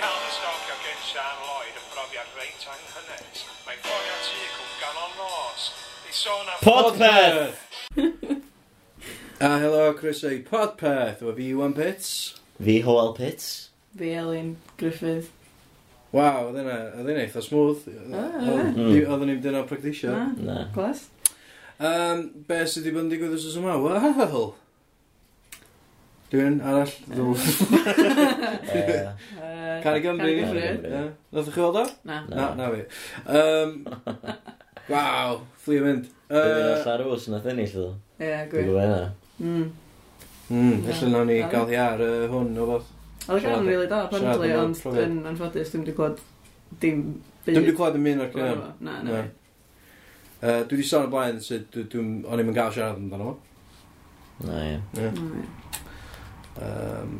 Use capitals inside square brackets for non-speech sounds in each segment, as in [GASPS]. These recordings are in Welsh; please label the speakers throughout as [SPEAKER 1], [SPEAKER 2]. [SPEAKER 1] Calvin Stocio gen Sian Lloyd yn brofiad reit anghynet. Mae'n ffonio tŷ cwm gan o'n nos. Ei sôn am...
[SPEAKER 2] Podpeth!
[SPEAKER 3] [LAUGHS] A helo, croeso i Podpeth, o fi Iwan Pits.
[SPEAKER 2] Fi Hoel Pits.
[SPEAKER 4] Fi Elin Griffith.
[SPEAKER 3] Waw, oedd hynna, oedd hynna eitha smooth.
[SPEAKER 4] Ah,
[SPEAKER 3] Oedd-
[SPEAKER 2] ie.
[SPEAKER 3] Oedden ni'n dyna practisio.
[SPEAKER 4] Na,
[SPEAKER 3] [LAUGHS]
[SPEAKER 2] Na.
[SPEAKER 4] glas.
[SPEAKER 3] Um, be sydd wedi bod yn digwydd os yma? Wel, Dwi'n arall ddwl.
[SPEAKER 2] Yy,
[SPEAKER 4] Yy,
[SPEAKER 3] Can i Gymru?
[SPEAKER 4] Can i Gymru.
[SPEAKER 3] Ie. Nath chi weld o?
[SPEAKER 4] Na.
[SPEAKER 3] Na,
[SPEAKER 2] Na.
[SPEAKER 3] na fi. Um, Waw, fflu mynd.
[SPEAKER 2] Dwi'n uh,
[SPEAKER 3] Yy,
[SPEAKER 2] allan rws nath ennill ddw.
[SPEAKER 4] Ie,
[SPEAKER 2] Dwi'n
[SPEAKER 4] gwir.
[SPEAKER 2] gwybod hynna.
[SPEAKER 4] Mm.
[SPEAKER 3] Mm, Felly nawn ni gael hi ar yy, hwn o fath.
[SPEAKER 4] Oedd y gan
[SPEAKER 3] Siarad-
[SPEAKER 4] rili da, apparently,
[SPEAKER 3] siarad am
[SPEAKER 4] ond
[SPEAKER 3] profiad.
[SPEAKER 4] yn anffodus, dwi'n wedi clywed dim byd.
[SPEAKER 3] Dwi'n wedi clywed yn mynd o'r
[SPEAKER 4] ohono
[SPEAKER 3] cynnig.
[SPEAKER 4] fo. Na,
[SPEAKER 3] Na.
[SPEAKER 4] na.
[SPEAKER 3] Yy, Dwi wedi sôn o blaen sydd dwi- dwi'n... O'n i'n gael siarad amdano fo.
[SPEAKER 2] Na, ie.
[SPEAKER 3] Ie. um,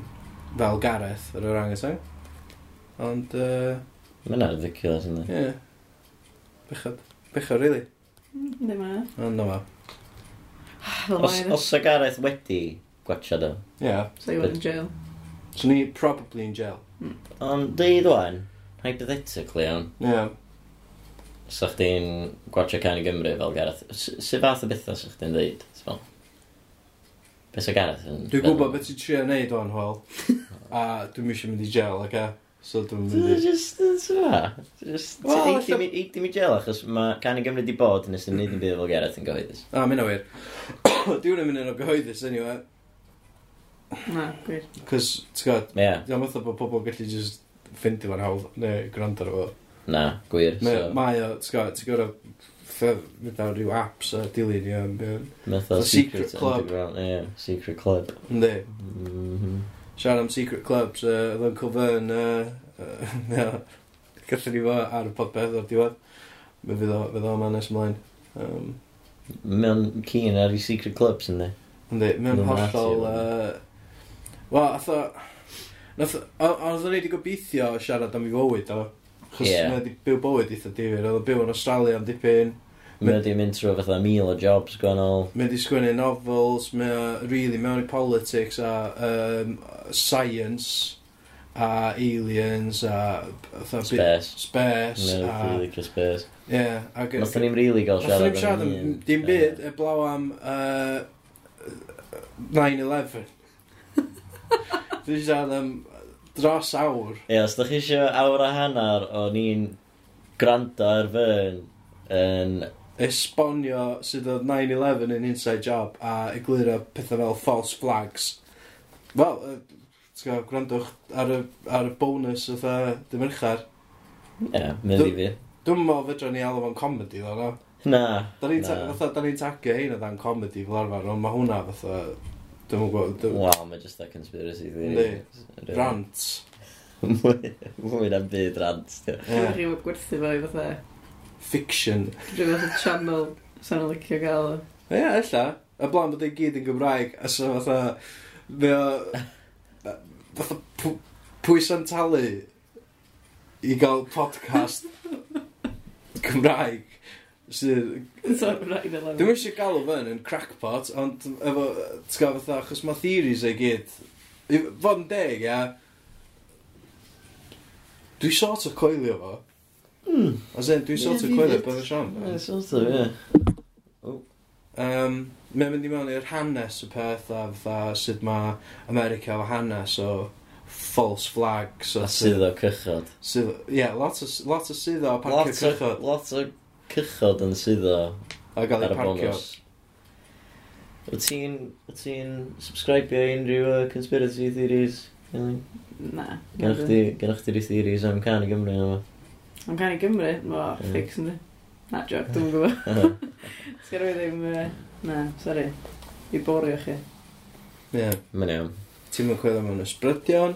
[SPEAKER 3] fel Gareth yr orangetang. Ond, uh,
[SPEAKER 2] Mae'n ridiculous yna.
[SPEAKER 3] ie. Yeah. Bechod. Bechod, really.
[SPEAKER 4] Ddim yna.
[SPEAKER 3] Ond, no ma.
[SPEAKER 2] Os,
[SPEAKER 4] Mm, [SIGHS] Fel
[SPEAKER 2] os y Gareth wedi gwachio do.
[SPEAKER 3] Ie. Yeah.
[SPEAKER 4] So you went in jail.
[SPEAKER 3] So ni probably in jail.
[SPEAKER 2] Ond deud o'n, hypothetically o'n,
[SPEAKER 3] Ie. Yeah.
[SPEAKER 2] sa chdi'n gwachio can i Gymru fel Gareth, s- sut fath o bethau sa chdi'n deud? Fel? Be sa Gareth yn...
[SPEAKER 3] Dwi'n gwybod beth ti'n trio neud o'n [LAUGHS] hwyl. a dwi'n mysio mynd i jail, ac okay? So dwi'n mynd
[SPEAKER 2] Dwi'n
[SPEAKER 3] i...
[SPEAKER 2] just, dwi'n sfa. Just,
[SPEAKER 3] Wel,
[SPEAKER 2] well,
[SPEAKER 3] ella-
[SPEAKER 2] eiti mi gel achos mae can i Gymru di bod nes yn neud yn byd fel Gareth yn gyhoeddus.
[SPEAKER 3] A, mynd o wir. [COUGHS] Dwi'n mynd yn o gyhoeddus, anyway.
[SPEAKER 4] Na, gwir.
[SPEAKER 3] Cos, ti'n gwybod,
[SPEAKER 2] Ie,
[SPEAKER 3] dwi'n meddwl bod pobl gallu just ffindi fan hawdd, neu gwrando ar fo.
[SPEAKER 2] na, gwir.
[SPEAKER 3] Mae
[SPEAKER 2] so,
[SPEAKER 3] mae o, ti'n gwybod, ti'n gwybod, fydd ar rhyw apps a dilyn i o'n byw.
[SPEAKER 2] Metho
[SPEAKER 3] The
[SPEAKER 2] Secret,
[SPEAKER 3] Secret Club.
[SPEAKER 2] Underground, ie, Secret Club.
[SPEAKER 3] Ynddi.
[SPEAKER 2] Mhm.
[SPEAKER 3] Siarad am secret clubs, uh, oedd Uncle Fern, uh, [LAUGHS] uh, gathen ni fo ar y podpeth o'r diwedd. Fe fydd o, fydd o ma nes ymlaen. Um,
[SPEAKER 2] Mae o'n keen ar ei Secret Clubs yn di.
[SPEAKER 3] ynddi, mewn
[SPEAKER 2] Mae'n rati,
[SPEAKER 3] hollol...
[SPEAKER 2] ynddi.
[SPEAKER 3] Uh, Wel, atho... Nath, o- oedd o'n wedi gobeithio siarad am ei fywyd, o.
[SPEAKER 2] Ie.
[SPEAKER 3] Chos yeah. mae wedi byw bywyd eitha difyr, oedd o'n byw yn Australia am dipyn,
[SPEAKER 2] Mae o'n mynd trwy fatha mil o jobs gwahanol.
[SPEAKER 3] mae wedi sgwennu novels, mae o really mewn i politics a um, science a aliens a... fatha byd-
[SPEAKER 2] Space.
[SPEAKER 3] Space
[SPEAKER 2] Mae'n
[SPEAKER 3] a...
[SPEAKER 2] rili licio space.
[SPEAKER 3] Ie, ac...
[SPEAKER 2] Nath ni'n rili gael
[SPEAKER 3] Nathon ni'm
[SPEAKER 2] siarad
[SPEAKER 3] siarad
[SPEAKER 2] am
[SPEAKER 3] am
[SPEAKER 2] hyn.
[SPEAKER 3] dim byd, eblaw am yy, 9-11. Dwi'n siarad am dros awr.
[SPEAKER 2] Ie, os da chi eisiau awr a hanner o ni'n gwrando ar fyn yn...
[SPEAKER 3] Esbonio sydd oedd 9-11 yn inside job a egluro pethau fel false flags. Wel, yy, ti'n gwybod, gwrandwch ar y, ar y bonus oedd dymyrchar.
[SPEAKER 2] Ie, mynd i fi.
[SPEAKER 3] Dwi'n meddwl fedra ni alw fo'n comedi ddo, no?
[SPEAKER 2] Na.
[SPEAKER 3] Da ni'n ta-
[SPEAKER 2] Na.
[SPEAKER 3] fatha, da ni'n tagio hyn o dan comedi fel arfer, ond mae hwnna fatha... Dwi'n meddwl gwybod... dwi'm-
[SPEAKER 2] Waw, mae just that conspiracy theory. Really.
[SPEAKER 3] Rant.
[SPEAKER 2] [LAUGHS] Mwy mwy na byd rant. ie.
[SPEAKER 4] Dwi'n rhaid i'w gwerthu fo i fatha.
[SPEAKER 3] Fiction.
[SPEAKER 4] Dwi'n fatha channel sa'n o'n licio gael. o.
[SPEAKER 3] Ie, yeah, ella. Y blaen bod e gyd yn Gymraeg, a so fatha... Mae o... Fatha pw- pwy sy'n talu i gael podcast Cymraeg sydd...
[SPEAKER 4] So, rhaid i
[SPEAKER 3] Dwi'n eisiau galw fan yn crackpot, ond efo, ti'n gael fatha, achos mae theories ei gyd. I fod yn deg, ia, dwi sort o coelio fo. Mm. As in, dwi sort o
[SPEAKER 2] Hmm. Ie, fi
[SPEAKER 3] coelio
[SPEAKER 2] fyd.
[SPEAKER 3] bod yn siarad.
[SPEAKER 2] Ie, sort of, ie.
[SPEAKER 3] Um, Mae'n mynd i mewn i'r hanes y peth a fatha sut mae America efo hanes o false flags
[SPEAKER 2] A
[SPEAKER 3] a
[SPEAKER 2] sydd o cychod.
[SPEAKER 3] sydd... Ie, yeah, lot o, lot o sydd o parcio
[SPEAKER 2] Lot o-
[SPEAKER 3] cychod
[SPEAKER 2] Lot o cychod yn sydd o
[SPEAKER 3] a gael
[SPEAKER 2] ar
[SPEAKER 3] ei
[SPEAKER 2] y
[SPEAKER 3] parcio.
[SPEAKER 2] bonus. Wyt ti'n... Wyt ti'n subscribio i unrhyw uh, conspiracy theories? Elin?
[SPEAKER 4] Na.
[SPEAKER 2] Gennych chdi- gennych chdi rhyw theories am can i Gymru
[SPEAKER 3] [LAUGHS]
[SPEAKER 2] yma?
[SPEAKER 4] Am gan i Gymru, mae
[SPEAKER 2] Ie.
[SPEAKER 4] ffix yn di. Na, joc, dwi'n gwybod. Sgar fi ddim... yy, Na, sori. I borio chi.
[SPEAKER 3] Ie, yeah.
[SPEAKER 2] Mae'n iawn.
[SPEAKER 3] ti'n mynd coelio mewn ysbrydion.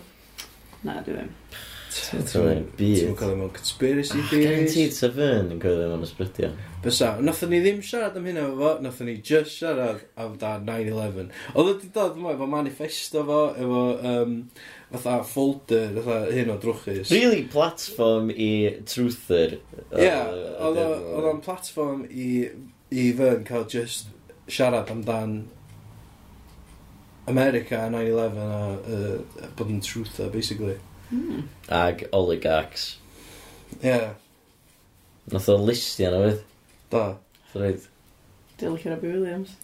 [SPEAKER 4] Na, dwi ddim.
[SPEAKER 3] Ti'n
[SPEAKER 2] Ti'n mynd
[SPEAKER 3] mynd
[SPEAKER 2] byd.
[SPEAKER 3] coelio mewn conspiracy
[SPEAKER 2] Garantid
[SPEAKER 3] theories.
[SPEAKER 2] sa fyn yn coelio mewn ysbrydio.
[SPEAKER 3] Bysa, nathon ni ddim siarad am hynna efo fo, nathon ni just siarad am da 9-11. Oedd wedi dod yma efo manifesto fo, efo um, fatha folder, fatha hyn o drwchus.
[SPEAKER 2] Really platform i uh, truther.
[SPEAKER 3] Ie, oedd o- oedd o'n platform i, i fy yn cael just siarad amdan America a 9-11 a uh, bod yn truther, basically.
[SPEAKER 4] Mm.
[SPEAKER 2] ag oligarchs.
[SPEAKER 3] Ie,
[SPEAKER 2] Nath o listio nhw fydd.
[SPEAKER 3] da.
[SPEAKER 2] Nath o dweud,
[SPEAKER 4] Dwi'n licio Robbie Williams.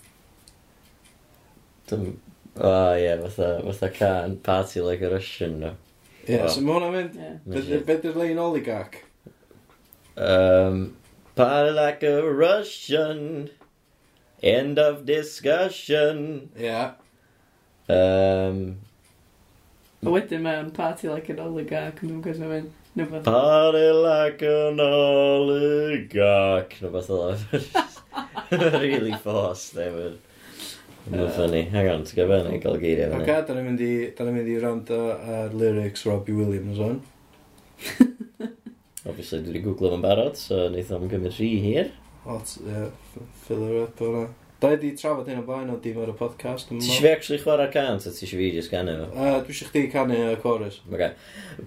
[SPEAKER 2] dim... O ie, fatha, fatha can party like a Russian nhw.
[SPEAKER 3] Ie,
[SPEAKER 2] Wel.
[SPEAKER 3] so mae hwnna'n mynd...
[SPEAKER 4] Yeah.
[SPEAKER 3] Be di'r lein oligarch?
[SPEAKER 2] Um, party like a Russian. End of discussion.
[SPEAKER 3] Ie.
[SPEAKER 2] Um,
[SPEAKER 4] A wedyn mae'n party like an oligarch yn gwmpas mae'n mynd. No,
[SPEAKER 2] Oh.
[SPEAKER 4] but...
[SPEAKER 2] party like an oligarch. No beth oedd [LAUGHS] Really forced, they were. No
[SPEAKER 4] Uh,
[SPEAKER 2] funny. Hang on, ti'n gwybod ni gael geiriau
[SPEAKER 3] Ok,
[SPEAKER 2] fyny.
[SPEAKER 3] da ni'n mynd i... Da ni'n mynd i rando ar lyrics Robbie Williams o'n.
[SPEAKER 2] Obviously, dwi wedi googlo fo'n barod, so wnaeth o'n gymryd rhi hir.
[SPEAKER 3] Hot, ie. Fill her up o'na. Da i di trafod hyn o blaen o dim ar y podcast.
[SPEAKER 2] Ti eisiau fi actually chwarae can, ta ti eisiau fi just ganu fo?
[SPEAKER 3] Uh, dwi eisiau chdi canu y chorus.
[SPEAKER 2] Okay.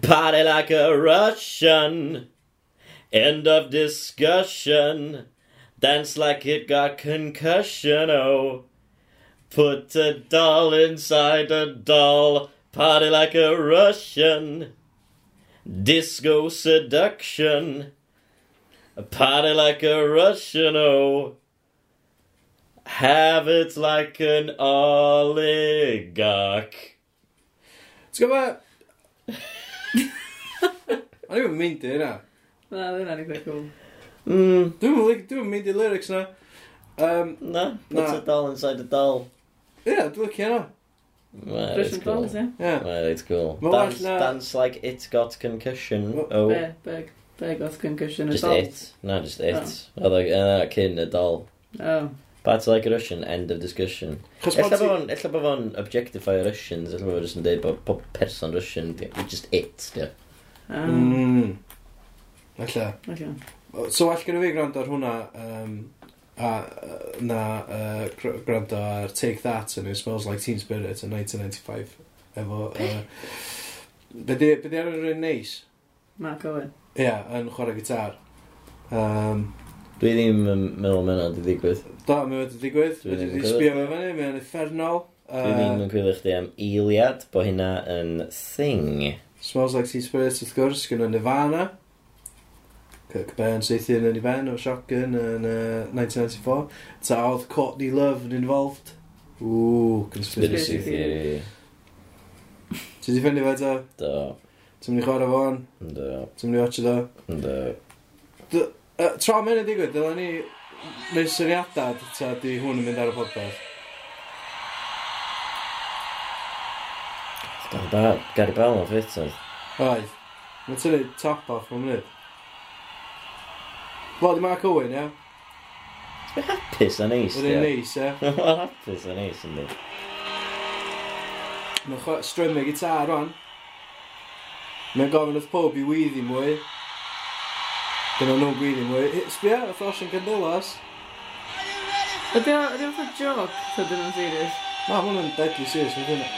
[SPEAKER 2] Party like a Russian. End of discussion. Dance like it got concussion, oh. Put a doll inside a doll. Party like a Russian. Disco seduction. Party like a Russian, oh. Have it like an oligarch.
[SPEAKER 3] T'w gwybod? O'n i'n mynd i hynna.
[SPEAKER 4] Na, dwi'n anodd eitha cool.
[SPEAKER 2] Mm,
[SPEAKER 3] Dwi'n mynd dwi'n mynd i lyrics na. Um,
[SPEAKER 2] no,
[SPEAKER 3] Na.
[SPEAKER 2] puts a doll inside a doll.
[SPEAKER 3] ie, dwi'n licio hynna.
[SPEAKER 2] Well, it's
[SPEAKER 4] Russian
[SPEAKER 2] cool.
[SPEAKER 4] dolls, ie.
[SPEAKER 3] Ie.
[SPEAKER 2] Well, it's cool.
[SPEAKER 3] Well,
[SPEAKER 2] dance,
[SPEAKER 3] like, no.
[SPEAKER 2] dance like it got concussion.
[SPEAKER 3] Well,
[SPEAKER 2] oh,
[SPEAKER 4] Be, beg, beg oedd concussion
[SPEAKER 2] just
[SPEAKER 4] assault.
[SPEAKER 2] it. No, just it. Oh. Like, uh, cyn a doll.
[SPEAKER 4] Oh,
[SPEAKER 2] But like a Russian, end of discussion.
[SPEAKER 3] Chos
[SPEAKER 2] Ella bod
[SPEAKER 3] bod ti...
[SPEAKER 2] fo'n ella bod fo'n objectify Russians, ella bod fo'n just yn dweud bod pob person Russian, di- just it, di.
[SPEAKER 4] oh,
[SPEAKER 3] Mm. Alla.
[SPEAKER 4] okay.
[SPEAKER 3] So well gen i fi gwrando ar hwnna, um, a yy, na uh, gwrando ar Take That and It Smells Like Teen Spirit yn 1995. Efo... Uh, be di be di ar yr un neis?
[SPEAKER 4] Mark Owen.
[SPEAKER 3] Ie, yn chwarae gitar. Um,
[SPEAKER 2] Dwi ddim yn meddwl mae hynna wedi digwydd.
[SPEAKER 3] da, mi wedi digwydd.
[SPEAKER 2] Dwi
[SPEAKER 3] Dwi
[SPEAKER 2] ddim yn
[SPEAKER 3] wedi
[SPEAKER 2] gwybod.
[SPEAKER 3] sbio fe fyny, mae'n effernol.
[SPEAKER 2] Dwi
[SPEAKER 3] Uh.
[SPEAKER 2] ddim yn gwylio chdi am eiliad, bod hynna yn thing.
[SPEAKER 3] Smells Like Teen Spirit, wrth gwrs, gyda Nirvana. Kirk Burns eithi yn ei ben o Shotgun yn uh, 1994. Ta oedd Courtney Love yn involved. Ooh, conspiracy.
[SPEAKER 2] Conspiracy theory.
[SPEAKER 3] Ti di ffynnu fe ta?
[SPEAKER 2] Do,
[SPEAKER 3] Ti'n mynd i chwarae fo hwn?
[SPEAKER 2] do,
[SPEAKER 3] Ti'n mynd i watch o do?
[SPEAKER 2] do.
[SPEAKER 3] Uh, tro am hyn yn digwydd, dyla ni neud syniadad ta di hwn yn mynd ar y podpeth.
[SPEAKER 2] Gary Bell, Gary Bell yn ffit oedd.
[SPEAKER 3] Oedd. Mae ti'n neud top off am hynny. Fo di Mark Owen, ia?
[SPEAKER 2] Piss yn eis,
[SPEAKER 3] Yr un neis, ia?
[SPEAKER 2] [LAUGHS] Mae'n hapus yn eis, ynddi.
[SPEAKER 3] Mae'n chwa- strymio gitar o'n. Mae'n gofyn wrth pob i weiddi mwy. Dyna nhw'n gweiddi mwy. Hi- Sbia, wrth Ocean Candelas.
[SPEAKER 4] Ydy o, ydy o fatha joc, so dyn nhw'n serious.
[SPEAKER 3] Na, mae hwnna'n deadly serious, mae'n hynna.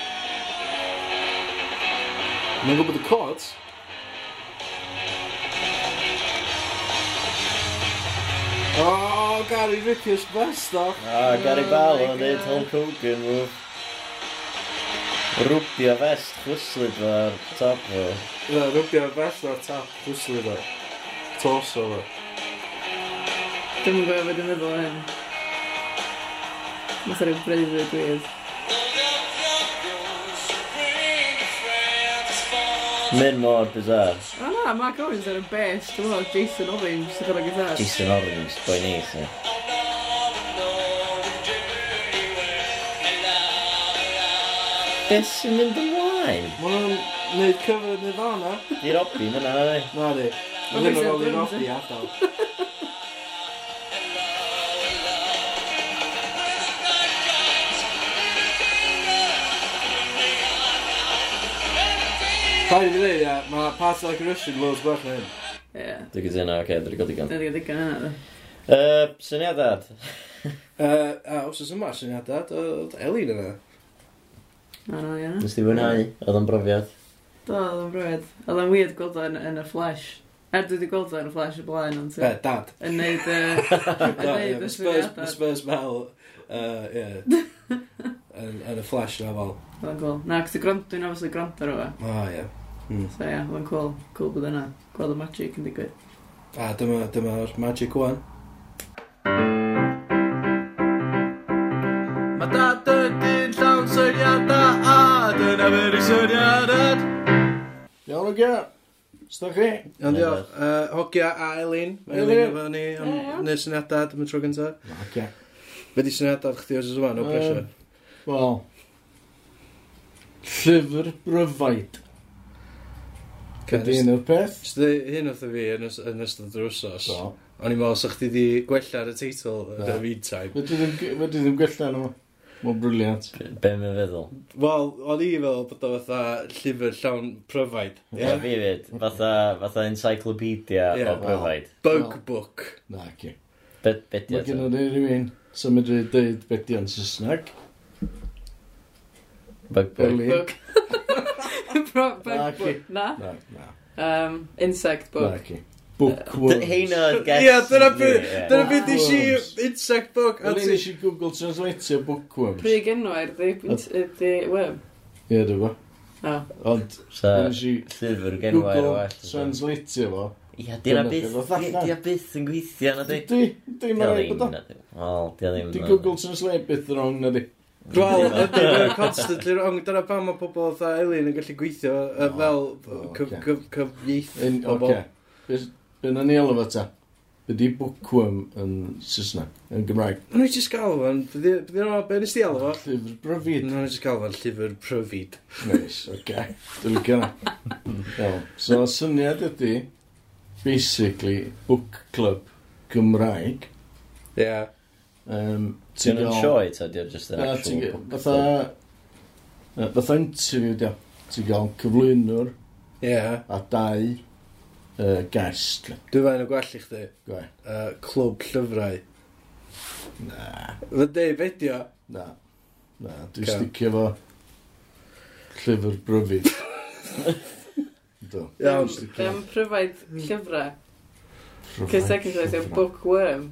[SPEAKER 3] Mae'n gwybod y chords. O, Gary Rippius best o.
[SPEAKER 2] A Gary Bell yn dweud Hulk Hogan nhw. Rwbio fest chwyslyd o'r top eh? o.
[SPEAKER 3] Na, rwbio best o'r tap, pwyslu fo. Torso fo.
[SPEAKER 4] Dwi'n yn gwybod beth dwi'n meddwl o hyn. Mae'n rhyw breuddwyd gwydd.
[SPEAKER 2] Mynd mor bizar.
[SPEAKER 4] O na, Mark Owens ar y best, dwi'n meddwl Jason Orange sy'n gwrdd gyda'r.
[SPEAKER 2] Jason Orange, eh? boi neis. ie. Beth sy'n mynd ymlaen?
[SPEAKER 3] Mae hwnna'n gwneud cyfer Nirvana.
[SPEAKER 2] Di Robby, mae'n na, oi.
[SPEAKER 3] Na di.
[SPEAKER 4] Ond
[SPEAKER 3] Ddim yn
[SPEAKER 4] weithia
[SPEAKER 3] ôl i'n
[SPEAKER 4] drums,
[SPEAKER 3] offi
[SPEAKER 4] eh?
[SPEAKER 3] adal. Rhaid i fi ddeud, ia, mae Party Like a Russian loads gwell na hyn.
[SPEAKER 4] Ie.
[SPEAKER 2] Dwi'n gytuno, oce, dwi'n gwybod digon.
[SPEAKER 4] Dwi'n ddigon yna.
[SPEAKER 2] Yy, Syniadad.
[SPEAKER 3] Uh, a os oes yma syniadad, oedd Elin yna.
[SPEAKER 4] Na, na, ie.
[SPEAKER 2] Nes di fwynhau, oedd o'n brofiad.
[SPEAKER 4] Do, oedd yn brwyd. Oedd yn weird gweld o yn, yn y flash. Er dwi wedi gweld o yn y flash y blaen, ond
[SPEAKER 3] Be,
[SPEAKER 4] ti-
[SPEAKER 3] dad.
[SPEAKER 4] yn neud y... Yn
[SPEAKER 3] Da, ie,
[SPEAKER 4] neud
[SPEAKER 3] ma'
[SPEAKER 4] y
[SPEAKER 3] Spurs, ma'
[SPEAKER 4] syniadau.
[SPEAKER 3] Spurs Mel, uh, ie. Yn yn y flash na fel.
[SPEAKER 4] Oedd yn cool. Na, cos dwi'n gwrando, dwi'n obviously gwrando ar o fe.
[SPEAKER 3] O, ie. Mm.
[SPEAKER 4] So ia, yeah, cool. Cool bod yna. Gweld y magic yn digwydd.
[SPEAKER 3] A dyma, dyma'r magic one.
[SPEAKER 5] Mae dad yn dyn llawn syniadau a dyna fyr i syniadad
[SPEAKER 3] Iawn o gea. Sdach chi? Ond
[SPEAKER 2] Ie.
[SPEAKER 3] ia, uh, Hogia a Elin. Mae
[SPEAKER 5] Elin.
[SPEAKER 3] Elin efo ni am
[SPEAKER 4] Ie, iawn.
[SPEAKER 3] wneud syniadau dyma tro gynta.
[SPEAKER 5] Hogia.
[SPEAKER 3] Be di syniadau chdi os yma, no
[SPEAKER 5] Yym,
[SPEAKER 3] pressure.
[SPEAKER 5] Wel Llyfr bryfaid Ydy
[SPEAKER 3] Cyn
[SPEAKER 5] un o'r peth
[SPEAKER 3] Ysdi hyn wrtho fi yn ys- yn ystod yr wsos.
[SPEAKER 5] So
[SPEAKER 3] O'n i'n meddwl sa chdi di gwella'r y teitl yn
[SPEAKER 5] Na.
[SPEAKER 3] y meantime.
[SPEAKER 5] Fedri ddim ge- fedri ddim gwella nhw Mae'n briliant
[SPEAKER 2] Be- Be mae'n feddwl?
[SPEAKER 3] Wel, o'n i fel bod o fatha llyfr llawn pryfaid.
[SPEAKER 2] Ie, yeah.
[SPEAKER 3] Ie?
[SPEAKER 2] fi fyd. Fatha, fatha encyclopedia
[SPEAKER 3] Ie.
[SPEAKER 2] o bryfaid.
[SPEAKER 3] Bug
[SPEAKER 5] Wel.
[SPEAKER 3] book.
[SPEAKER 5] Na, ci
[SPEAKER 2] Be, be di
[SPEAKER 5] Mae gen
[SPEAKER 2] ato?
[SPEAKER 5] i rhywun sy'n medru dweud beth di o'n Saesneg
[SPEAKER 2] Bug book.
[SPEAKER 5] Elin
[SPEAKER 4] Bug. Bro-
[SPEAKER 5] Na,
[SPEAKER 4] Bug book. Na.
[SPEAKER 5] Na, na,
[SPEAKER 4] Um, insect
[SPEAKER 5] na,
[SPEAKER 4] book.
[SPEAKER 5] ci
[SPEAKER 2] D-
[SPEAKER 5] Bookworms
[SPEAKER 2] Hein oedd
[SPEAKER 3] Ie,
[SPEAKER 2] ges...
[SPEAKER 3] dyna beth dyna
[SPEAKER 4] Wow.
[SPEAKER 3] beth i si insect book. a
[SPEAKER 5] Elin
[SPEAKER 3] ti-
[SPEAKER 5] eisiau Google Translate bookworms
[SPEAKER 4] Pryd genwair di, di worm.
[SPEAKER 5] Ie, dy fo
[SPEAKER 4] O.
[SPEAKER 5] Ond
[SPEAKER 2] So,
[SPEAKER 5] eisiau
[SPEAKER 2] llyfr genwair o
[SPEAKER 5] Google
[SPEAKER 2] well. so.
[SPEAKER 5] Translate fo
[SPEAKER 2] Ie, dyna
[SPEAKER 5] Dyna
[SPEAKER 2] byth,
[SPEAKER 5] beth oedd allan.
[SPEAKER 2] dyna byth yn gweithio e- na di.
[SPEAKER 5] Di, di,
[SPEAKER 2] Di o
[SPEAKER 5] mae'n rhaid bod o
[SPEAKER 2] ddim, na di. e- Wel, di o ddim.
[SPEAKER 5] Di
[SPEAKER 2] na.
[SPEAKER 5] Google Translate beth wrong na di
[SPEAKER 3] Wel, ydy, mae'n constantly wrong. Dyna pam mae pobl fatha Elin yn gallu gweithio yy,
[SPEAKER 5] O,
[SPEAKER 3] fel
[SPEAKER 5] o,
[SPEAKER 3] cyf-
[SPEAKER 5] ocê.
[SPEAKER 3] cyf- cyfieith
[SPEAKER 5] Yn-
[SPEAKER 3] pobl.
[SPEAKER 5] Oce Beth- Be na ni alw fo ta Be di bookworm yn Saesneg Yn Gymraeg
[SPEAKER 3] Nw'n i jyst gael fan, byddi yma, be nes di alw fo?
[SPEAKER 5] Llyfr bryfyd
[SPEAKER 3] Nw'n i jyst gael fan llyfr pryfid.
[SPEAKER 5] Neis, oce Dwi'n licio na Iawn. So syniad ydi Basically Book Club Gymraeg
[SPEAKER 3] Ie.
[SPEAKER 5] Yym,
[SPEAKER 2] Di
[SPEAKER 5] ti'n
[SPEAKER 2] o'n
[SPEAKER 5] gael-
[SPEAKER 2] sioe, ta? Di o'n just an
[SPEAKER 5] Na, ti'n
[SPEAKER 2] actual
[SPEAKER 5] gael-
[SPEAKER 2] book.
[SPEAKER 5] Fatha yy, Fatha interview di o. Ti'n gael cyflwynwr
[SPEAKER 3] Ie.
[SPEAKER 5] a dau uh, guest.
[SPEAKER 3] Dwi'n fain o gwell i chdi.
[SPEAKER 5] Gwe.
[SPEAKER 3] Yy, Clwb llyfrau.
[SPEAKER 5] Na,
[SPEAKER 3] Fy de, be di o?
[SPEAKER 5] na. Na, dwi'n
[SPEAKER 3] Ca.
[SPEAKER 5] sticio fo llyfr bryfyd. Do.
[SPEAKER 3] Iawn.
[SPEAKER 5] Dwi'n sticio
[SPEAKER 4] Dim pryfaid llyfrau.
[SPEAKER 5] fo
[SPEAKER 4] Cys secondary,
[SPEAKER 5] llyfrau.
[SPEAKER 4] sef bookworm.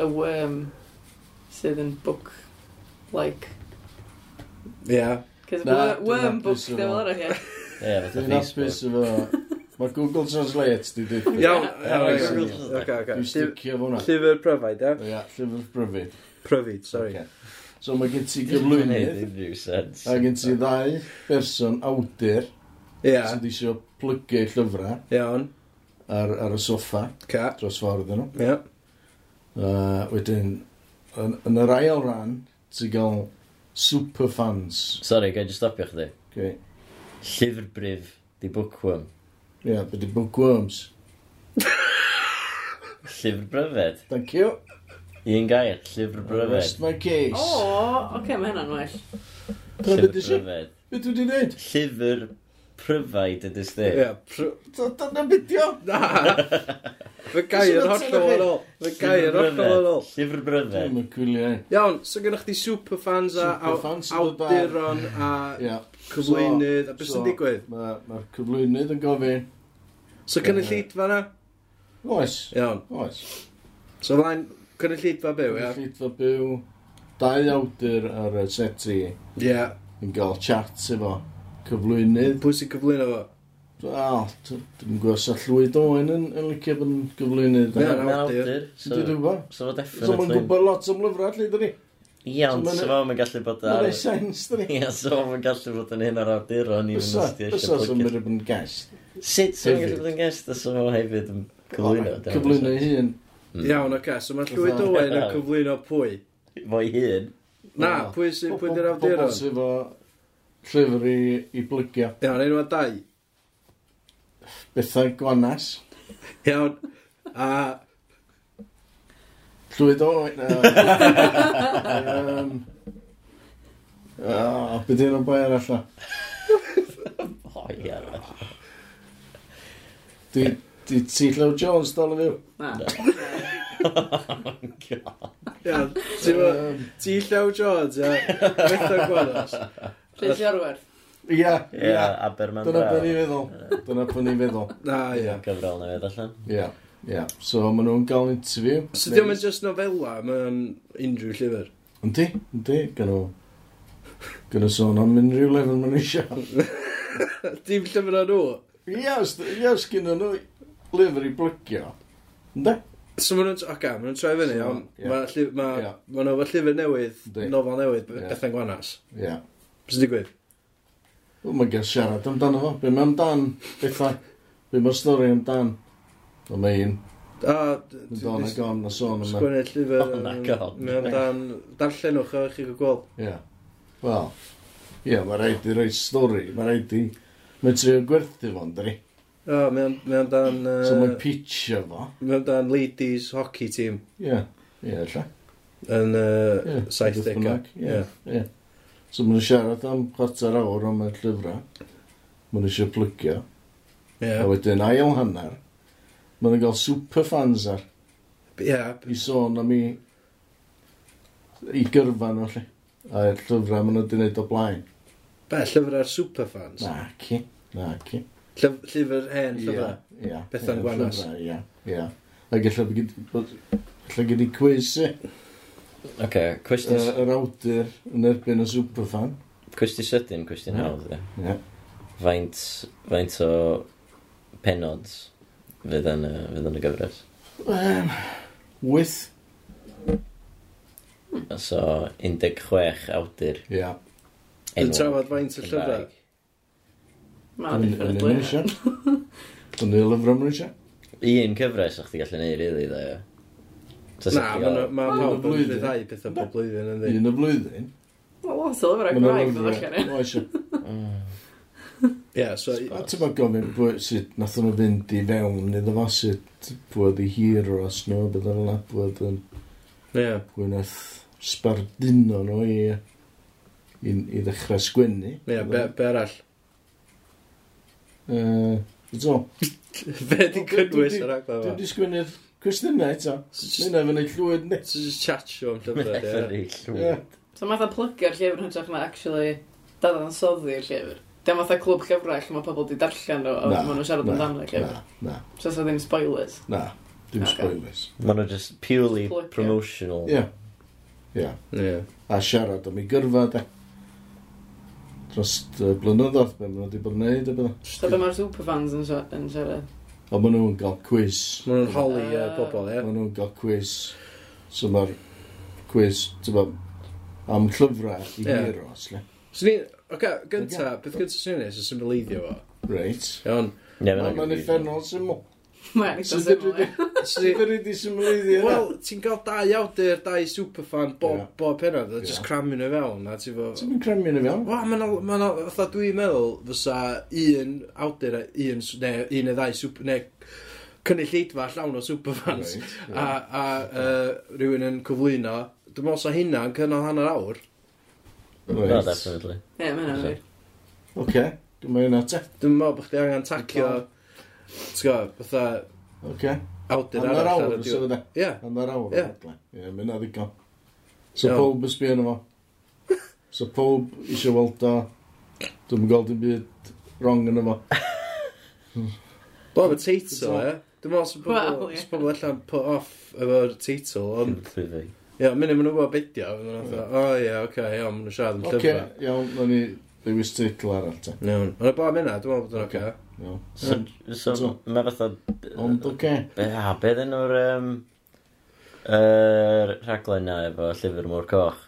[SPEAKER 4] A worm sydd yn book-like.
[SPEAKER 3] Ie.
[SPEAKER 4] Cys
[SPEAKER 5] Na,
[SPEAKER 4] wor-
[SPEAKER 5] dwi'n
[SPEAKER 4] worm book,
[SPEAKER 5] hapus
[SPEAKER 4] dim
[SPEAKER 5] efo.
[SPEAKER 4] fel arall ie.
[SPEAKER 2] Ie, fatha
[SPEAKER 5] Dwi'n hapus
[SPEAKER 2] Facebook.
[SPEAKER 5] efo... Mae Google Translate di dweud.
[SPEAKER 3] Iawn.
[SPEAKER 5] Iawn,
[SPEAKER 3] iawn,
[SPEAKER 2] iawn.
[SPEAKER 3] iawn. Oce, oce.
[SPEAKER 5] Dwi'n
[SPEAKER 3] Llyf-
[SPEAKER 5] sticio fo hwnna.
[SPEAKER 3] Llyfr pryfaid, ie?
[SPEAKER 5] Ia, llyfr bryfyd.
[SPEAKER 3] Pryfid, sori.
[SPEAKER 5] Ocê. So mae gen ti
[SPEAKER 2] Dim yn neud
[SPEAKER 5] gyflwynydd.
[SPEAKER 2] unrhyw sens.
[SPEAKER 5] A gen ti ddau berson awdur
[SPEAKER 3] Ie.
[SPEAKER 5] sydd eisiau plygu llyfrau
[SPEAKER 3] Iawn.
[SPEAKER 5] ar, ar y soffa
[SPEAKER 3] Ca.
[SPEAKER 5] dros ffordd yn nhw.
[SPEAKER 3] Ie.
[SPEAKER 5] Uh, wedyn, yn, yn yr ail ran, ti'n gael superfans.
[SPEAKER 2] Sorry, gael just stopio chdi.
[SPEAKER 5] Okay.
[SPEAKER 2] Llyfrbrif, di bookworm.
[SPEAKER 5] Ie, yeah, byddu bookworms.
[SPEAKER 2] Llyfr bryfed.
[SPEAKER 5] Thank you.
[SPEAKER 2] Un gair, llyfr bryfed.
[SPEAKER 5] Rest my case.
[SPEAKER 4] O, oce, mae hynna'n well.
[SPEAKER 5] Dyna
[SPEAKER 2] Llyfr
[SPEAKER 5] beth ddysio?
[SPEAKER 2] bryfed.
[SPEAKER 5] Beth wedi dweud?
[SPEAKER 2] Llyfr pryfaid ydys di.
[SPEAKER 3] Ie. pry-
[SPEAKER 5] Dyna beth di o?
[SPEAKER 3] [LAUGHS] Na! Fy gair hollol yn ôl. Fy gair
[SPEAKER 2] Llyfr
[SPEAKER 3] hollol yn
[SPEAKER 2] bryfed.
[SPEAKER 3] ôl.
[SPEAKER 2] Llyfr
[SPEAKER 5] Dwi'n
[SPEAKER 2] bryfed.
[SPEAKER 5] mynd cwilio.
[SPEAKER 3] Iawn, so gynnwch chi superfans a aw-
[SPEAKER 5] Superfans yn dod ar.
[SPEAKER 3] awduron a
[SPEAKER 5] Ie.
[SPEAKER 3] cyflwynydd a beth
[SPEAKER 5] so-
[SPEAKER 3] sy'n digwydd.
[SPEAKER 5] Mae'r ma ma'r cyflwynydd yn gofyn.
[SPEAKER 3] So cynulleidfa na?
[SPEAKER 5] Oes.
[SPEAKER 3] Iawn.
[SPEAKER 5] Oes.
[SPEAKER 3] So flaen, cynulleidfa byw,
[SPEAKER 5] Dwi'n
[SPEAKER 3] ia?
[SPEAKER 5] ffid fo byw. Dau awdur ar y set i
[SPEAKER 3] Ie.
[SPEAKER 5] yn gael chat efo cyflwynydd.
[SPEAKER 3] Pwy sy'n cyflwyno fo?
[SPEAKER 5] Wel, d- dwi'n gwybod sa llwyd Owen yn, yn licio bod yn gyflwynydd.
[SPEAKER 3] Ie,
[SPEAKER 5] Ie,
[SPEAKER 3] na.
[SPEAKER 2] Mae'n awdur.
[SPEAKER 5] Dwi'n
[SPEAKER 2] So,
[SPEAKER 5] gwybod.
[SPEAKER 2] so fo
[SPEAKER 5] So mae'n
[SPEAKER 2] definitely.
[SPEAKER 5] gwybod lot am lyfrau, lle dyni.
[SPEAKER 2] Iawn,
[SPEAKER 5] So ma'n-
[SPEAKER 2] so fo mae'n gallu bod
[SPEAKER 5] Mae'n
[SPEAKER 2] ar... [LAUGHS]
[SPEAKER 5] ei sens, dyni.
[SPEAKER 2] Ie, so fo mae'n gallu bod yn hyn o'r awduron i fynd
[SPEAKER 5] Bysa,
[SPEAKER 2] os ti
[SPEAKER 5] bysa
[SPEAKER 2] eisiau
[SPEAKER 5] sy'n
[SPEAKER 2] plygio.
[SPEAKER 5] mynd yn gest.
[SPEAKER 2] Sut sy'n
[SPEAKER 5] Hefyd.
[SPEAKER 2] gallu bod yn gest os fo hefyd yn cyflwyno? dyna beth
[SPEAKER 5] Cyflwyno ei hun.
[SPEAKER 2] sy'n-
[SPEAKER 3] Iawn, oce. So mae Llywyd
[SPEAKER 5] Hmm. Fatha-
[SPEAKER 3] Owen yn cyflwyno pwy?
[SPEAKER 2] Fo'i hun.
[SPEAKER 3] Na,
[SPEAKER 5] Na.
[SPEAKER 3] pwy sy'n pwy di'r
[SPEAKER 5] Pobl
[SPEAKER 3] awduron?
[SPEAKER 5] sy'n efo llyfr i, i blygio.
[SPEAKER 3] Iawn, enw a dau.
[SPEAKER 5] Bethau Gwanas.
[SPEAKER 3] Iawn.
[SPEAKER 5] [LAUGHS]
[SPEAKER 3] A...
[SPEAKER 5] Llwyd Owen. Yym... O, beth yw'n boi arall o?
[SPEAKER 2] O, ie. [LAUGHS] oh,
[SPEAKER 5] Di di ti Llew Jones dal yn fyw?
[SPEAKER 4] Na.
[SPEAKER 3] Iawn. Ti'n fo-
[SPEAKER 5] Yym,
[SPEAKER 3] Ti Llew Jones, ia? Bethau Gwanos.
[SPEAKER 4] Rhys Iorwerth.
[SPEAKER 5] Ie,
[SPEAKER 2] Ie,
[SPEAKER 5] ie.
[SPEAKER 2] Aberman
[SPEAKER 5] Dyna
[SPEAKER 2] Braw.
[SPEAKER 5] beth ni'n feddwl. Dyna beth ni'n feddwl.
[SPEAKER 3] Na, ia.
[SPEAKER 2] Gyfrol newydd allan.
[SPEAKER 5] Ie, ie. So maen nhw'n gael interview.
[SPEAKER 3] So diolch yn just novella, mae'n unrhyw llyfr.
[SPEAKER 5] Yndi, yndi, gan nhw... Gan nhw sôn am unrhyw lefel maen nhw eisiau.
[SPEAKER 3] Dim llyfr o nhw.
[SPEAKER 5] Ia, os- ia, os gyda nhw lyfr i blygio. Ynddo?
[SPEAKER 3] So maen nhw'n... Oce, maen nhw'n troi fyny,
[SPEAKER 5] So,
[SPEAKER 3] iawn.
[SPEAKER 5] ie.
[SPEAKER 3] Maen nhw'n ma,
[SPEAKER 5] Ie.
[SPEAKER 3] ma nhw efo llyfr newydd,
[SPEAKER 5] Yndi.
[SPEAKER 3] nofel newydd,
[SPEAKER 5] Ie.
[SPEAKER 3] bethau'n gwanas.
[SPEAKER 5] Ia.
[SPEAKER 3] Bys digwydd?
[SPEAKER 5] Wel, mae'n gael siarad amdano fo. Be mae amdan bethau. Be mae stori amdan. O mae un.
[SPEAKER 3] A...
[SPEAKER 5] Yn don ag on a sôn yma.
[SPEAKER 3] Sgwynnu llyfr...
[SPEAKER 2] Oh my God.
[SPEAKER 3] Mae'n dan... Darllenwch o chi gael gweld.
[SPEAKER 5] Ia. Wel. Ia, mae rhaid i roi stori. Mae rhaid i... Mae'n trio gwerthu fo'n dri.
[SPEAKER 3] O, mae'n dan...
[SPEAKER 5] So mae'n pitcho fo.
[SPEAKER 3] Mae'n dan ladies hockey team
[SPEAKER 5] Ia. Ia, lla.
[SPEAKER 3] yn
[SPEAKER 5] Ie,
[SPEAKER 3] uh,
[SPEAKER 5] beth
[SPEAKER 3] 70au.
[SPEAKER 5] bynnag, Ie. Ie. So mae'n siarad am chwarter awr am y llyfrau. Mae'n eisiau plygio.
[SPEAKER 3] Ie.
[SPEAKER 5] A wedyn ail hanner, mae'n gael superfans ar
[SPEAKER 3] Ie.
[SPEAKER 5] i sôn am i i gyrfan o lle. A y llyfrau maen nhw wedi gwneud o blaen.
[SPEAKER 3] Be, llyfr ar superfans?
[SPEAKER 5] Na ci, na ci.
[SPEAKER 3] Llyf- Llyfr hen, llyfr.
[SPEAKER 5] Ia.
[SPEAKER 3] Bethan
[SPEAKER 5] Ia,
[SPEAKER 3] Gwanas.
[SPEAKER 5] llyfrau, Ia, ia. A gallai bod gyd- bod- gallai gyd i quiz i
[SPEAKER 2] Oce, cwestiwn...
[SPEAKER 5] yy, yr awdur yn erbyn y superfan.
[SPEAKER 2] Cwestiwn sydyn, cwestiwn
[SPEAKER 5] Ie.
[SPEAKER 2] hawdd, ie.
[SPEAKER 5] Ia.
[SPEAKER 2] Faint, faint o penods fydd yn, y- fydd yn y gyfres.
[SPEAKER 5] Yym, Wyth.
[SPEAKER 2] So, 16 awdur.
[SPEAKER 5] Ia.
[SPEAKER 3] Dwi'n
[SPEAKER 2] enwog
[SPEAKER 3] trafod faint y
[SPEAKER 2] Cymraeg.
[SPEAKER 3] llyfrau.
[SPEAKER 4] Mae'n
[SPEAKER 5] Yn yn
[SPEAKER 4] different
[SPEAKER 5] Indonesia.
[SPEAKER 4] lwyfr.
[SPEAKER 5] Yn y lyfrau maen eisiau.
[SPEAKER 2] Un cyfres o'ch ti gallu neud, really, dda, ie. Tas
[SPEAKER 3] Na,
[SPEAKER 2] o'ch ti
[SPEAKER 3] mae
[SPEAKER 2] gael-
[SPEAKER 3] ma
[SPEAKER 5] Un o
[SPEAKER 3] pawb yn
[SPEAKER 5] flwyddyn.
[SPEAKER 3] rhyddhau pethau bob blwyddyn yn ddi.
[SPEAKER 5] Un y flwyddyn.
[SPEAKER 4] Wel, lot o lyfrau
[SPEAKER 5] Maen nhw'n
[SPEAKER 4] Cymraeg
[SPEAKER 5] lyfrau.
[SPEAKER 4] ddod allan ie.
[SPEAKER 5] O, eisiau.
[SPEAKER 3] [LAUGHS]
[SPEAKER 2] Mm.
[SPEAKER 3] Ie, so...
[SPEAKER 5] A ti'n bod gofyn pwy- sut nath nhw fynd i fewn iddo fo, sut pwyd i hir o os nhw, bydd yn yna pwyd yn
[SPEAKER 3] Ie.
[SPEAKER 5] pwy nath sbarduno nhw i, i, i ddechrau sgwennu.
[SPEAKER 3] Ie, be be arall?
[SPEAKER 5] Yy, eto,
[SPEAKER 3] Be di cynnwys yr agor
[SPEAKER 5] Dwi'n
[SPEAKER 3] yma?
[SPEAKER 5] di sgwennu'r cwestiynau eto. Mae'n efo'n ei llwyd ni.
[SPEAKER 3] Ti'n just chat show am llyfrau, ie.
[SPEAKER 2] Referee
[SPEAKER 5] Ie.
[SPEAKER 2] llwyr.
[SPEAKER 4] So mae'n plygio'r llyfr yn hytrach na actually dadansoddi'r llyfr. Dim fatha clwb llyfrau lle mae pobl wedi darllen nhw a
[SPEAKER 5] Na,
[SPEAKER 4] maen nhw'n siarad
[SPEAKER 5] na,
[SPEAKER 4] amdano y llyfr.
[SPEAKER 5] Na, na,
[SPEAKER 4] So sa ddim spoilers.
[SPEAKER 5] na. Dim
[SPEAKER 4] Ocê.
[SPEAKER 5] spoilers.
[SPEAKER 2] Maen nhw just purely
[SPEAKER 4] Plygio.
[SPEAKER 2] promotional.
[SPEAKER 5] Ie. Ie.
[SPEAKER 3] Ie.
[SPEAKER 5] A siarad am ei gyrfa, de. Dros yy, blynyddoedd, be maen nhw wedi bod yn neud, a bydda.
[SPEAKER 4] So be mae'r superfans yn siar- yn siarad. [LAUGHS]
[SPEAKER 5] A maen nhw'n cael quiz.
[SPEAKER 3] Mae nhw'n holi yy,
[SPEAKER 4] Ah.
[SPEAKER 3] bobl, ie.
[SPEAKER 5] Maen nhw'n gael quiz. So mae'r quiz, ti'n bod, am llyfrau i
[SPEAKER 3] Ie.
[SPEAKER 5] yeah. heroes, le.
[SPEAKER 3] So ni... Oce, gynta, beth gynta sy'n ei wneud sy'n symboleiddio fo?
[SPEAKER 5] Reit.
[SPEAKER 3] Iawn.
[SPEAKER 2] Ie, maen nhw'n
[SPEAKER 5] Mae'n
[SPEAKER 2] confusing.
[SPEAKER 5] effernol syml.
[SPEAKER 4] Mae'n eitha
[SPEAKER 5] So
[SPEAKER 4] syml.
[SPEAKER 5] dydw i-
[SPEAKER 4] ie.
[SPEAKER 5] Ti'n [LAUGHS]
[SPEAKER 3] So-
[SPEAKER 5] gyrru di symlwyddi yna?
[SPEAKER 3] Wel, ti'n cael dau awdur, dau superfan, bob
[SPEAKER 5] Ie.
[SPEAKER 3] bob pennod, a
[SPEAKER 5] Ie.
[SPEAKER 3] just cramu nhw fewn, a ti'n fo...
[SPEAKER 5] Ti'n mynd cremio ni fewn?
[SPEAKER 3] Wel, mae'n ma fatha dwi'n meddwl fysa un awdur a un, s- neu un neu ddau super, neu cynulleidfa llawn o superfans
[SPEAKER 5] Reit, ie.
[SPEAKER 3] a, a uh, rhywun yn cyflwyno dwi'n meddwl sa hynna yn cynnal hanner awr
[SPEAKER 2] No,
[SPEAKER 5] Reit.
[SPEAKER 2] definitely.
[SPEAKER 4] Ie, mae'n anodd. wir.
[SPEAKER 5] Oce. Dwi'n mynd e. hynna te.
[SPEAKER 3] dwi'n meddwl bod chdi angen tacio ti'n gwybod, fatha
[SPEAKER 5] Oce.
[SPEAKER 3] awdur
[SPEAKER 5] Hannar
[SPEAKER 3] arall ar
[SPEAKER 5] awr,
[SPEAKER 3] y
[SPEAKER 5] sydd
[SPEAKER 3] diwedd
[SPEAKER 5] yna.
[SPEAKER 3] ie,
[SPEAKER 5] Hannar awr.
[SPEAKER 3] Ie.
[SPEAKER 5] adle. Ie, mynd na ddigon. So
[SPEAKER 3] Iawn.
[SPEAKER 5] pob ysbio yna fo. So pob eisiau weld o. Dwi'n gweld dim byd wrong yna fo.
[SPEAKER 3] bob y teitl e dwi'n meddwl sa
[SPEAKER 4] Wel,
[SPEAKER 3] pobl-
[SPEAKER 4] ie.
[SPEAKER 3] sa pobl allan put off efo'r teitl ond
[SPEAKER 2] Completely.
[SPEAKER 3] ie, mynd i'n gwybod beth di o maen nhw'n fatha, o ie, oce, ie, maen nhw'n siarad am
[SPEAKER 5] Oce,
[SPEAKER 3] llyfrau
[SPEAKER 5] iawn, na ni dewis teitl arall te.
[SPEAKER 3] Iawn, ond y blaen mynd dwi'n meddwl bod yn oce
[SPEAKER 5] Iawn.
[SPEAKER 2] So, so
[SPEAKER 5] So-
[SPEAKER 2] mae fatha...
[SPEAKER 5] Ond oce.
[SPEAKER 2] Be, a, be ddyn nhw'r... Um, yr rhaglen na efo llyfr môr coch.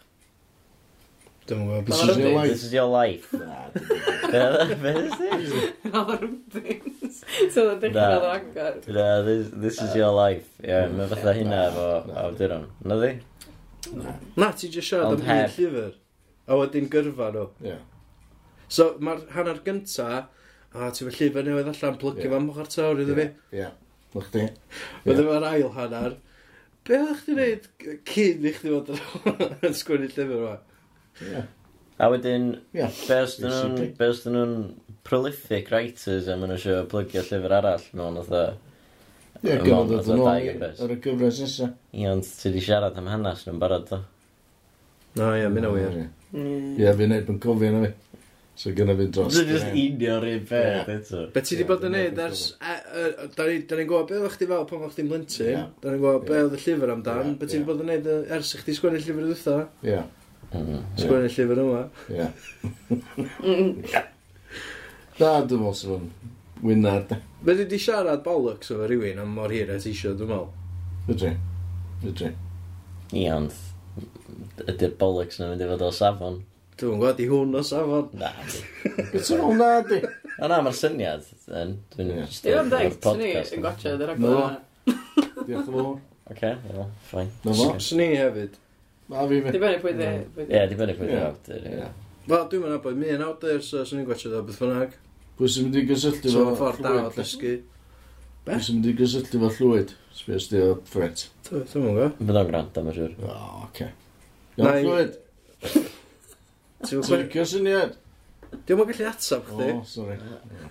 [SPEAKER 3] Dwi'n gwybod
[SPEAKER 5] This
[SPEAKER 3] beth
[SPEAKER 4] Wel,
[SPEAKER 5] is
[SPEAKER 4] ydy.
[SPEAKER 5] your life.
[SPEAKER 2] This is your life.
[SPEAKER 5] Na, dim
[SPEAKER 2] Be
[SPEAKER 5] byd.
[SPEAKER 2] ddyn nhw?
[SPEAKER 4] All the things. So the dick
[SPEAKER 2] Na.
[SPEAKER 4] of the agor.
[SPEAKER 2] Na, this, this is your life. Ie, yeah, mae fatha hynna efo
[SPEAKER 5] Na.
[SPEAKER 2] awduron. Na di?
[SPEAKER 3] Na, ti'n just siarad
[SPEAKER 2] Ond
[SPEAKER 3] am
[SPEAKER 2] heb.
[SPEAKER 3] un llyfr. A wedyn gyrfa nhw.
[SPEAKER 5] Ie.
[SPEAKER 3] So, mae'r hanner gynta, a ti'n fy llyfr newydd allan, plygio
[SPEAKER 5] Ie.
[SPEAKER 3] fan mwch ar tawr iddo fi.
[SPEAKER 5] Ie. Na chdi.
[SPEAKER 3] Wedyn mae'r ail hanner. Be oedd chdi wneud cyn i chdi fod yn- yn [LAUGHS] sgwini llyfr yma?
[SPEAKER 5] Ie.
[SPEAKER 2] A wedyn,
[SPEAKER 5] Ie.
[SPEAKER 2] be os dyn nhw'n...
[SPEAKER 5] Basically.
[SPEAKER 2] Be os dyn nhw'n prolific writers a maen nhw eisiau plygio llyfr arall mewn oedd
[SPEAKER 5] Ie,
[SPEAKER 2] Yn
[SPEAKER 5] gyfod
[SPEAKER 2] ôl,
[SPEAKER 5] oedd
[SPEAKER 2] fatha dau
[SPEAKER 5] yn ôl i-
[SPEAKER 2] gyfres.
[SPEAKER 5] ar y gyfres nesa.
[SPEAKER 2] Ie, ond ti di siarad am hanes nhw'n barod o.
[SPEAKER 3] O ie, mynd o wir.
[SPEAKER 5] Ie, fi'n neud yn cofio yna fi. So gyda fi'n dros.
[SPEAKER 2] Dwi'n just unio'r un peth
[SPEAKER 5] Ie.
[SPEAKER 2] eto.
[SPEAKER 3] Be ti
[SPEAKER 5] Ie,
[SPEAKER 3] di bod yn
[SPEAKER 5] dyna
[SPEAKER 3] neud
[SPEAKER 5] beth
[SPEAKER 3] ers... e- e- Da ni'n gwybod beth oedd chdi fel pan oedd chdi'n
[SPEAKER 5] Ie.
[SPEAKER 3] blentyn. Da ni'n gwybod
[SPEAKER 5] Ie.
[SPEAKER 3] beth oedd y llyfr amdan.
[SPEAKER 5] Ie,
[SPEAKER 3] Be ti
[SPEAKER 5] ie.
[SPEAKER 3] di bod yn neud e- ers i chdi sgwennu llyfr ddwytha?
[SPEAKER 5] Ie,
[SPEAKER 2] Mm.
[SPEAKER 3] Sgwennu llyfr yma.
[SPEAKER 5] ie.
[SPEAKER 4] Mm.
[SPEAKER 5] Na, dwi'n meddwl sy'n Wynar, de.
[SPEAKER 3] Fe dwi di siarad bollocks efo rhywun am mor hir a ti isio, dwi'n meddwl.
[SPEAKER 5] Fydri. Fydri.
[SPEAKER 2] Ie, ond ydy'r bollocks nhw'n mynd i fod o safon.
[SPEAKER 3] Dwi'n gwybod i hwn o safon.
[SPEAKER 2] Na, di.
[SPEAKER 5] Beth yn hwnna, di?
[SPEAKER 2] O na, mae'r syniad. yn- Dwi'n
[SPEAKER 5] Ie.
[SPEAKER 2] just-
[SPEAKER 4] Dwi'n
[SPEAKER 2] ma'r
[SPEAKER 4] dweud, sy'n ni
[SPEAKER 2] podcast
[SPEAKER 4] yn
[SPEAKER 2] yma.
[SPEAKER 4] gotcha, dwi'n
[SPEAKER 5] No.
[SPEAKER 4] rhaid
[SPEAKER 5] Diolch yn fawr.
[SPEAKER 2] Oce, wel, ffain.
[SPEAKER 5] Na fo.
[SPEAKER 3] Swn i hefyd.
[SPEAKER 5] Na fi
[SPEAKER 4] Di
[SPEAKER 5] fe.
[SPEAKER 4] benni pwy di. pwy
[SPEAKER 2] Mm. Ie,
[SPEAKER 4] di-
[SPEAKER 2] di fyny pwy'n
[SPEAKER 5] Ie.
[SPEAKER 2] awdur.
[SPEAKER 3] Wel, dwi'n mynd abod mi yn awdur, so swn i'n gwachio o beth bynnag.
[SPEAKER 5] Pwy sy'n mynd i gysylltu
[SPEAKER 3] So,
[SPEAKER 5] fo
[SPEAKER 3] ffordd da o
[SPEAKER 5] llwyd? de?
[SPEAKER 3] ddysgu.
[SPEAKER 5] Pwy sy'n mynd i gysylltu fo llwyd? Sbys di o ffret.
[SPEAKER 3] Dwi- Dwi'n mynd gwybod.
[SPEAKER 2] Fydd o'n grant am y siwr.
[SPEAKER 5] O, oce.
[SPEAKER 3] Na
[SPEAKER 5] Iawn,
[SPEAKER 3] i-
[SPEAKER 5] llwyd.
[SPEAKER 3] Ti'n
[SPEAKER 5] Ti'n
[SPEAKER 3] gwybod?
[SPEAKER 5] licio syniad?
[SPEAKER 3] Dwi'n mynd gallu atab
[SPEAKER 5] O,
[SPEAKER 3] chdi.
[SPEAKER 5] sori.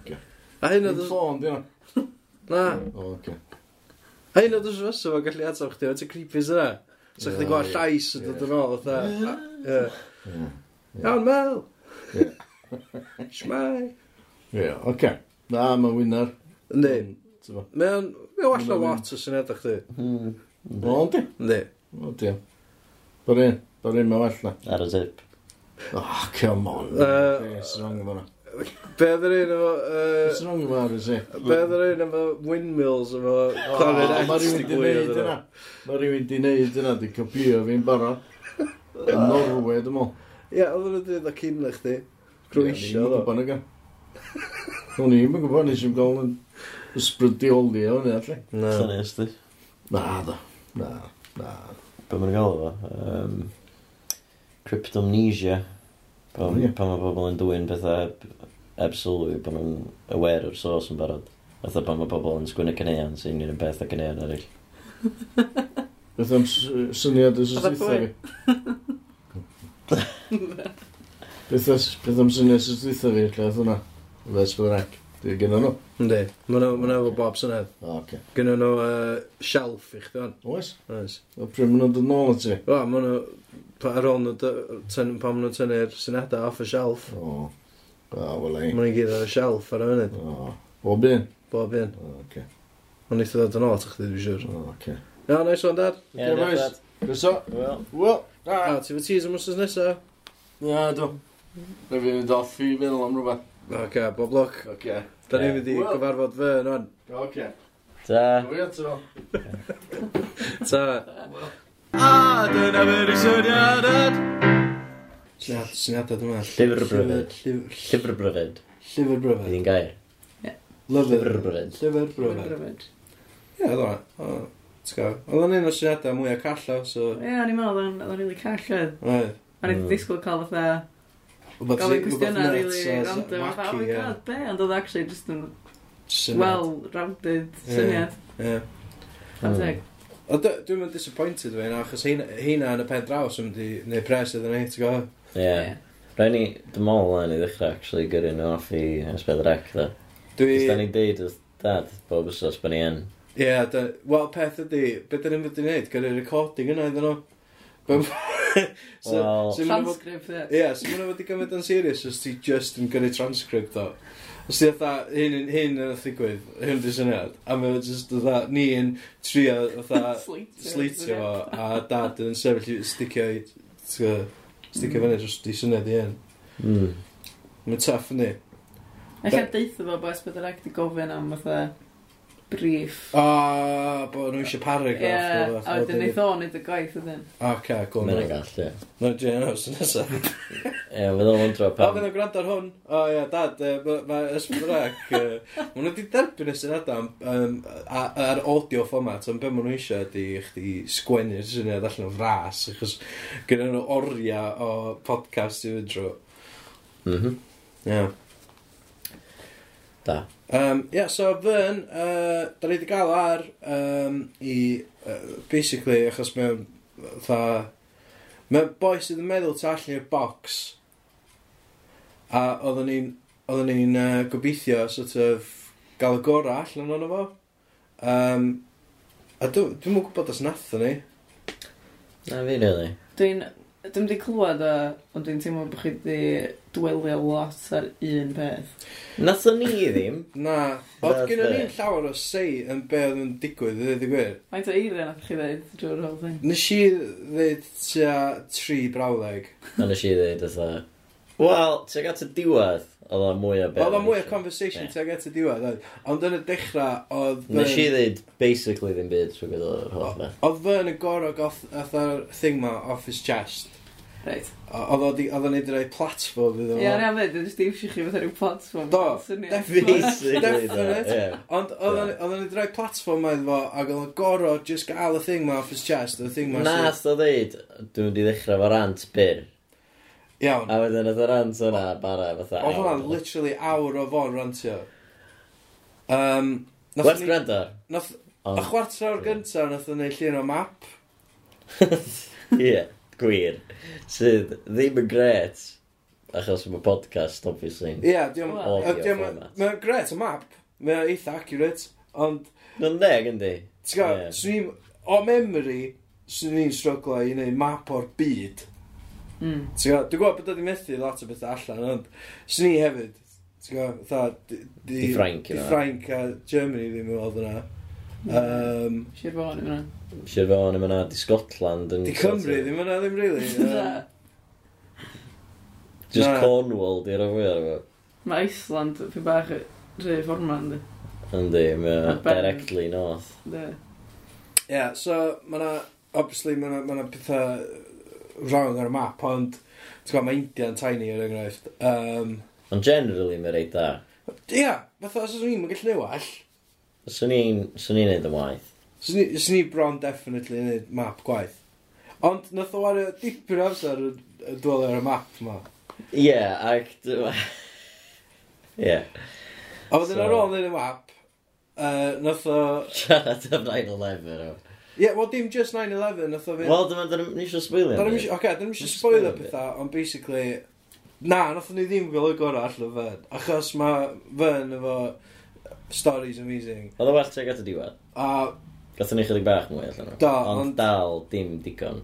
[SPEAKER 5] Oce.
[SPEAKER 3] A hyn
[SPEAKER 5] Yn
[SPEAKER 3] oedd...
[SPEAKER 5] ffôn, di o?
[SPEAKER 3] Na.
[SPEAKER 5] O, oce.
[SPEAKER 3] A hyn oedd ysfys efo gallu atab chdi. Ti'n creepy sy'n So chdi
[SPEAKER 5] Ie,
[SPEAKER 3] gweld
[SPEAKER 5] ie.
[SPEAKER 3] llais yn dod yn ôl, fatha. a- ie.
[SPEAKER 5] Ie.
[SPEAKER 3] Iawn, Mel!
[SPEAKER 5] Ie.
[SPEAKER 3] Shmai!
[SPEAKER 5] Ie, oce. Na, mae wynar.
[SPEAKER 3] Yndi.
[SPEAKER 5] Ti'n fo.
[SPEAKER 3] Mae o'n... Mae o'n
[SPEAKER 5] Mae
[SPEAKER 3] wall
[SPEAKER 5] o'n-
[SPEAKER 3] o lot o syniad o chdi.
[SPEAKER 5] Mm. O, di.
[SPEAKER 3] Yndi.
[SPEAKER 5] O, di. Bar un. Bar un, mae well na.
[SPEAKER 2] Ar y tip.
[SPEAKER 5] Oh, come on.
[SPEAKER 3] Uh,
[SPEAKER 5] Be sy'n rong efo na?
[SPEAKER 3] Be oedd yr un efo...
[SPEAKER 5] Be
[SPEAKER 3] yy,
[SPEAKER 5] sy'n rong efo ar y se?
[SPEAKER 3] Be oedd yr un efo windmills efo clarinet?
[SPEAKER 5] Mae rhywun di neud yna. Mae rhywun di neud yna, di copio fi'n bara. Yn Norway, dim ond.
[SPEAKER 3] Ie, oedd yn y dydd o cyn na chdi. Croesio,
[SPEAKER 5] ddo.
[SPEAKER 3] ddo.
[SPEAKER 5] O'n i'n mynd gwybod, nes i'n gael yn ysbrydioli o hynny allu.
[SPEAKER 3] Na.
[SPEAKER 2] Llynnu ysdi.
[SPEAKER 5] Na, do. Na, na.
[SPEAKER 2] Be mae'n gael efo? Yym, Cryptomnesia. Pan
[SPEAKER 5] Ie.
[SPEAKER 2] pan mae pobl yn dwy'n bethau absolwy, pan mae'n aware o'r sos yn barod. Fatha pan mae pobl yn sgwynnu caneuon, sy'n un yn beth a caneuon eraill.
[SPEAKER 5] Beth am s- syniad os
[SPEAKER 4] Fatha
[SPEAKER 5] ystwytha fi? Beth am- beth am syniad os ystwytha fi, lle oedd hwnna? Fes bydd rec. Dwi'n gynnu nhw.
[SPEAKER 3] Yndi. Mae nhw efo bob syniad.
[SPEAKER 5] O, oce.
[SPEAKER 3] Gynnu nhw yy, shelf i chdi o'n.
[SPEAKER 5] Oes?
[SPEAKER 3] Oes.
[SPEAKER 5] O, pryd maen nhw'n dod nôl at ti?
[SPEAKER 3] Wel, mae nhw... pa- Ar ôl nhw... dy- tyn- Pan maen nhw'n tynnu'r syniadau off y shelf.
[SPEAKER 5] O, o, wel ei.
[SPEAKER 3] Mae nhw'n gyd ar y shelf ar y funud.
[SPEAKER 5] O, bob un?
[SPEAKER 3] Bob un.
[SPEAKER 5] O, Oce,
[SPEAKER 3] Ond eitha ddod yn ôl at chdi, dwi'n siŵr.
[SPEAKER 5] o, oce.
[SPEAKER 3] Iawn, nice one, dad.
[SPEAKER 5] Ie, boys. Gryso?
[SPEAKER 2] Wel.
[SPEAKER 5] Wel,
[SPEAKER 3] A,
[SPEAKER 5] na.
[SPEAKER 3] ti fy teas am wrthnos nesaf?
[SPEAKER 5] Na, do. Na fi'n mynd off i feddwl am rhywbeth.
[SPEAKER 3] Oce, bob lwc.
[SPEAKER 5] Oce.
[SPEAKER 3] Da ni'n mynd i
[SPEAKER 5] Wel.
[SPEAKER 3] gyfarfod fy yn o'n.
[SPEAKER 5] Oce.
[SPEAKER 2] Ta.
[SPEAKER 5] Fwy ato.
[SPEAKER 3] Ta.
[SPEAKER 5] A, dyna fe'r i syniad ad.
[SPEAKER 3] Syniad, syniadau dyma.
[SPEAKER 2] Llyfr bryfed. Llyfr bryfed.
[SPEAKER 3] Llyfr bryfed.
[SPEAKER 2] Ydy'n gair.
[SPEAKER 3] Lyfr
[SPEAKER 2] Llyfr bryfed.
[SPEAKER 3] Llyfr
[SPEAKER 4] Mae'n
[SPEAKER 3] bryfed.
[SPEAKER 4] bryfed.
[SPEAKER 3] Ie, oedd o'n. T'w gael? Oedd o'n un o syniadau mwy o callo, so...
[SPEAKER 4] Ie, o'n i'n meddwl, oedd o'n- oedd o'n rili called.
[SPEAKER 3] Oedd.
[SPEAKER 4] O'n i'n
[SPEAKER 2] Mm.
[SPEAKER 4] disgwyl cael fatha gofyn cwestiynau rili random. fatha, Oh my god, be? Ond oedd actually just yn well-rounded
[SPEAKER 3] Ie.
[SPEAKER 4] syniad.
[SPEAKER 3] Ie.
[SPEAKER 2] Mm.
[SPEAKER 4] Fanteg.
[SPEAKER 3] O, dy- dwi'n mynd disappointed fe yna, achos heina heina yn y pen draws yn mynd i neu pres iddyn ni, ti'n gwybod?
[SPEAKER 2] Ie. Rhaid ni, dim mol na ni ddechrau, actually, gyrru nhw off i Esbedrec, dda.
[SPEAKER 3] Dwi...
[SPEAKER 2] Cys da ni'n deud wrth dad bob ysos bod ni yn.
[SPEAKER 3] Ie, dy- wel, peth ydi, be dyn ni'n mynd i wneud, gyda'r recording yna iddyn nhw. Be- So,
[SPEAKER 2] Wel-
[SPEAKER 3] so ma'n fod-
[SPEAKER 4] Transcript, ie.
[SPEAKER 3] Ie, so mae'n fod i gymryd yn serious os ti just yn gyrru transcript o. Os ti atha, hyn, yn- hyn yn y ddigwydd, hyn di syniad, a mae'n just atha, ni yn trio
[SPEAKER 4] [LAUGHS]
[SPEAKER 3] atha
[SPEAKER 4] Sleetio.
[SPEAKER 3] sleetio fo, a dad yn sefyll i sticio i, ti'n gwbod, sticio fyny dros di syniad i hyn.
[SPEAKER 2] Mm.
[SPEAKER 3] Mae'n tough yni.
[SPEAKER 4] Alla deitha fo bo Esbydrec di gofyn am fatha brief.
[SPEAKER 3] O, bod nhw eisiau paragraf.
[SPEAKER 4] Ie, a
[SPEAKER 3] neu rwbeth,
[SPEAKER 4] wedyn neith o wneud y gwaith ydyn.
[SPEAKER 3] Oce, gwn.
[SPEAKER 2] Mae'n gall, ie.
[SPEAKER 3] Mae'n gen os yn nesaf.
[SPEAKER 2] Ie, fydd o'n wondro
[SPEAKER 3] O,
[SPEAKER 2] pam.
[SPEAKER 3] fydd o'n gwrando ar hwn. O, ie, dad, yy, ma- mae Ysbrydrec... Mae nhw wedi derbyn y syniad am... yym, a- Ar audio format, ond be maen nhw eisiau ydi chdi sgwennu'r syniad allan o fras, achos gyda nhw oriau o podcast i fynd drwy.
[SPEAKER 2] Mhm.
[SPEAKER 3] Ie.
[SPEAKER 2] Da.
[SPEAKER 3] Um, Ie, yeah, so fy'n, uh, da ni wedi gael ar um, i, uh, basically, achos mae'n, tha, mae'n boi sydd yn meddwl ta allan i'r box, a oedden ni'n, oedden ni'n uh, gobeithio, sort of, gael y gorau allan o'n fo. Um, a dw- dwi'm yn gwybod os nath ni.
[SPEAKER 2] Na fi, really.
[SPEAKER 4] Dwi'n... Dwi'n di clywed o, ond dwi'n teimlo bod chi di dwelio lot ar un peth.
[SPEAKER 2] Nathon ni [LAUGHS] ddim.
[SPEAKER 3] Na, oedd
[SPEAKER 2] Nath
[SPEAKER 3] gen i
[SPEAKER 2] ni.
[SPEAKER 3] ni'n llawer o sei yn be oedd yn digwydd, i ddweud y gwir.
[SPEAKER 4] Faint o eiriau nath chi ddeud drwy'r whole thing?
[SPEAKER 3] Nes i ddweud tua tri brawleg.
[SPEAKER 2] A nes i ddweud, oedd Wel, ti'n gat y diwad. Oedd o'n mwy o be
[SPEAKER 3] Oedd o
[SPEAKER 2] o'n
[SPEAKER 3] mwy o
[SPEAKER 2] isio.
[SPEAKER 3] conversation
[SPEAKER 2] Ie.
[SPEAKER 3] teg at y diwedd. oedd. Ond yn y dechrau, oedd...
[SPEAKER 2] Nes i
[SPEAKER 3] Fern-
[SPEAKER 2] ddweud basically ddim byd trwy gydol yr holl na.
[SPEAKER 3] Oedd fy'n y gorau goth atha'r thing ma off his chest.
[SPEAKER 4] Reit.
[SPEAKER 3] O- Oedd o 'di- oedd o'n neud rhoi platform iddo fo.
[SPEAKER 4] Ie, na fyd, jyst iwsio chi fatha rhyw platform.
[SPEAKER 3] Do,
[SPEAKER 4] Syniad.
[SPEAKER 3] definitely.
[SPEAKER 2] Basically, do, ie.
[SPEAKER 3] Ond oedd o'n- oedd o'n neud rhoi platform ma iddo fo, ac oedd o'n gorau just gael y thing ma off his chest, y thing ma
[SPEAKER 2] Na,
[SPEAKER 3] sydd-
[SPEAKER 2] sto ddeud, dwi'n mynd i ddechrau fo rant byr.
[SPEAKER 3] Iawn.
[SPEAKER 2] A wedyn oedd y rant yna bara fatha. "Oh."
[SPEAKER 3] Oedd
[SPEAKER 2] awr.
[SPEAKER 3] hwnna'n literally awr o fo'n rantio. Um,
[SPEAKER 2] Werth gwrando.
[SPEAKER 3] Nath,
[SPEAKER 2] Ond-
[SPEAKER 3] y chwarter o'r gyntaf nath o'n neud llun o map.
[SPEAKER 2] [LAUGHS] Ie, gwir. Sydd ddim yn gret. Achos mae podcast, obviously.
[SPEAKER 3] Ie, diolch.
[SPEAKER 4] Wel.
[SPEAKER 2] Audio format.
[SPEAKER 3] Mae'n gret y map. Mae'n eitha accurate. Ond,
[SPEAKER 2] Nw'n deg, yndi?
[SPEAKER 3] ti'n gael,
[SPEAKER 2] Ie.
[SPEAKER 3] swn i'n, o memory, swn i'n struglo i wneud map o'r byd.
[SPEAKER 4] Mm.
[SPEAKER 3] Ti'n gael, dwi'n gwybod bod o'n methu lot o bethau allan, ond swn i hefyd, ti'n gael, fatha, di,
[SPEAKER 2] Di Ffrainc yna.
[SPEAKER 3] Di Ffrainc a Germany ddim yn weld yna. Um,
[SPEAKER 4] Si'r fawr yma.
[SPEAKER 2] Si'r fawr yma na, di Scotland. yn
[SPEAKER 3] di
[SPEAKER 2] sort of-
[SPEAKER 3] Cymru ddim yna ddim
[SPEAKER 4] [LAUGHS]
[SPEAKER 3] really.
[SPEAKER 4] Na.
[SPEAKER 2] Just
[SPEAKER 3] Na.
[SPEAKER 2] Cornwall, di'r o fwy ar
[SPEAKER 4] Mae Iceland, pwy bach rhai fforma, ynddi.
[SPEAKER 2] Yndi, mae o
[SPEAKER 4] Ben.
[SPEAKER 2] directly north.
[SPEAKER 4] De.
[SPEAKER 3] Yeah, so mae yna, obviously, mae yna, ma 'na pethau wrong ar y map, ond, ti'n gwybod, mae India'n tiny er enghraifft. Um,
[SPEAKER 2] Ond generally mae'n reit da.
[SPEAKER 3] Ia, yeah, fatha, os ydyn ni'n gallu neud well,
[SPEAKER 2] Swn i'n swn i'n neud yn waith.
[SPEAKER 3] os ydyn ni- os ydyn ni bron definitely yn neud map gwaith. Ond, nath o wario dipyn o amser yn yn dwelu ar y map ma.
[SPEAKER 2] Ie, ac... d- [LAUGHS] Ie.
[SPEAKER 3] A wedyn
[SPEAKER 2] So-
[SPEAKER 3] ar ôl neud y map, uh, nath o...
[SPEAKER 2] Siarad am 9-11. o.
[SPEAKER 3] Ie, yeah, wel, dim just 9-11, nath o fynd...
[SPEAKER 2] Wel, dyma, dyna ni eisiau sbwylio.
[SPEAKER 3] Dyn nhw'n eisiau, oce, dyn nhw'n eisiau
[SPEAKER 2] Just
[SPEAKER 3] spoilio
[SPEAKER 2] spoil a bit.
[SPEAKER 3] pethau, ond basically, na, nathon ni ddim gael y gorau allan o Fern, achos mae Fern efo stories amazing,
[SPEAKER 2] Oedd o well teg at y diwedd.
[SPEAKER 3] a
[SPEAKER 2] Gatho ni chydig bach mwy allan o.
[SPEAKER 3] Do,
[SPEAKER 2] ond...
[SPEAKER 3] ond-
[SPEAKER 2] dal dim digon.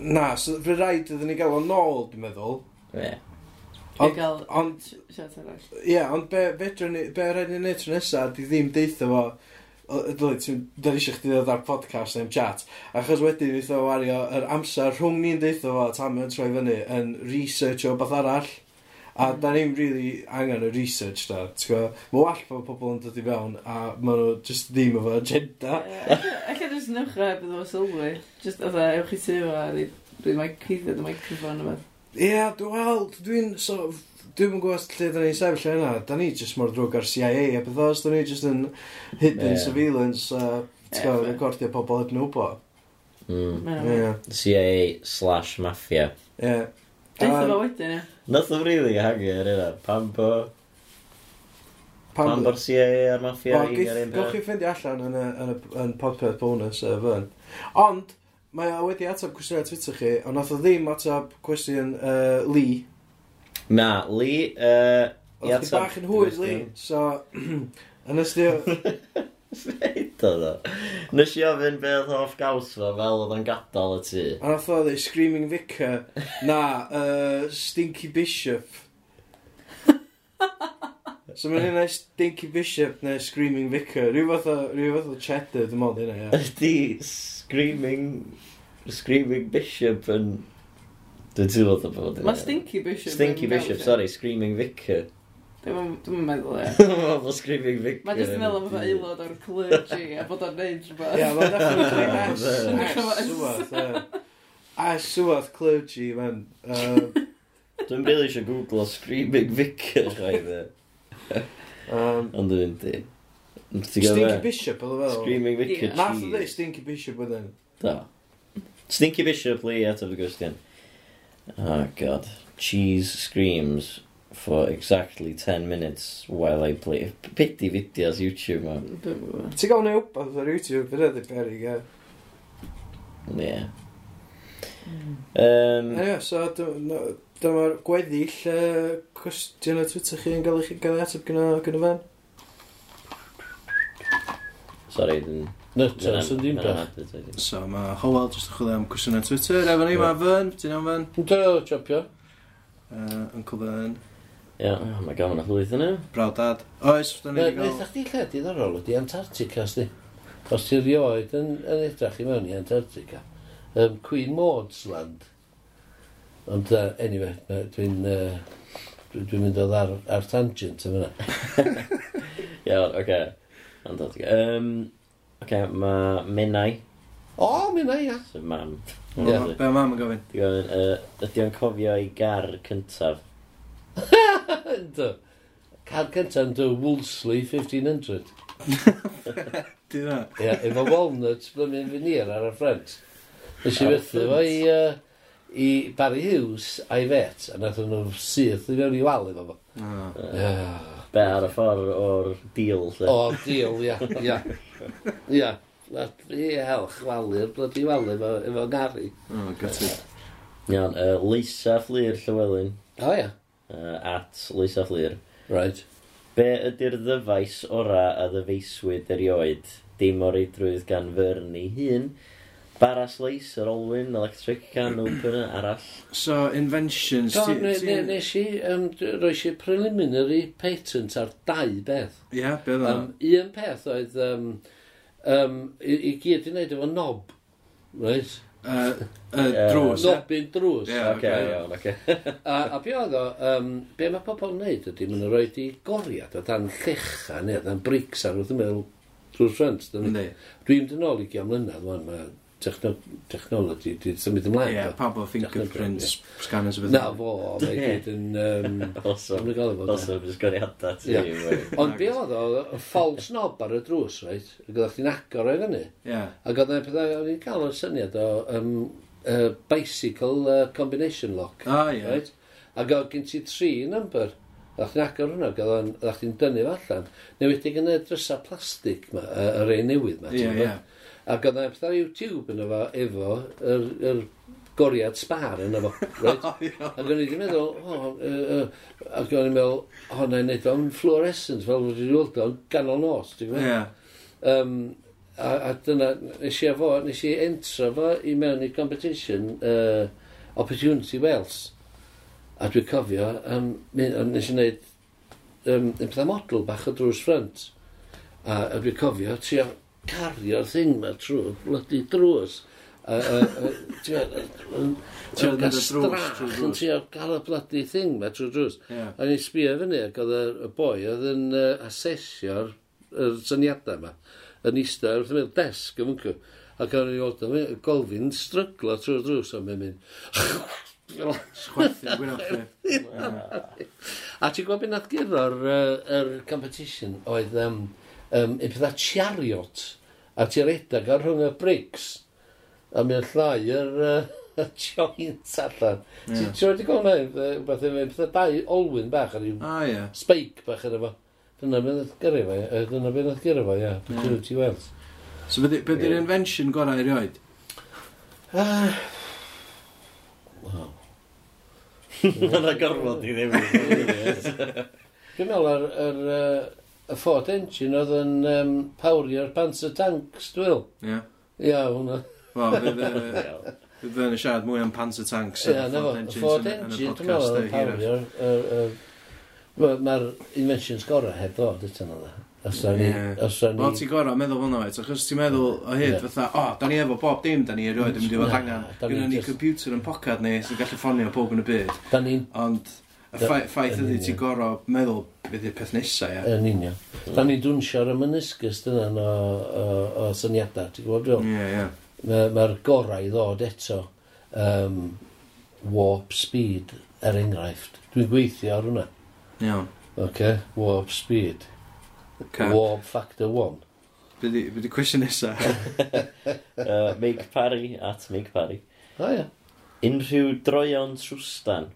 [SPEAKER 3] na, so fe rhaid iddyn ni gael o'n ôl, dwi'n meddwl,
[SPEAKER 2] Ie.
[SPEAKER 4] Dwi'n gael
[SPEAKER 3] ond,
[SPEAKER 4] siat arall.
[SPEAKER 3] ie, ond be, fedrwn ni, be rhaid ni'n neud tro nesa, di ddim deitha fo, Dwi, ti'n dod eisiau chdi ddod ar podcast neu'n chat Achos wedyn ni ddo wario yr amser rhwng ni'n deitha fo tam yn troi fyny yn research o beth arall A da ni'n really angen y research da, ti'n gwybod? Mae wall bod pobl yn dod i fewn a maen nhw just ddim efo agenda.
[SPEAKER 4] Alla jyst newch a bydd o sylwi. Just oedd e, ewch chi tu fo a rwy'n mic cyddiad y microfon yma.
[SPEAKER 3] Ie, yeah, dwi'n wel, dwi'n so, dwi'n yn gwybod lle da ni'n sefyll yna. Da ni just mor drwg ar CIA a beth os, da ni just yn hidden
[SPEAKER 2] Ie.
[SPEAKER 3] surveillance, uh, ti'n
[SPEAKER 4] Ie,
[SPEAKER 3] gwybod,
[SPEAKER 4] fair.
[SPEAKER 3] recordio pobl hyd nhw bo.
[SPEAKER 2] Mm.
[SPEAKER 4] Dwi'n
[SPEAKER 3] Ie,
[SPEAKER 2] CIA slash mafia.
[SPEAKER 3] ie.
[SPEAKER 4] fo
[SPEAKER 3] Um,
[SPEAKER 4] wedyn, ie.
[SPEAKER 2] Nath o'n rili hangu ar hynna. Pam bo... Pam
[SPEAKER 3] Pam
[SPEAKER 2] bo'r CIA a'r mafia
[SPEAKER 3] Wel,
[SPEAKER 2] i
[SPEAKER 3] geith-
[SPEAKER 2] ar un
[SPEAKER 3] Gewch
[SPEAKER 2] peth.
[SPEAKER 3] chi ffeindio allan yn y, yn y, yn podpeth bonus uh, fan. Ond, mae o wedi atab cwestiwn ar Twitter chi, ond nath o ddim atab cwestiwn uh, Lee.
[SPEAKER 2] Na, Lee... Uh,
[SPEAKER 3] Oedd chdi bach yn hwyd, Lee. So, [CLEARS THROAT] yn ystod...
[SPEAKER 2] Feid oedd o. Nes i ofyn be oedd hoff gaws fo fel oedd o'n gadael y tŷ.
[SPEAKER 3] A nath o ddi, Screaming
[SPEAKER 2] [LAUGHS]
[SPEAKER 3] Vicar. Na, uh, Stinky Bishop. So mae'n hynna Stinky Bishop neu Screaming Vicar. Rhyw fath o, rhyw fath o cheddar, dim ond hynna,
[SPEAKER 2] [LAUGHS]
[SPEAKER 3] ia.
[SPEAKER 2] Ydy Screaming... Screaming Bishop yn... Dwi'n teimlo oedd o bod yn...
[SPEAKER 4] Mae Stinky Bishop. yn
[SPEAKER 2] Stinky
[SPEAKER 4] Welsh,
[SPEAKER 2] Bishop,
[SPEAKER 4] ie.
[SPEAKER 2] sorry, Screaming Vicar. [LAUGHS]
[SPEAKER 4] Dwi'n dwi'n meddwl, ie.
[SPEAKER 2] Fel Screaming Vicar.
[SPEAKER 4] Mae jyst yn meddwl am fy aelod o'r clergy a bod o'n neud rhywbeth.
[SPEAKER 3] Ia, mae'n definitely S.
[SPEAKER 2] Ie.
[SPEAKER 3] S swath, ie. S swath clergy, man. Um,
[SPEAKER 2] Dwi'n rili eisiau googlo Screaming Vicar, chwaith e.
[SPEAKER 3] um,
[SPEAKER 2] Ond dwi'n di. Ti'n
[SPEAKER 3] Stinky
[SPEAKER 2] gwybod be?
[SPEAKER 3] Bishop, oedd o fel.
[SPEAKER 2] Screaming Vicar
[SPEAKER 4] Ie.
[SPEAKER 3] Nath o ddi,
[SPEAKER 2] cheese.
[SPEAKER 3] Stinky Bishop wedyn.
[SPEAKER 2] Do. Stinky Bishop Lee out of the Christian. Oh god. Cheese screams for exactly 10 minutes while I play. Bit i fideos YouTube ma.
[SPEAKER 4] Dwi'n gwybod.
[SPEAKER 3] Ti'n gael neu wbeth ar YouTube, fydd ydy berig, ie.
[SPEAKER 2] Yeah. Um,
[SPEAKER 3] Ie, so dy- no- dyma'r gweddill yy, cwestiwn o Twitter chi yn gael eich gael ei ateb gyda gyda fan.
[SPEAKER 2] sorry, dyn...
[SPEAKER 5] Nuts, sy'n ddim bach.
[SPEAKER 3] So mae Howell jyst yn chwilio am cwestiwn o Twitter, efo ni,
[SPEAKER 2] Ie.
[SPEAKER 3] mae fan, ti'n am fan,
[SPEAKER 5] Dwi'n dweud o chopio.
[SPEAKER 3] uh, Uncle Fan,
[SPEAKER 2] Yeah, oh my god, mae'n llwyth yna.
[SPEAKER 3] brawdad. Oes, da ni wedi
[SPEAKER 5] Neith
[SPEAKER 3] gael...
[SPEAKER 5] chdi lle diddorol ydi Antarctica, sti. Os ti'n rioed yn, yn edrach i mewn i Antarctica. Um, Queen Maud's Land. Ond, uh, anyway, na- dwi'n... Uh,
[SPEAKER 6] Dwi- Dwi'n mynd oedd ar, ar tangent yn fyna.
[SPEAKER 2] Iawn, oce. Ond dod. Um, oce, mae Menai,
[SPEAKER 6] O, mi na, ia.
[SPEAKER 2] sef mam.
[SPEAKER 3] Be
[SPEAKER 2] Di
[SPEAKER 3] mae mam yn gofyn?
[SPEAKER 2] gofyn, yy, Ydy o'n cofio ei gar cyntaf?
[SPEAKER 6] Ynddo. Car cyntaf yn dy Woolsley 1500.
[SPEAKER 3] Di na.
[SPEAKER 6] Ia, efo walnuts blymyn finir ar y ffrent. Nes i fethu fo i, uh, i Barry Hughes a'i fet, a nath nhw syth i fewn i wal efo fo. Ia.
[SPEAKER 2] Be ar y ffordd o'r deal, lle?
[SPEAKER 6] O, deal, ia, ia. Ia. Bloody hell, chwalu'r bloody wal efo, efo ngari.
[SPEAKER 3] O, gytid.
[SPEAKER 2] Iawn, uh, Lisa Fflir Llywelyn,
[SPEAKER 6] O, ia.
[SPEAKER 2] uh, at Lisa Fflir.
[SPEAKER 6] Right.
[SPEAKER 2] Be ydy'r ddyfais ora a ddyfeiswyd erioed? Dim o reidrwydd gan fyrn ei hun. Baras leis, yr olwyn, electric can, opener, arall.
[SPEAKER 3] So, inventions...
[SPEAKER 6] Do,
[SPEAKER 3] ti-
[SPEAKER 6] ne-
[SPEAKER 3] ti-
[SPEAKER 6] ne- nes i, um, roes i preliminary patent ar dau beth.
[SPEAKER 3] Ie, be oedd
[SPEAKER 6] Um, un peth oedd, um, um, i, i gyd i wneud efo nob. Right?
[SPEAKER 3] hwnna?
[SPEAKER 2] Yy,
[SPEAKER 3] Drws, ie?
[SPEAKER 6] Nobyn drws.
[SPEAKER 3] e? Ie.
[SPEAKER 2] Oce,
[SPEAKER 3] ocê.
[SPEAKER 2] iawn, oce.
[SPEAKER 6] A, a be oedd o, um, be mae pobl yn wneud ydy, mae'n rhoi i goriad o dan llecha neu o dan brics ar wrth y meddwl drwy'r ffrant. dyna ni.
[SPEAKER 3] Yndi.
[SPEAKER 6] Dwi'n mynd yn ôl i gian mlynedd, wan, mae techno technology wedi symud ymlaen.
[SPEAKER 3] Ie,
[SPEAKER 6] do.
[SPEAKER 3] pa bo fingerprints, scanners o beth.
[SPEAKER 6] Na fo, mae gyd yn...
[SPEAKER 3] [LAUGHS]
[SPEAKER 6] Um,
[SPEAKER 2] Awesome.
[SPEAKER 6] Mae'n gael efo. de.
[SPEAKER 2] Awesome, jyst goriadau ti.
[SPEAKER 6] Ie. Ond be oedd o, y false knob ar y drws, reit? Gyda'ch chi'n agor o'i fyny.
[SPEAKER 3] Ie.
[SPEAKER 6] Ac oedd e'n pethau, o'n i'n cael o'r syniad o um, uh, bicycle uh, combination lock.
[SPEAKER 3] O, Ah, ie.
[SPEAKER 6] Right? Ac oedd gen ti tri number. Gyda'ch chi'n agor hwnna, gyda'ch chi'n dynnu fo allan. Newedig yn y drysa plastig ma, y- yr ein newydd ma. ti'n
[SPEAKER 3] Ie,
[SPEAKER 6] gwbod?
[SPEAKER 3] ie.
[SPEAKER 6] Ac oedd e'n pethau YouTube yn efo, efo yr, yr goriad spar yn efo. Right? Ac o'n i wedi meddwl, o, yy, yy, ac o'n i'n meddwl, o, na i wneud o'n fluorescence, fel wedi weld o'n ganol nos, ti'n gwybod?
[SPEAKER 3] Ie.
[SPEAKER 6] Um, a, a dyna, nes i efo, nes i entra fo i mewn i competition uh, Opportunity Wales. A dwi'n cofio, um, mi- a nes i wneud um, un pethau model bach o drws ffrant. A, a dwi'n cofio, ti o cario'r thing ma trwy, bloody drws. A, a, a, ti o- ti
[SPEAKER 3] Yn
[SPEAKER 6] o
[SPEAKER 3] y
[SPEAKER 6] gael
[SPEAKER 3] drws,
[SPEAKER 6] strach
[SPEAKER 3] trwy'r
[SPEAKER 6] yn
[SPEAKER 3] drws.
[SPEAKER 6] ti o gael y bloody thing ma trwy drws.
[SPEAKER 3] Ie.
[SPEAKER 6] A ni'n sbio fyny ac oedd y- y boi oedd yn uh, asesio'r yr syniadau yma. Yn eistedd wrth ymwyl desg yn fyncw. Ac oedd ni'n gweld o'n mynd, golfi'n stryglo trwy'r drws o'n mynd [LAUGHS] mynd.
[SPEAKER 3] Chwerthu, gwynaf chi.
[SPEAKER 6] A ti'n gwybod beth nad gyro'r uh, er competition oedd um, um, un pethau chariot a ti'n redag ar rhwng y bricks a mi'n llai yr uh, [LAUGHS] joint allan. Ti'n yeah. wedi gweld na, beth yw'n pethau dau olwyn bach ar yw
[SPEAKER 3] O, ie.
[SPEAKER 6] spike bach ar efo. Dyna beth oedd gyrru fo, ie. Yy, dyna beth oedd gyrru fo, ie. Dwi'n gwybod ti weld.
[SPEAKER 3] So, be di- be di'r invention gorau erioed?
[SPEAKER 2] Mae'n gorfod i ddim.
[SPEAKER 6] Dwi'n meddwl ar, ar uh, y Ford engine oedd yn um, pawrio'r Panzer tanks, dwi'n meddwl.
[SPEAKER 3] Ie.
[SPEAKER 6] Ia, hwnna.
[SPEAKER 3] Wel, fydd yy, fydd yn y siarad mwy am Panzer Tanks.
[SPEAKER 6] Ie, na fo, y Ford Engine, dwi'n meddwl yn pawrio'r... yr- yr- wel, Mae'r inventions gorau heb ddod eto na dda. Os da ni...
[SPEAKER 3] Ie.
[SPEAKER 6] Os da
[SPEAKER 3] Wel,
[SPEAKER 6] ni...
[SPEAKER 3] ti'n gorau meddwl fel yna, achos ti'n meddwl o hyd,
[SPEAKER 6] Ie.
[SPEAKER 3] fatha, o, da ni efo bob dim, da ni erioed yn mynd i fod
[SPEAKER 6] Na,
[SPEAKER 3] angen.
[SPEAKER 6] da ni
[SPEAKER 3] Gynna ni
[SPEAKER 6] jyst-
[SPEAKER 3] computer yn pocad ni, sy'n gallu ffonio pob yn y byd.
[SPEAKER 6] Da ni'n...
[SPEAKER 3] Ond, y
[SPEAKER 6] Da-
[SPEAKER 3] ffai- ffaith
[SPEAKER 6] yn
[SPEAKER 3] ydy
[SPEAKER 6] union.
[SPEAKER 3] ti'n gorau meddwl beth yw'r peth nesaf, ie.
[SPEAKER 6] Yn union. Da ni'n dwnsio'r y meniscus dyna o, o, o syniadau, ti'n gwybod dwi'n?
[SPEAKER 3] Ie, ie.
[SPEAKER 6] Mae'r ma mae'r gorau i ddod eto um, warp speed, er enghraifft. Dwi'n gweithio ar hwnna.
[SPEAKER 3] Iawn.
[SPEAKER 6] Okay? Warp speed.
[SPEAKER 3] Ca.
[SPEAKER 6] Warp factor one.
[SPEAKER 3] Be di be 'di cwestiwn nesaf?
[SPEAKER 2] Uh, Make Parry, at Make Parry.
[SPEAKER 6] O ia,
[SPEAKER 2] Unrhyw droion trwstan.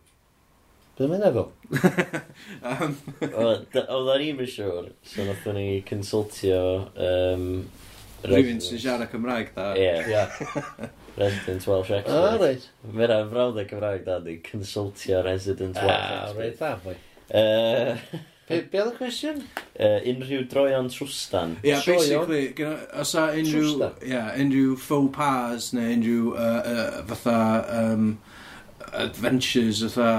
[SPEAKER 6] dwi'n mynd efo.
[SPEAKER 3] Yym,
[SPEAKER 2] Wel, d- Oedd o'n i'm yn siŵr, so nath ni consultio... Um,
[SPEAKER 3] Rwy'n sy'n siarad Cymraeg, da.
[SPEAKER 2] Ie,
[SPEAKER 6] Ia.
[SPEAKER 2] Resident Welsh
[SPEAKER 6] O,
[SPEAKER 2] Expert.
[SPEAKER 6] reit.
[SPEAKER 2] Fyra frawd y Cymraeg da, di consultio Resident Welsh
[SPEAKER 6] Ah, reit
[SPEAKER 2] Expert.
[SPEAKER 6] dda, boi.
[SPEAKER 2] Yy,
[SPEAKER 6] Be, be oedd y cwestiwn?
[SPEAKER 2] yy, Unrhyw droion trwstan.
[SPEAKER 3] Ie,
[SPEAKER 6] Sioe,
[SPEAKER 3] basically, gyda- os a unrhyw,
[SPEAKER 6] Trwstan.
[SPEAKER 3] ie, unrhyw faux pas neu unrhyw uh, uh, fatha um, adventures ytha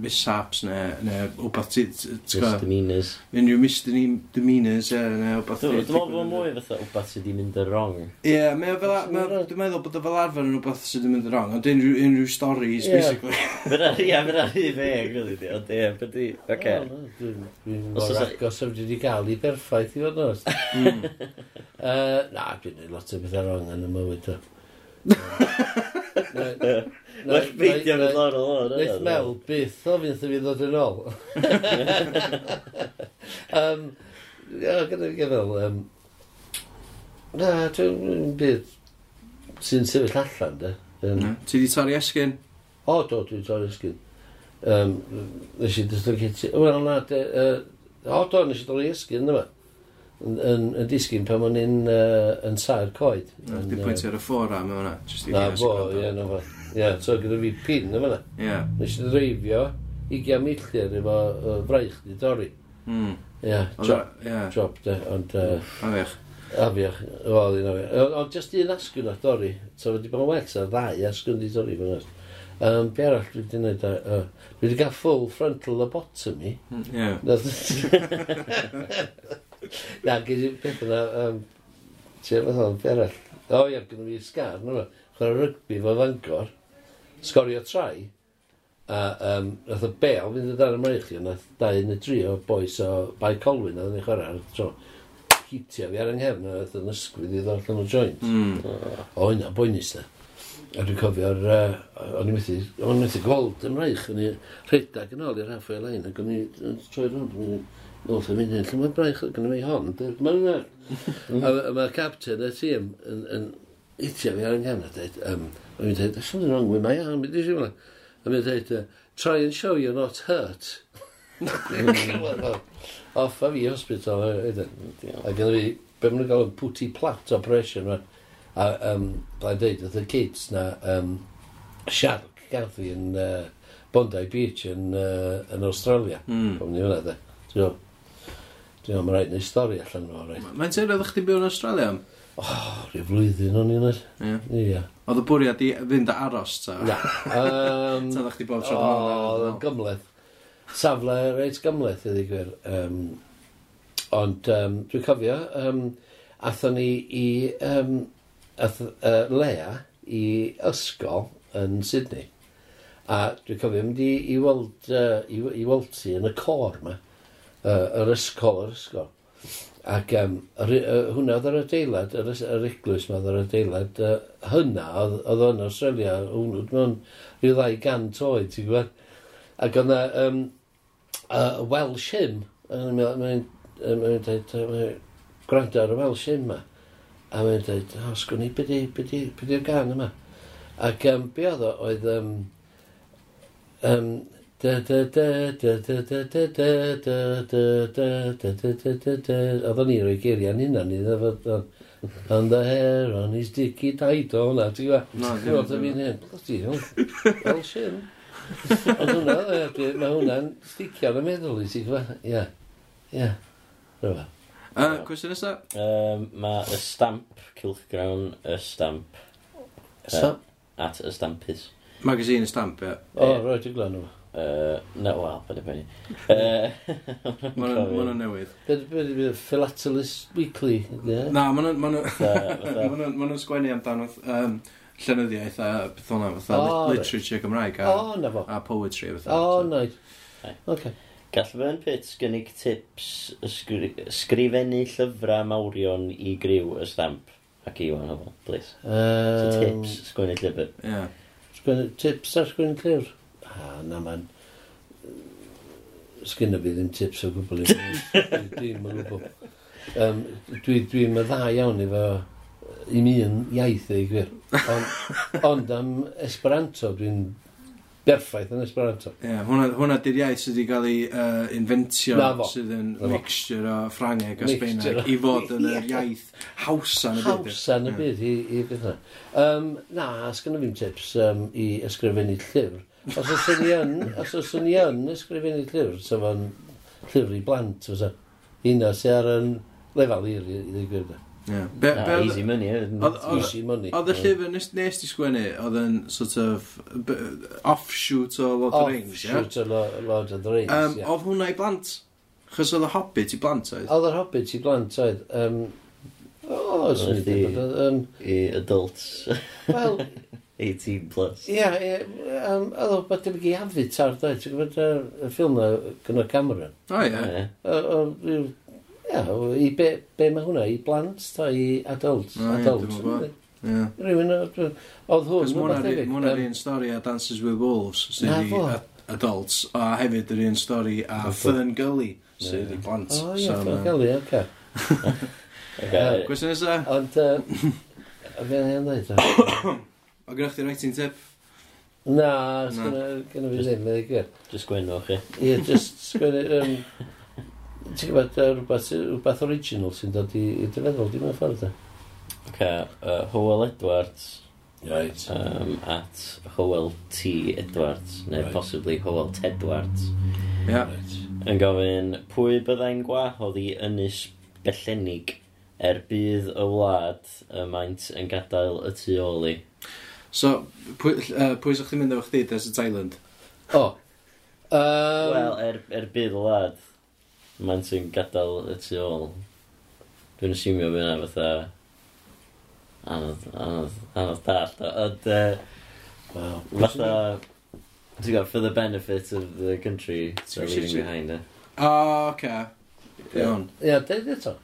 [SPEAKER 3] mishaps neu, neu wbeth ti, t- ti'n gwbod,
[SPEAKER 2] Misdemeanors.
[SPEAKER 3] unrhyw misdemeanors e, neu wbeth
[SPEAKER 2] Dwi'n meddwl bod mwy fatha wbeth sydd wedi mynd y wrong.
[SPEAKER 3] Ie, mae o fel a- mae o- dwi'n meddwl bod o fel arfer yn wbeth sydd yn mynd yn wrong, ond unrhyw, unrhyw stories,
[SPEAKER 6] Ie.
[SPEAKER 3] basically.
[SPEAKER 2] Fyna, ia, fyna rhy feg, really, di. Ond ie, byddi, oce.
[SPEAKER 6] Wel, na, Dwi'n dwi'n
[SPEAKER 2] Os
[SPEAKER 6] mor
[SPEAKER 2] oes-
[SPEAKER 6] agos sef wedi cael i berffaith i fod nos.
[SPEAKER 2] [LAUGHS]
[SPEAKER 3] Mm.
[SPEAKER 6] Uh, na, dwi'n gwneud lot o bethau wrong yn y mywyd
[SPEAKER 2] [LAUGHS]
[SPEAKER 6] o.
[SPEAKER 2] Wel, beidio mynd lawr o lawr.
[SPEAKER 6] Neith mel byth o fydd fi ddod yn
[SPEAKER 2] [LAUGHS]
[SPEAKER 6] ôl. um, ia, gyda fi gyfel, um, na, dwi'n bydd sy'n sefyll allan, de. Um,
[SPEAKER 3] Na, Ti di torri esgyn?
[SPEAKER 6] O, do, dwi'n torri ysgyn. Um, nes i ddysgu gyti... Wel, na, de, uh, o, do, nes i dorri ysgyn, yma. Yn, yn, yn disgyn pan o'n i'n uh, yn sa'r coed.
[SPEAKER 3] Na,
[SPEAKER 6] Yn,
[SPEAKER 3] Di
[SPEAKER 6] yy,
[SPEAKER 3] pwyntio ar y ffora, mae hwnna, jyst i
[SPEAKER 6] Na,
[SPEAKER 3] ddinas
[SPEAKER 6] fo,
[SPEAKER 3] gwrando.
[SPEAKER 6] ie, na fo. Ie, so gyda fi pin yma na.
[SPEAKER 3] Ie.
[SPEAKER 6] Nes i ddreifio 20 milltir efo uh, fraich di dorri.
[SPEAKER 3] Mm.
[SPEAKER 6] Ie,
[SPEAKER 3] Ond
[SPEAKER 6] job,
[SPEAKER 3] o- Ie,
[SPEAKER 6] job de, ond uh,
[SPEAKER 3] afiach.
[SPEAKER 6] afiach, wel, un afiach. Ond- Ond just un asgwn a dorri, so wedi bod yn wex a ddau asgwn di dorri fan ast. Um, be arall dwi wedi gwneud, uh, dwi wedi cael full frontal lobotomy.
[SPEAKER 3] Hmm, Ie.
[SPEAKER 6] [LAUGHS] Nath- Na, gyd i beth yna, um, ti'n fath o'n be arall. O ia, gynnu fi sgar, na fo, chwer rygbi fo fangor, sgorio trai, a um, nath y bel fynd y dar ymlaen chi, nath dau yn y dri o boes o Bai Colwyn, a ddyn ni chwarae ar y tro, hitio fi ar yng nghefn, a nath yn ysgwydd i ddod allan o joint.
[SPEAKER 3] Mm.
[SPEAKER 6] O, yna, boenus da. A dwi'n cofio'r... Uh, o'n i methu... O'n i methu gweld ymraich. O'n i rhedag yn ôl i'r halfway line. Ac o'n i yn troi rhwnd. O'n i... Oedd yn mynd, lle mae'n braich ac yn mynd hon. Dwi'n mynd yna. A ma- a mae'r captain y tîm yn, yn itio fi ar yng Nghymru. Dweud, um, o'n i'n dweud, something wrong with my arm. Beth eisiau hwnna? A mi'n dweud, uh, try and show you're not hurt. Off a fi hospital. yy, wedyn. A gynnu fi, be maen nhw'n gael yn putty plat operation. Right? A, um, fel i dweud, oedd y kids na um, siarc gath i yn uh, Bondi Beach yn, uh, yn Australia.
[SPEAKER 3] Mm.
[SPEAKER 6] Pwm ni hwnna, de. Dwi'n meddwl- Dwi'n meddwl, mae'n rhaid neu stori allan o, rhaid.
[SPEAKER 3] Mae'n teimlo oedd chdi byw yn Australia?
[SPEAKER 6] Rhyw flwyddyn o'n i'n yr.
[SPEAKER 3] Ie.
[SPEAKER 6] Ia.
[SPEAKER 3] Oedd y bwriad i fynd a aros, ta?
[SPEAKER 6] Na. Um,
[SPEAKER 3] Ta ddech chi bob tro
[SPEAKER 6] o, oedd yn
[SPEAKER 3] fan
[SPEAKER 6] gymleth. Safle reit gymleth, ydy gwir. Um, ond um, dwi'n cofio, um, athon ni i um, ath, uh, Lea i ysgol yn Sydney. A dwi'n cofio, mynd i, i weld, uh, i, i weld ti yn y cor ma, uh, yr ysgol, yr ysgol. Ac um, yr, uh, hwnna oedd yr adeilad, yr, ys- yr eglwys ma oedd yr adeilad, uh, hynna oedd oedd yn Australia, hwnnw, mewn rhyw ddau gant oed, ti'n gwybod? Ac oedd na um, uh, Welsh hymn, mae'n mynd, mae'n dweud, gwrando ar y Welsh hymn ma, a mae'n dweud, o, sgwn i, beth ydy'r gan yma? Ac um, be oedd o, oedd, um, um, da da da da da da da da da da da da da da da da Oedd o'n i roi geiriau'n hynna ni, oedd o'n And the hair on his dicky tight o hwnna, ti'n gwybod?
[SPEAKER 3] Na,
[SPEAKER 6] Dwi'n gweld am un hyn. Bloody hell. Fel sy'n. Ond hwnna, yy, dwi- mae hwnna'n sticio yn y meddwl i ti, gwa. Ia. Ia. Rwy'n
[SPEAKER 3] hyn. Cwestiwn nesaf?
[SPEAKER 2] Um, mae y stamp, Cilchgrawn, y stamp,
[SPEAKER 6] Stamp.
[SPEAKER 2] at y stampus.
[SPEAKER 3] Magazine y stamp,
[SPEAKER 6] [LAUGHS]
[SPEAKER 3] ie.
[SPEAKER 6] O, roi ti glan yma.
[SPEAKER 2] Uh, no, wel, bydde penny. Uh,
[SPEAKER 3] Ma' hwnna- ma' hwnna'n newydd.
[SPEAKER 6] Beth ydy bydd Philatelist Weekly? ie?
[SPEAKER 3] Na, ma' hwnna'n- ma' hwnna'n-
[SPEAKER 2] Fatha-
[SPEAKER 3] ma' [LAUGHS]
[SPEAKER 2] fatha-
[SPEAKER 3] hwnna'n ma' hwnna'n sgwennu amdano yym, llenyddiaeth a beth hwnna, fatha
[SPEAKER 6] O,
[SPEAKER 3] lit-
[SPEAKER 6] reit.
[SPEAKER 3] literature Gymraeg a
[SPEAKER 6] O, na fo.
[SPEAKER 3] a poetry a fatha.
[SPEAKER 6] O,
[SPEAKER 3] So-
[SPEAKER 6] naid.
[SPEAKER 2] Aye.
[SPEAKER 6] Oce.
[SPEAKER 2] Gall Fern Pitts gynnig tips ysgri ysgrifennu llyfrau mawrion i griw y stamp ac i wan hwnnw, please. So
[SPEAKER 6] Yym,
[SPEAKER 2] tips, sgwini llyfr.
[SPEAKER 3] Ie.
[SPEAKER 6] sgwennu- Tips ar sgwyn clir? A, na man. Sgynna fi ddim tips o gwbl i fi. Dwi'n yn gwbl. Um, Dwi'n dwi yn dda iawn efo i mi yn iaith ei gwir. Ond, ond am Esperanto, dwi'n berffaith yn Esperanto.
[SPEAKER 3] Ie, hwnna hwnna di'r iaith sydd wedi cael ei yy, inventio
[SPEAKER 6] Na fo.
[SPEAKER 3] sydd yn
[SPEAKER 6] Na fo.
[SPEAKER 3] mixture o Ffrangeg a
[SPEAKER 6] Mixture
[SPEAKER 3] Sbaeneg
[SPEAKER 6] o-
[SPEAKER 3] i fod yn
[SPEAKER 6] [LAUGHS]
[SPEAKER 3] yr iaith hawsa yn y byd.
[SPEAKER 6] Hawsa yn y
[SPEAKER 3] Ie.
[SPEAKER 6] byd i, i beth yna. Um, na, sgynna fi'n tips um, i ysgrifennu llyfr. Os oes ni yn, os oes ni yn ysgrifennu llyfr, so fo'n llyfr i blant, fysa. Hynna sy'n ar yn lefel i'r i ddigwydd.
[SPEAKER 3] Ie. Be-
[SPEAKER 2] Na,
[SPEAKER 3] be oedd-
[SPEAKER 2] easy money, eh, isn't it?
[SPEAKER 3] Oedd- oedd-
[SPEAKER 6] Easy money.
[SPEAKER 3] Oedd y
[SPEAKER 6] Ie.
[SPEAKER 3] llyfr nes nes di sgwennu, oedd yn sort of b- offshoot o Lord of the Rings, ie?
[SPEAKER 6] Offshoot o Lo- Lord of the Rings,
[SPEAKER 3] Um,
[SPEAKER 6] ie.
[SPEAKER 3] Oedd hwnna i blant? Chos oedd y Hobbit i blant, oedd?
[SPEAKER 6] Oedd yr hobbit i blant oedd. Um, o, swn i
[SPEAKER 2] Oedd hi-
[SPEAKER 6] ddim. Um,
[SPEAKER 2] I adults [LAUGHS]
[SPEAKER 6] Wel,
[SPEAKER 2] 18 plus.
[SPEAKER 6] ie, ie, yym, oedd o bod yn giafu tar dweud. Ti'n gwybod yy, y ffilm na gyda Cameron?
[SPEAKER 3] O, ie.
[SPEAKER 2] Ie.
[SPEAKER 6] O- o- ryw- Ie, o- i be, be mae hwnna? I blant ta i adults?
[SPEAKER 3] O, ie,
[SPEAKER 6] adults.
[SPEAKER 3] dwi'm yn gwbod. Ie.
[SPEAKER 6] Rwy'n oedd hwn.
[SPEAKER 3] Cos ma' hwnna'r
[SPEAKER 6] rhywbeth
[SPEAKER 3] un- ma' hwnna'r
[SPEAKER 6] yym,
[SPEAKER 3] un stori a Dances with Wolves,
[SPEAKER 6] Na
[SPEAKER 3] sydd i
[SPEAKER 6] fo.
[SPEAKER 3] a- adults, a hefyd yr un stori a
[SPEAKER 2] Ocê.
[SPEAKER 3] Fern Gully, sydd i blant.
[SPEAKER 6] O, ie,
[SPEAKER 3] So,
[SPEAKER 6] Fern
[SPEAKER 3] ma-
[SPEAKER 6] Gully, oce.
[SPEAKER 2] Okay.
[SPEAKER 3] Cwestiwn nesa?
[SPEAKER 6] Ond,
[SPEAKER 3] [LAUGHS]
[SPEAKER 6] yy, a fe ni'n dweud?
[SPEAKER 3] O, gynnwch chi writing tip?
[SPEAKER 6] Na,
[SPEAKER 3] Na.
[SPEAKER 6] gynnu fi ddim, mae'n gwir.
[SPEAKER 2] Just gwynwch chi.
[SPEAKER 6] Ie, just sgwennu... Um, ti'n gwybod, uh, rhywbeth, rhywbeth original sy'n dod i, i dy feddwl, di mewn ffordd, da.
[SPEAKER 2] Okay, uh, Howell Edwards
[SPEAKER 6] Right.
[SPEAKER 2] um, at Howell T Edwards, neu
[SPEAKER 6] Right.
[SPEAKER 2] possibly Howell Tedwards.
[SPEAKER 3] Ie.
[SPEAKER 2] Yn gofyn, pwy byddai'n gwahodd i ynys bellenig er bydd y wlad y maint yn gadael y tu ôl i?
[SPEAKER 3] So, pwy yy, pwy sa'ch chi'n mynd efo chdi, Desert Island?
[SPEAKER 6] O. Um,
[SPEAKER 2] Wel, er, er bydd y wlad y maint yn gadael y tu ôl. Dwi'n asiwmio fydd yna fatha anodd, anodd, anodd dallt. o, Ond uh,
[SPEAKER 6] Wel,
[SPEAKER 2] fatha, ti'n gwybod, for the benefit of the country they're leaving behind eh? it.
[SPEAKER 3] O, oce. Iawn.
[SPEAKER 6] Ie, dweud eto.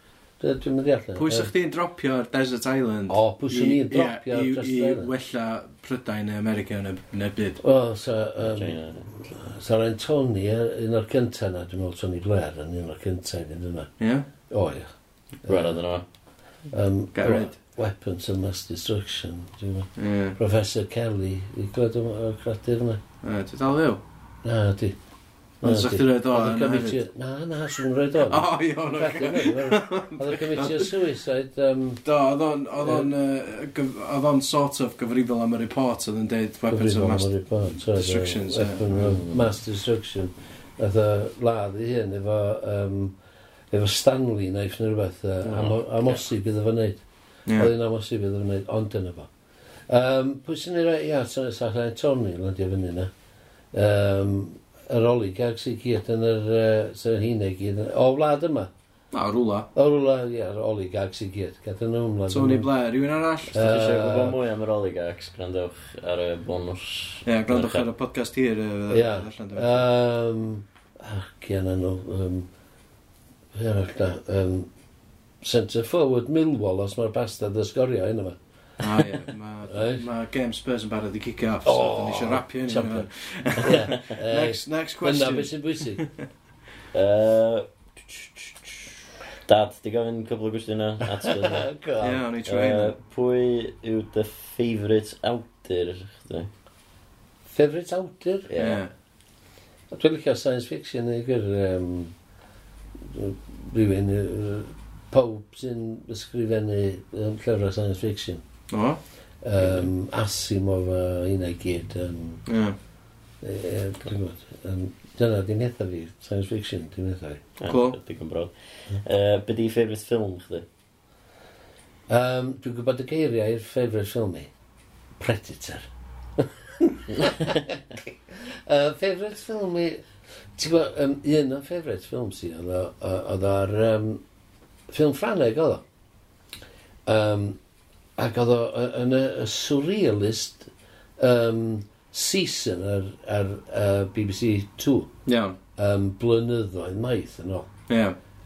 [SPEAKER 6] Dwi- Dwi'n mynd i allan.
[SPEAKER 3] Pwy sa'ch chi'n dropio'r Desert Island?
[SPEAKER 6] O, pwy sy'n
[SPEAKER 3] I-
[SPEAKER 6] ni'n dropio
[SPEAKER 3] ie, i-
[SPEAKER 6] dros
[SPEAKER 3] I
[SPEAKER 6] dweud?
[SPEAKER 3] wella Prydain neu America neu, neu byd.
[SPEAKER 6] O, so, um,
[SPEAKER 2] China.
[SPEAKER 6] so rhaid Tony, yy, un o'r cynta na, dwi'n meddwl Tony Blair yn un o'r cynta i fynd yna.
[SPEAKER 3] Ie?
[SPEAKER 6] O, ie.
[SPEAKER 2] Rhaid oedden nhw.
[SPEAKER 6] Um,
[SPEAKER 3] Get rid.
[SPEAKER 6] Weapons of Mass Destruction. dwi'n meddwl.
[SPEAKER 3] Ie.
[SPEAKER 6] Professor Kelly, i gled o'r creadur yna.
[SPEAKER 3] Yy, Dwi dal fyw.
[SPEAKER 6] Na, di.
[SPEAKER 3] Ond sa'ch chi'n rhaid o
[SPEAKER 6] Oedd y
[SPEAKER 3] yna
[SPEAKER 6] committee...
[SPEAKER 3] hefyd. Oh,
[SPEAKER 6] Na, na, swn i'n rhaid
[SPEAKER 3] [LAUGHS]
[SPEAKER 6] o.
[SPEAKER 3] O, iawn.
[SPEAKER 6] Cracking,
[SPEAKER 3] oce.
[SPEAKER 6] Oedd y committee o suicide... Um,
[SPEAKER 3] Do, oedd o'n, oedd o'n, yy, gyf- oedd o'n sort of gyfrifol am y report oedd yn deud weapons of mass. destruction,
[SPEAKER 6] destruction.
[SPEAKER 3] so- mm.
[SPEAKER 6] Weapon of mass destruction. Oedd y ladd i hyn efo... Um, efo Stanley knife neu rhywbeth. yy,
[SPEAKER 2] Mm.
[SPEAKER 6] am- Amosib iddo fo wneud. Oedd
[SPEAKER 3] Ie.
[SPEAKER 6] hi'n amosib iddo fo wneud, ond dyna fo. Um, pwy sy'n ei rhaid? Ia, sy'n ei Tony, landio fyny na. Um, yr oli gags i gyd yn yr... Uh, sy'n hyn ei gyd. yn- O, wlad yma.
[SPEAKER 3] Na, rwla.
[SPEAKER 6] O, rwla, ia, yr oli gags i gyd. Gada nhw ymlaen.
[SPEAKER 3] Tony Blair, rhywun arall?
[SPEAKER 2] Os ydych chi eisiau
[SPEAKER 6] Yy,
[SPEAKER 2] gwybod mwy am yr oligarchs, gwrandewch ar y bonws.
[SPEAKER 3] Ie, gwrandwch ar y podcast hir. yy,
[SPEAKER 6] Ie.
[SPEAKER 3] allan e? dwi'n-
[SPEAKER 6] Um, ac yn anno, um, be arall da, um, centre forward Millwall os mae'r bastard ysgorio hyn
[SPEAKER 3] [LAUGHS]
[SPEAKER 6] yma.
[SPEAKER 3] O, ie. ma-
[SPEAKER 6] Right.
[SPEAKER 3] Ma' game Spurs yn barod i kick off, so
[SPEAKER 6] O,
[SPEAKER 3] dyn ni isio rapio hyn i
[SPEAKER 6] champion.
[SPEAKER 3] mewn.
[SPEAKER 6] Next
[SPEAKER 3] Next, next
[SPEAKER 6] question. Dyna beth
[SPEAKER 3] question.
[SPEAKER 6] sy'n
[SPEAKER 3] [LAUGHS]
[SPEAKER 6] bwysig.
[SPEAKER 2] Uh, Dad, di gofyn cwbl o gwestiynau at
[SPEAKER 6] [LAUGHS] O,
[SPEAKER 2] gwrdd.
[SPEAKER 3] Ie,
[SPEAKER 6] God.
[SPEAKER 3] o'n i trwy
[SPEAKER 2] Uh,
[SPEAKER 3] hynny.
[SPEAKER 2] pwy yw dy favourite awdur chdi?
[SPEAKER 6] Favourite awdur?
[SPEAKER 2] Ie.
[SPEAKER 3] Ie.
[SPEAKER 6] Dwi'n licio science fiction neu gyr um, rhywun, yy, pawb sy'n ysgrifennu yym, llyfrau science fiction.
[SPEAKER 3] O,
[SPEAKER 6] Um, Asimov a hynna i gyd. Um,
[SPEAKER 3] ie.
[SPEAKER 6] Yy, yy, dwi'n gwybod. Yym, Dyna di metha fi, science fiction, di metha fi.
[SPEAKER 3] Cool.
[SPEAKER 2] Digon brod. Uh, be di favourite ffilm chdi?
[SPEAKER 6] Um, dwi'n gwybod y geiriau i'r ffefrau ffilm i. Predator. [LAUGHS] uh, favourite ffilm i... Ti'n gwybod, um, un o'n favourite ffilm si, oedd o- o- oedd o'r um, ffilm Ffraneg oedd o. Um, ac oedd o y- yn y, y surrealist um, season ar, ar uh, BBC 2
[SPEAKER 3] Iawn.
[SPEAKER 6] um, blynyddoedd maith yn ôl.
[SPEAKER 3] Ie.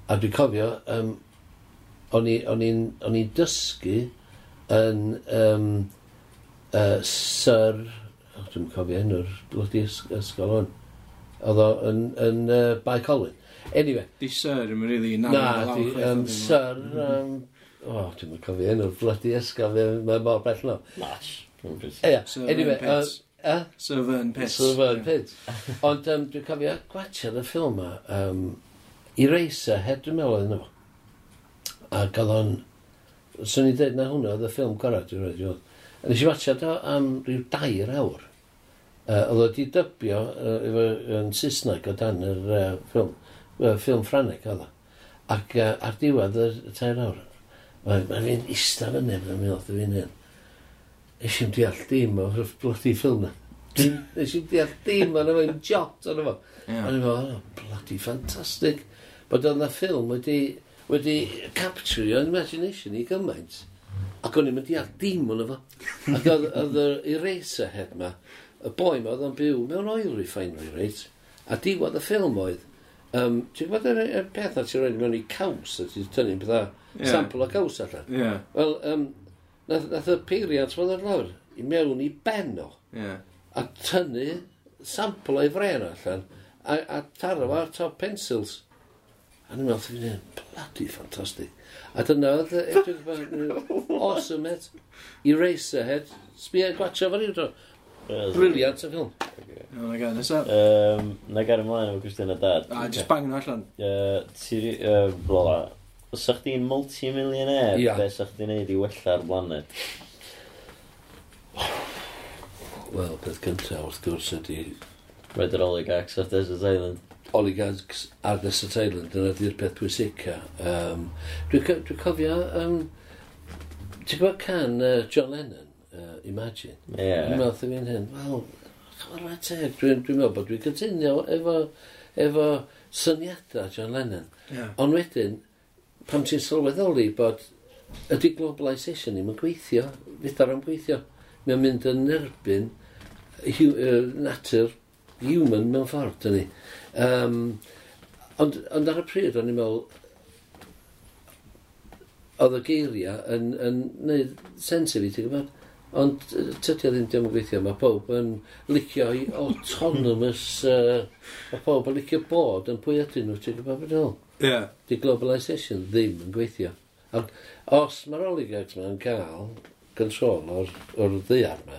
[SPEAKER 6] A dwi'n cofio, um, o'n i- o'n i'n o'n i'n dysgu yn um, uh, Sir, oh, dwi'n cofio enw'r bloody ys- ysgol hwn, oedd o yn, yn uh, By Colin. Anyway,
[SPEAKER 3] Di Sir yn mynd rili
[SPEAKER 6] na,
[SPEAKER 3] na.
[SPEAKER 6] na di, um, Sir, um, oh, dwi'n cofio enw'r bloody ysgol, mae'n mor bell no.
[SPEAKER 2] Nash.
[SPEAKER 6] Ie,
[SPEAKER 3] Sir
[SPEAKER 6] anyway,
[SPEAKER 3] Fern Pitts.
[SPEAKER 6] uh, uh,
[SPEAKER 3] Sir Fern Pitts.
[SPEAKER 6] Sylfaen Pits. Ond um, dwi'n cofio gwachod y ffilm ma, um, Eraser, heb dwi'n meddwl oedd yno. fo. Ac oedd o'n... Swn i'n dweud na hwnna oedd y ffilm gorau dwi'n rhaid i fod. A nes i watchad o am rhyw dair awr. Uh, oedd o di dybio uh, efo, yn Saesneg o dan yr uh, ffilm, uh, ffilm Ffraneg oedd o. Ac uh, ar diwedd y tair awr, Mae ma fi'n ista fyny, mae'n mynd oedd fi'n hyn. Nes i'n deall dim o'r bloody ffilm na. Nes i'n deall dim o'n efo'n jot o'n efo.
[SPEAKER 7] Ie.
[SPEAKER 6] O'n efo, oh, bloody fantastic. Bod oedd na ffilm wedi, wedi capture your imagination i gymaint. Ac o'n i'n mynd deall dim o'n efo. Ac oedd oedd yr eraser head ma, y boi ma oedd o'n byw mewn oil refinery, reit? A diwad y ffilm oedd, um, ti'n gwybod yr, yr peth na ti'n rhoi mewn i caws, a ti'n tynnu'n pethau,
[SPEAKER 7] Ie.
[SPEAKER 6] sample o caws allan.
[SPEAKER 7] Ie,
[SPEAKER 6] Wel, um, nath, nath y peiriant fod ar lawr i mewn i ben o
[SPEAKER 7] ie.
[SPEAKER 6] a tynnu sampl o'i fren allan a, a taro fo ar top pencils. A ni'n meddwl, fi'n un bloody ffantastig. A dyna oedd e- edrych fel awesome head, Eraserhead, sbio gwatio fan i'n Briliant y ffilm.
[SPEAKER 7] Iawn, na gael nesaf.
[SPEAKER 2] Um, na gael ymlaen efo Christina Dad.
[SPEAKER 7] A, Ah, just bang nhw allan.
[SPEAKER 2] Uh, ti, uh, bla, os ych chi'n multi-millionaire,
[SPEAKER 6] Ia.
[SPEAKER 2] be sych chi'n neud i wella'r blaned?
[SPEAKER 6] Wel, peth cyntaf wrth gwrs ydy
[SPEAKER 2] Red yr oligarchs off Desert Island.
[SPEAKER 6] oligarchs ar Desert Island, dyna di'r peth pwysica. Um, Dwi'n co- dwi cofio, um, ti'n gwybod can uh, John Lennon, uh, Imagine?
[SPEAKER 2] Ie.
[SPEAKER 6] Dwi'n meddwl thym i'n hyn, wel, chyfar mae teg, dwi'n dwi meddwl bod dwi'n cytunio efo, efo syniadau John Lennon.
[SPEAKER 7] Ie.
[SPEAKER 6] Ond wedyn, pam ti'n sylweddoli bod ydy globalisation ddim yn gweithio, fydd ar am gweithio. Mae'n mynd yn erbyn hu- yy, natur human mewn ffordd, dyn ni. Um, ond, ond ar y pryd, o'n i'n meddwl, oedd y geiriau yn, yn neud sens i fi, ti'n gwybod? Ond yy, tydi o ddim ddim yn gweithio, mae pob yn licio i autonomous, uh, mae pob yn licio bod yn pwy ydyn nhw, ti'n gwybod beth ôl?
[SPEAKER 7] Ie.
[SPEAKER 6] Di globalisation ddim yn gweithio. Ac os mae'r oligarchs ma'n cael control o'r, or ddiar ma,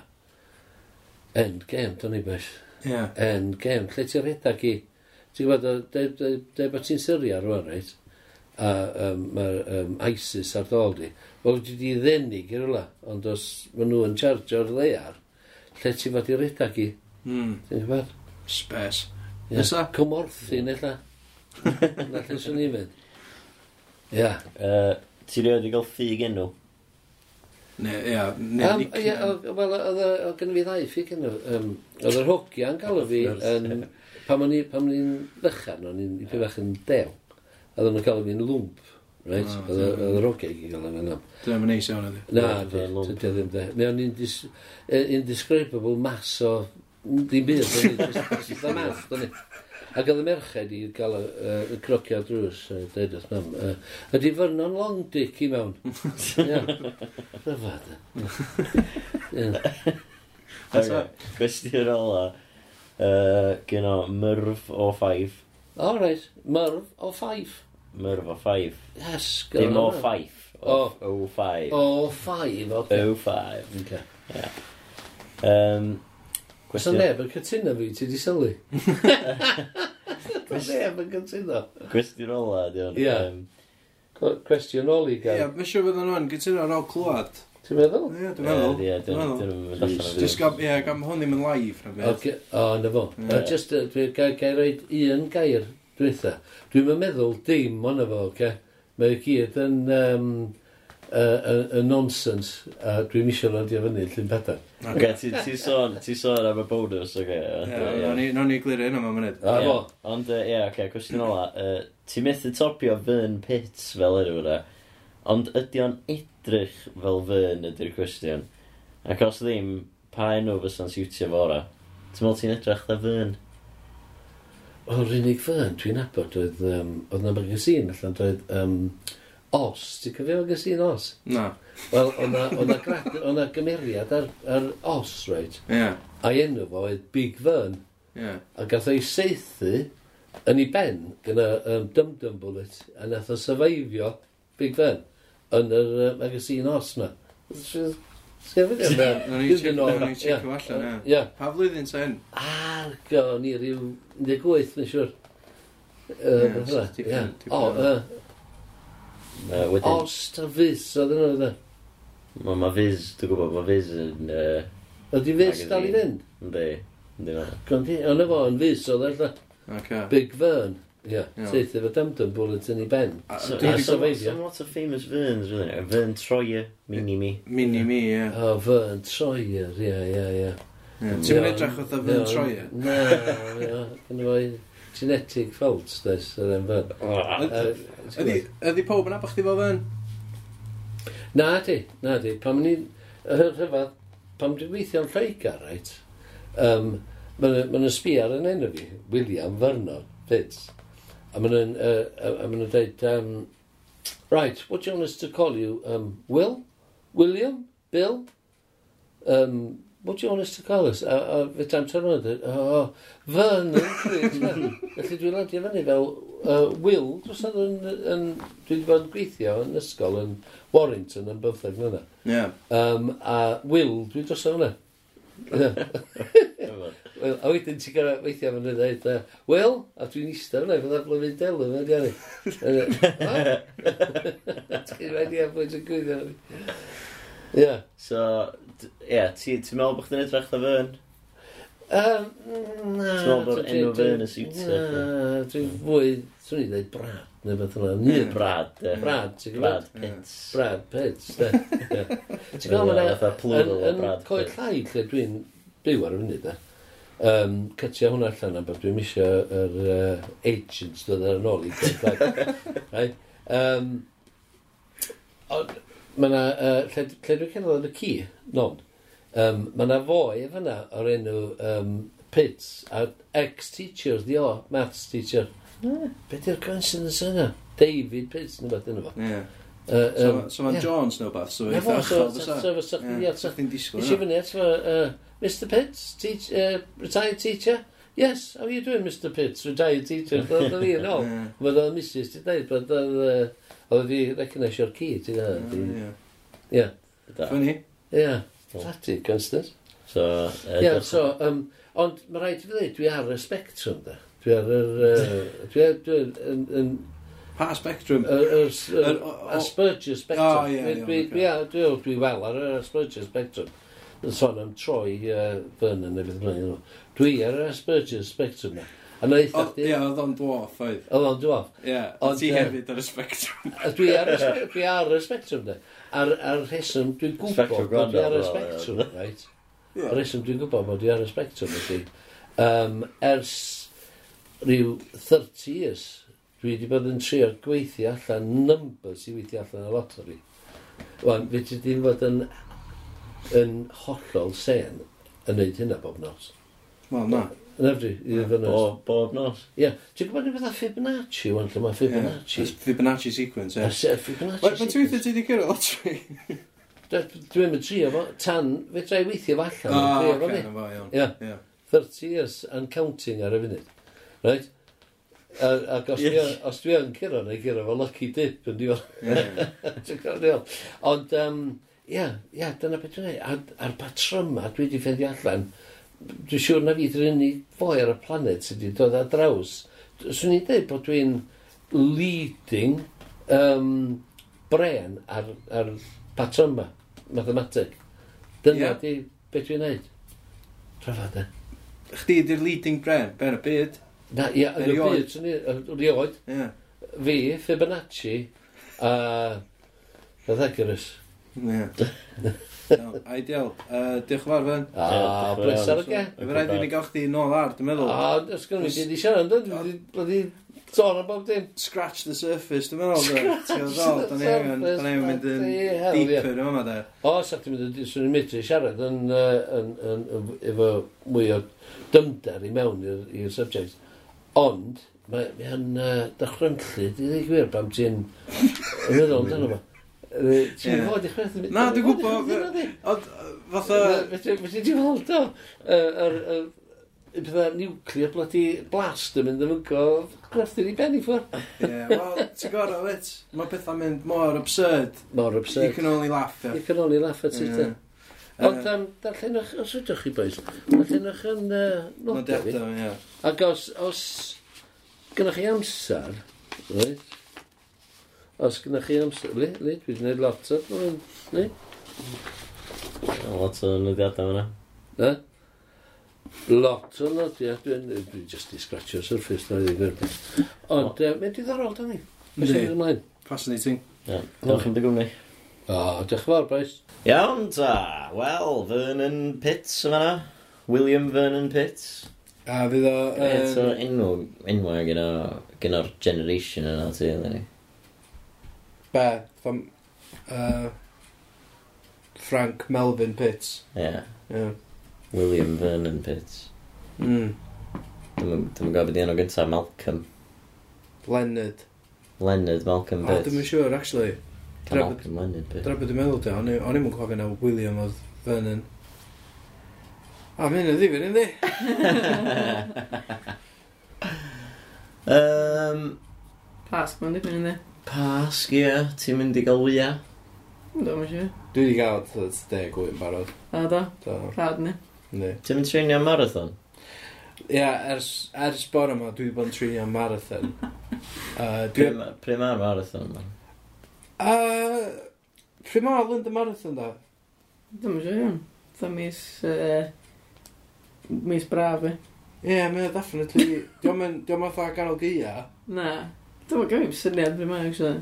[SPEAKER 6] end game, dyn ni beth,
[SPEAKER 7] Ie.
[SPEAKER 6] end game, lle ti'n redag i, ti'n gwybod, dweud bod ti'n syria rwan, reit? A um, mae um, ISIS ar ddol di. Wel, wedi di ddenig i rwla, ond os maen nhw yn chargio'r ddiar, lle ti'n fod i redag i,
[SPEAKER 7] Mm,
[SPEAKER 6] ti'n gwybod?
[SPEAKER 7] space.
[SPEAKER 6] Ie.
[SPEAKER 7] Nesa?
[SPEAKER 6] Cymorthu, nella. Nella sy'n ni'n mynd. Ia.
[SPEAKER 2] Uh, ti rioed i gael ffug enw?
[SPEAKER 7] Ne, ie. Ne,
[SPEAKER 6] Yym, Ie,
[SPEAKER 7] nickname.
[SPEAKER 6] o- wel, oedd y- oedd gen i fi ddau ffug yn Oedd yr hogia yn galw fi yn... Pam o'n i, pam o'n i'n fychan, o'n i'n i'n bach yn dew. Oedd nhw'n galw fi'n lwmp. Right?
[SPEAKER 7] Ah,
[SPEAKER 6] Oedd y- oedd yr hogia i gael yn lwmp.
[SPEAKER 7] Dyna mae'n neis iawn ydi.
[SPEAKER 6] Na,
[SPEAKER 2] Ie,
[SPEAKER 6] dy-
[SPEAKER 2] lwmp.
[SPEAKER 6] dydi o ddim de. Mae o'n indis- yy, indescribable mass o... Dim byd, o'n i. jyst- jyst y math, o'n i. Ac oedd y merched i gael y, uh, y crocio drws, uh, dweud wrth mam, uh, ydy fyrnon long dick i mewn. Ia. Rhyfad. Ia.
[SPEAKER 7] Nesa?
[SPEAKER 2] Gwestiwn ola. Uh, gyno Myrf o 5.
[SPEAKER 6] All right, myrf o ffaif.
[SPEAKER 2] Myrf o 5.
[SPEAKER 6] Yes, go
[SPEAKER 2] Dim o
[SPEAKER 6] on.
[SPEAKER 2] 5.
[SPEAKER 6] O.
[SPEAKER 2] O 5.
[SPEAKER 6] O ffaif, oce.
[SPEAKER 2] O 5.
[SPEAKER 6] Okay.
[SPEAKER 2] Um,
[SPEAKER 6] Sa
[SPEAKER 2] gwestiwn,
[SPEAKER 6] neb yn cytuno fi, ti di sylwi? Sa neb yn cytuno.
[SPEAKER 2] gwestiwn ola, diwn.
[SPEAKER 6] Ie.
[SPEAKER 2] Um,
[SPEAKER 6] Cw- Cwestiwn oli
[SPEAKER 7] Ie,
[SPEAKER 6] gan.
[SPEAKER 7] mae'n siŵr fydden nhw yn gytuno ar ôl clywed.
[SPEAKER 6] Ti'n meddwl?
[SPEAKER 7] Ie, dwi'n meddwl.
[SPEAKER 2] Ie,
[SPEAKER 7] Dwi'n
[SPEAKER 2] diwn.
[SPEAKER 7] meddwl. Just
[SPEAKER 2] Diwn.
[SPEAKER 7] gam, ie, gam hwn ddim yn live, na beth.
[SPEAKER 6] Oce- O, na fo.
[SPEAKER 7] Ie.
[SPEAKER 6] Yy, Just, yy, dwi gael gael reid un gair dwytha. Dwi'n yn meddwl dim ond na fo, oce? Mae i gyd yn um, y nonsense, a dwi'n misio randio fyny, llun pedan.
[SPEAKER 2] Oce, ti- ti sôn, ti sôn am y bonus, oce.
[SPEAKER 7] Ie, nawn ni- nawn ni glirio hyn am y munud.
[SPEAKER 6] A
[SPEAKER 2] Ie.
[SPEAKER 6] fo,
[SPEAKER 2] Ond, yy, ie, oce, cwestiwn ola. Yy, Ti methu topio fyn pits fel yr yna, ond ydy o'n edrych fel fyn ydy'r cwestiwn. Ac os ddim, pa enw fysa'n siwtio fo ora? Ti'n meddwl ti'n edrych dda fyn?
[SPEAKER 6] o'r unig ffyn dwi'n abod oedd, yym, oedd na magasin allan, oedd um, Os, ti'n cyfio magasin Os?
[SPEAKER 7] Na,
[SPEAKER 6] Wel, oedd na- oedd na grad- oedd na gymeriad ar, ar Os, reit?
[SPEAKER 7] ie,
[SPEAKER 6] A'i enw fo oedd Big Fern.
[SPEAKER 7] ie.
[SPEAKER 6] a gath o'i seithi yn ei ben gyda um, dum-dum bullet a nath o survivio Big Ben yn yr uh, magazine os na.
[SPEAKER 7] [LAUGHS]
[SPEAKER 6] Sgefyd yn
[SPEAKER 7] Nawn ni check- nawn ni checio allan, ie.
[SPEAKER 6] Ia.
[SPEAKER 7] Pa flwyddyn ta hyn?
[SPEAKER 6] Ar go ni ryw 18, mae'n siwr.
[SPEAKER 7] Ie,
[SPEAKER 6] Yy, beth
[SPEAKER 7] so
[SPEAKER 6] yna?
[SPEAKER 7] dipyn-
[SPEAKER 6] Ie.
[SPEAKER 7] dipyn
[SPEAKER 6] O,
[SPEAKER 7] o-
[SPEAKER 6] yy,
[SPEAKER 2] Yy, Wedyn,
[SPEAKER 6] os ta fus, oedd e? yna fydda.
[SPEAKER 2] ma- ma Fizz, dwi'n gwybod, ma Fizz yn... yy,
[SPEAKER 6] Oedd i fus dal i
[SPEAKER 2] Magazine.
[SPEAKER 6] fynd?
[SPEAKER 2] Yndi, yndi, ma.
[SPEAKER 6] Ond i- Ond efo yn fus, oedd e
[SPEAKER 7] Oce.
[SPEAKER 6] Big Fern. Ie.
[SPEAKER 7] Ie.
[SPEAKER 6] Teithio fo Damden Bullet yn ei ben.
[SPEAKER 7] A- dwi
[SPEAKER 2] So, uh,
[SPEAKER 6] Dwi'n
[SPEAKER 7] di-
[SPEAKER 2] so,
[SPEAKER 6] sylwi,
[SPEAKER 2] so
[SPEAKER 6] ie.
[SPEAKER 2] lot of famous Ferns, really. A Fern Troyer, Mini Me.
[SPEAKER 7] Mini me, ie.
[SPEAKER 6] O, fy yn Troyer, ie, ie, ie.
[SPEAKER 7] Ie.
[SPEAKER 6] Ie,
[SPEAKER 7] Ti'n mynd edrych oedd
[SPEAKER 6] ie,
[SPEAKER 7] yn troi'r?
[SPEAKER 6] Na, ie. Gynnu fo i genetic faults, des, yr en fyn.
[SPEAKER 7] Ydy ydy pawb yn abach chdi fel fan?
[SPEAKER 6] Na di, na di. Pam ni, y hy- rhyfedd, pam dwi'n gweithio yn Lloegar, reit, um, mae'n sbiar yn enw fi, William Vernon Fitz. A mae'n uh, dweud, um, right, what do you want us to call you? Um, Will? William? Bill? Um, what do you want us to call us? A, a fe tam tyrno, oh, Vernon Fitz. man." Felly dwi'n landio fyny fel uh, Will, dros oedd yn, yn, dwi wedi bod yn gweithio yn ysgol yn Warrington yn bymtheg mlynedd.
[SPEAKER 7] Ie.
[SPEAKER 6] Um, a Will, dwi dros hwnna. Wel, a wedyn ti'n gorau weithio fan hynny dweud, uh, Will, a dwi'n eistedd hwnna, fydda blwyddyn del yma, di arni.
[SPEAKER 2] [LAUGHS]
[SPEAKER 6] Ti'n [LAUGHS] rhaid i am bwyd yn gwyddo. Ie.
[SPEAKER 2] So, d- ie, ti- ti'n meddwl bod chdi'n edrych na Fern?
[SPEAKER 6] Um,
[SPEAKER 2] Ti'n meddwl bod enw Fern yn siwtio chdi?
[SPEAKER 6] Dwi'n fwy, swn i'n dweud brad, neu beth yna. Nid brad.
[SPEAKER 2] Brad, de.
[SPEAKER 6] Brad, ti'n gwybod?
[SPEAKER 2] Brad Pitts.
[SPEAKER 6] Brad Pitt.
[SPEAKER 2] [LAUGHS]
[SPEAKER 6] de. Ie. Ti'n gweld
[SPEAKER 2] Ie,
[SPEAKER 6] hwnna
[SPEAKER 2] fatha plural o
[SPEAKER 6] yn
[SPEAKER 2] Brad
[SPEAKER 6] coed
[SPEAKER 2] Pitt.
[SPEAKER 6] llai lle dwi'n byw ar y funud e. Um, Cytio hwnna allan am bod dwi'n misio yr uh, agents dod ar yn ôl i
[SPEAKER 2] [LAUGHS]
[SPEAKER 6] coed llai. right? um, ond mae yna, uh, lle, lle dwi'n cael yn y ci, non, um, mae yna foi fyna o'r enw um, Pitts, a ex-teacher, di o, maths teacher. Be di'r coincidence yna? David Pitts, neu beth yna fo.
[SPEAKER 7] Ie.
[SPEAKER 6] Uh,
[SPEAKER 7] So
[SPEAKER 6] um,
[SPEAKER 7] ma- So mae
[SPEAKER 6] ie.
[SPEAKER 7] Jones nhw beth, so
[SPEAKER 6] Na
[SPEAKER 7] mae'n
[SPEAKER 6] fo,
[SPEAKER 7] ddech
[SPEAKER 6] so-
[SPEAKER 7] chi'n
[SPEAKER 6] so- so- so-
[SPEAKER 7] ddysgu.
[SPEAKER 6] ie,
[SPEAKER 7] Ie,
[SPEAKER 6] so-
[SPEAKER 7] so chdi'n disgwyl.
[SPEAKER 6] Nes i
[SPEAKER 7] hwnna.
[SPEAKER 6] fyny at fy, uh, Mr Pitts, teach, uh, retired teacher? Yes, how are you doing, Mr Pitts, retired teacher? Oedd fi yn ôl.
[SPEAKER 7] Ie.
[SPEAKER 6] Oedd o'n misus ti dweud, bod oedd... uh, Oedd fi reconesio'r ci, ti
[SPEAKER 3] Mm.
[SPEAKER 6] dweud.
[SPEAKER 7] Ie.
[SPEAKER 6] Ie,
[SPEAKER 2] Da.
[SPEAKER 7] Funny.
[SPEAKER 6] ie. Llati, Constance.
[SPEAKER 2] So, yy,
[SPEAKER 6] Ie,
[SPEAKER 2] dros-
[SPEAKER 6] so, um, ond mae rhaid i fi ddweud, dwi ar y spectrum, da. Dwi ar yr... uh, Dwi ar... dwi yn- yn-
[SPEAKER 7] Pa spectrum?
[SPEAKER 6] yr- yr s-
[SPEAKER 7] Yr-
[SPEAKER 6] yr
[SPEAKER 7] o- o-
[SPEAKER 6] Asperger
[SPEAKER 7] O,
[SPEAKER 6] spectrum.
[SPEAKER 7] ie,
[SPEAKER 6] Dwi-
[SPEAKER 7] iawn, ocê.
[SPEAKER 6] dwi- Dwi ar- dwi ar- dwi fel ar yr Asperger spectrum. Yn sôn am troi Vernon neu beth bynnag. Dwi ar yr Asperger spectrum na. A na eitha
[SPEAKER 7] O-
[SPEAKER 6] chdi...
[SPEAKER 7] Ie, oedd o'n dwarf, oedd.
[SPEAKER 6] Oedd o'n dwarf.
[SPEAKER 7] Ie.
[SPEAKER 6] Ond,
[SPEAKER 7] Ti
[SPEAKER 6] yy,
[SPEAKER 7] hefyd ar y spectrum.
[SPEAKER 6] A dwi ar y, spe- dwi ar y spectrum de. Ar, ar rheswm dwi'n gwybod
[SPEAKER 2] Spectrum
[SPEAKER 6] bod dwi ar y
[SPEAKER 2] gwrando,
[SPEAKER 6] spectrum,
[SPEAKER 2] wel,
[SPEAKER 6] right?
[SPEAKER 7] Ie.
[SPEAKER 6] Ar rheswm dwi'n gwybod bod dwi ar y spectrum ydy. Um, ers rhyw 30 years, dwi wedi bod yn trio gweithio allan numbers i weithio allan y lottery. Wan, fe ti ddim fod yn, yn hollol sen yn neud hynna bob nos.
[SPEAKER 7] Wel, na.
[SPEAKER 6] Yn yfri, i ddim fod nos.
[SPEAKER 2] O, bob nos.
[SPEAKER 6] Ie, ti'n gwybod ni beth a Fibonacci, wan, lle mae Fibonacci.
[SPEAKER 7] Ie. Fibonacci sequence, ie.
[SPEAKER 6] A se- Fibonacci...
[SPEAKER 7] Wel, Mae'n
[SPEAKER 6] sequence.
[SPEAKER 7] tweetio ti wedi cyrraedd lotri.
[SPEAKER 6] Dwi- Dwi'n mynd trio fo, tan fe drai weithio fo
[SPEAKER 7] Ah,
[SPEAKER 6] allan. dwi'n trio fo
[SPEAKER 7] oce,
[SPEAKER 6] ni.
[SPEAKER 7] na fo, iawn.
[SPEAKER 6] Ie,
[SPEAKER 7] Ie.
[SPEAKER 6] 30 years and counting ar y funud. Right? A, ac os, dwi,
[SPEAKER 2] Yes.
[SPEAKER 6] os dwi yn cyrra neu cyrra fo lucky dip yn diwedd.
[SPEAKER 7] Ie.
[SPEAKER 6] Ti'n gwbod be' dwi'n feddwl? Ond, um, ia, ia, dyna beth dwi'n neud. A'r patryma dwi wedi ffeindio allan, dwi'n siŵr na fi dwi'n unig foi ar y planet sydd wedi dod ar draws. Swn i'n dweud bod dwi'n leading um, bren ar, ar patryma, mathematic. Dyna
[SPEAKER 7] Ie.
[SPEAKER 6] yeah. di beth dwi'n neud. Trafod e.
[SPEAKER 7] Chdi di'r leading brand, ben y byd.
[SPEAKER 6] Na, ia, yn y
[SPEAKER 7] Erioed.
[SPEAKER 6] byd, swn i'n rioed,
[SPEAKER 7] Ie.
[SPEAKER 6] fi, Fibonacci, a Pythagoras.
[SPEAKER 7] Ie. Iawn, Ideal. Yy, Diolch yn fawr fan.
[SPEAKER 6] A,
[SPEAKER 2] Ie,
[SPEAKER 6] blesar ar y ge.
[SPEAKER 7] Fe rhaid i ni gael chdi nôl ar, dwi'n meddwl.
[SPEAKER 6] A, os gynnu fi wedi siarad, ynddo? dwi wedi bloody sôn am bob dim.
[SPEAKER 7] Scratch the surface, dwi'n meddwl. de. Ti'n gweld,
[SPEAKER 6] the
[SPEAKER 7] o, 'dan ni angen- 'dan ni angen mynd yn
[SPEAKER 6] surface, bloody hell, ie.
[SPEAKER 7] deeper yn fama, de.
[SPEAKER 6] O, sa ti'n mynd i swn i'n mynd i siarad yn, yy, yn, yn, yn, efo mwy o dymder i mewn i'r- i'r subject. Ond, mae mae yn uh, dychrynllu, i ddweud gwir, pam ti'n yn meddwl amdano fo. Yy, Ti'n
[SPEAKER 7] Ie.
[SPEAKER 6] fod i chwerthu?
[SPEAKER 7] Na, dwi'n gwybod. Ond, yy, fatha...
[SPEAKER 6] Fy ti'n gweld o? Yr bydda nuclear bloody blast yn mynd yn fyngo grafftyn i ben i ffwr.
[SPEAKER 7] Ie, wel, ti'n gorau, wit. Mae pethau mynd mor absurd.
[SPEAKER 6] Mor
[SPEAKER 7] You
[SPEAKER 6] absurd.
[SPEAKER 7] can only laugh, ie.
[SPEAKER 6] I can only laugh at it.
[SPEAKER 7] Ie.
[SPEAKER 6] eh? Ond um, darllenwch, os ydych chi boes, darllenwch yn uh, nodau fi.
[SPEAKER 7] Nodedau, ie.
[SPEAKER 6] Ac os, os gynnwch chi amser, right? Os gynnwch chi amser, le, le, dwi wedi gwneud lot o, dwi'n- le,
[SPEAKER 2] Lot o nodiadau fyna.
[SPEAKER 6] na? Lot o lot, ie. Dwi'n dwi just i scratchio surface na i ddweud. Ond, uh, mae'n diddorol, da ni. Mae'n
[SPEAKER 7] Yndi.
[SPEAKER 6] symud ymlaen.
[SPEAKER 7] Fascinating.
[SPEAKER 2] Ie, Diolch am dy gwmni.
[SPEAKER 6] O, diolch yn fawr, Bryce.
[SPEAKER 2] Iawn ta, wel, Vernon Pitts yma na. William Vernon Pitts.
[SPEAKER 3] A fydd o...
[SPEAKER 2] Eto
[SPEAKER 3] yym,
[SPEAKER 2] enw, enw gen o- gen o'r generation yna ti, yna ni.
[SPEAKER 3] Be? Fam, uh, Frank Melvin Pitts.
[SPEAKER 2] Ie,
[SPEAKER 3] Ie.
[SPEAKER 2] William Vernon Pitts.
[SPEAKER 3] Mm.
[SPEAKER 6] Hmm.
[SPEAKER 2] Dwi'n gwybod beth i enw gyntaf, Malcolm.
[SPEAKER 3] Leonard.
[SPEAKER 2] Leonard Malcolm
[SPEAKER 3] O, dwi'n
[SPEAKER 2] Pitts.
[SPEAKER 3] siŵr, actually.
[SPEAKER 2] Ca Malcolm Leonard Pitts.
[SPEAKER 3] Dyna beth dwi'n meddwl, dwi'n meddwl, o'n i'm yn cofio na William oedd Vernon. A mynd o ddifyn, ynddi?
[SPEAKER 2] Um,
[SPEAKER 4] Pas, mae'n dipyn yn di.
[SPEAKER 2] pasg, ie, ti'n mynd i gael wya.
[SPEAKER 4] Dwi'n mynd siw.
[SPEAKER 3] Dwi wedi gael ddod deg wy'n barod.
[SPEAKER 4] A da,
[SPEAKER 3] Do,
[SPEAKER 4] rhaid ni.
[SPEAKER 3] ynddi.
[SPEAKER 2] Ti'n mynd treinio am marathon?
[SPEAKER 3] Ia, ers, ers bore yma, dwi wedi bod yn trinio marathon. Uh, dwi...
[SPEAKER 2] Prym prym ar marathon, man.
[SPEAKER 3] Uh, Pryd ma Lund y marathon da?
[SPEAKER 4] Dwi'n mynd siw iawn. Dda mis... yy, Mis braf i.
[SPEAKER 3] Ie, yeah, mae'n definitely... Diolch yn fatha ganol gia.
[SPEAKER 4] Na. Dwi'n mynd gymryd syniad fi mae'n actually.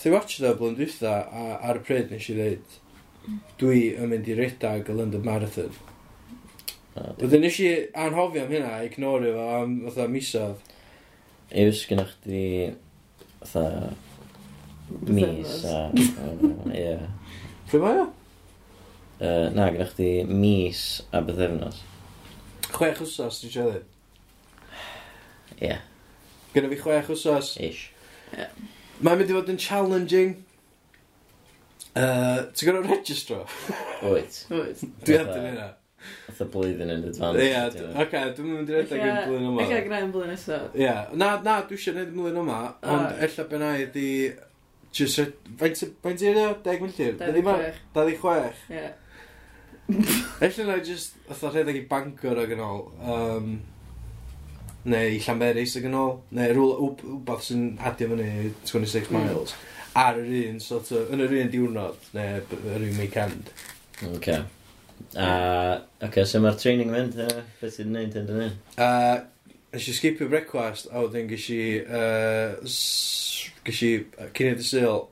[SPEAKER 3] Thi watch da blwyddyn dwytha, a ar y pryd nes i ddeud, dwi yn mynd i redag y Lund y marathon.
[SPEAKER 2] O, d-
[SPEAKER 3] Wedyn nes i anhofio am hynna, ignorio fo am fatha misodd.
[SPEAKER 2] Iws gyda chdi... Tha... Mis a... o, Ie.
[SPEAKER 3] Pryd mae o?
[SPEAKER 2] Yy, Na, gyda chdi mis a bythefnos.
[SPEAKER 3] Chwech wsos, ti'n siarad.
[SPEAKER 2] Ie,
[SPEAKER 3] Gynna fi chwech wsos.
[SPEAKER 2] ish.
[SPEAKER 3] Mae'n mynd i fod yn challenging. Uh, ti'n gwneud registro?
[SPEAKER 2] Wyt.
[SPEAKER 4] Wyt.
[SPEAKER 3] Dwi
[SPEAKER 2] Fatha-
[SPEAKER 3] adyn hynna.
[SPEAKER 2] Fatha blwyddyn yn advance.
[SPEAKER 3] Ie,
[SPEAKER 2] ti'n
[SPEAKER 3] d-
[SPEAKER 2] gwbod.
[SPEAKER 3] oce, dwi'n mynd i redag yn blwyddyn yma.
[SPEAKER 4] Ega graen blwyddyn nesaf.
[SPEAKER 3] Ie, na, na, dwi eisiau gwneud blwyddyn yma,
[SPEAKER 4] Ah.
[SPEAKER 3] ond ella benna i di... Just, re- faint sy- faint sy'n yna? Deg milltir?
[SPEAKER 4] Dau
[SPEAKER 3] Dwi
[SPEAKER 4] ddeg
[SPEAKER 3] ma?
[SPEAKER 4] chwech.
[SPEAKER 3] Dadi chwech.
[SPEAKER 4] Ie.
[SPEAKER 3] Ella na i just, otha rhedeg i Bangor ag yn ôl. Um, neu i Llanberis ag yn ôl. Neu rhywle, wb- wbath sy'n adio fyny i 26
[SPEAKER 4] Mm.
[SPEAKER 3] miles. Ar yr un, sort of, yn yr un diwrnod, neu b- yr un weekend.
[SPEAKER 2] Oce. A... Oce, so mae'r training mynd? yy, Beth ti'n neud yn dyn
[SPEAKER 3] Uh, Nes i skipio brecwast, a wedyn gysi... Uh, gysi cyn i'r syl.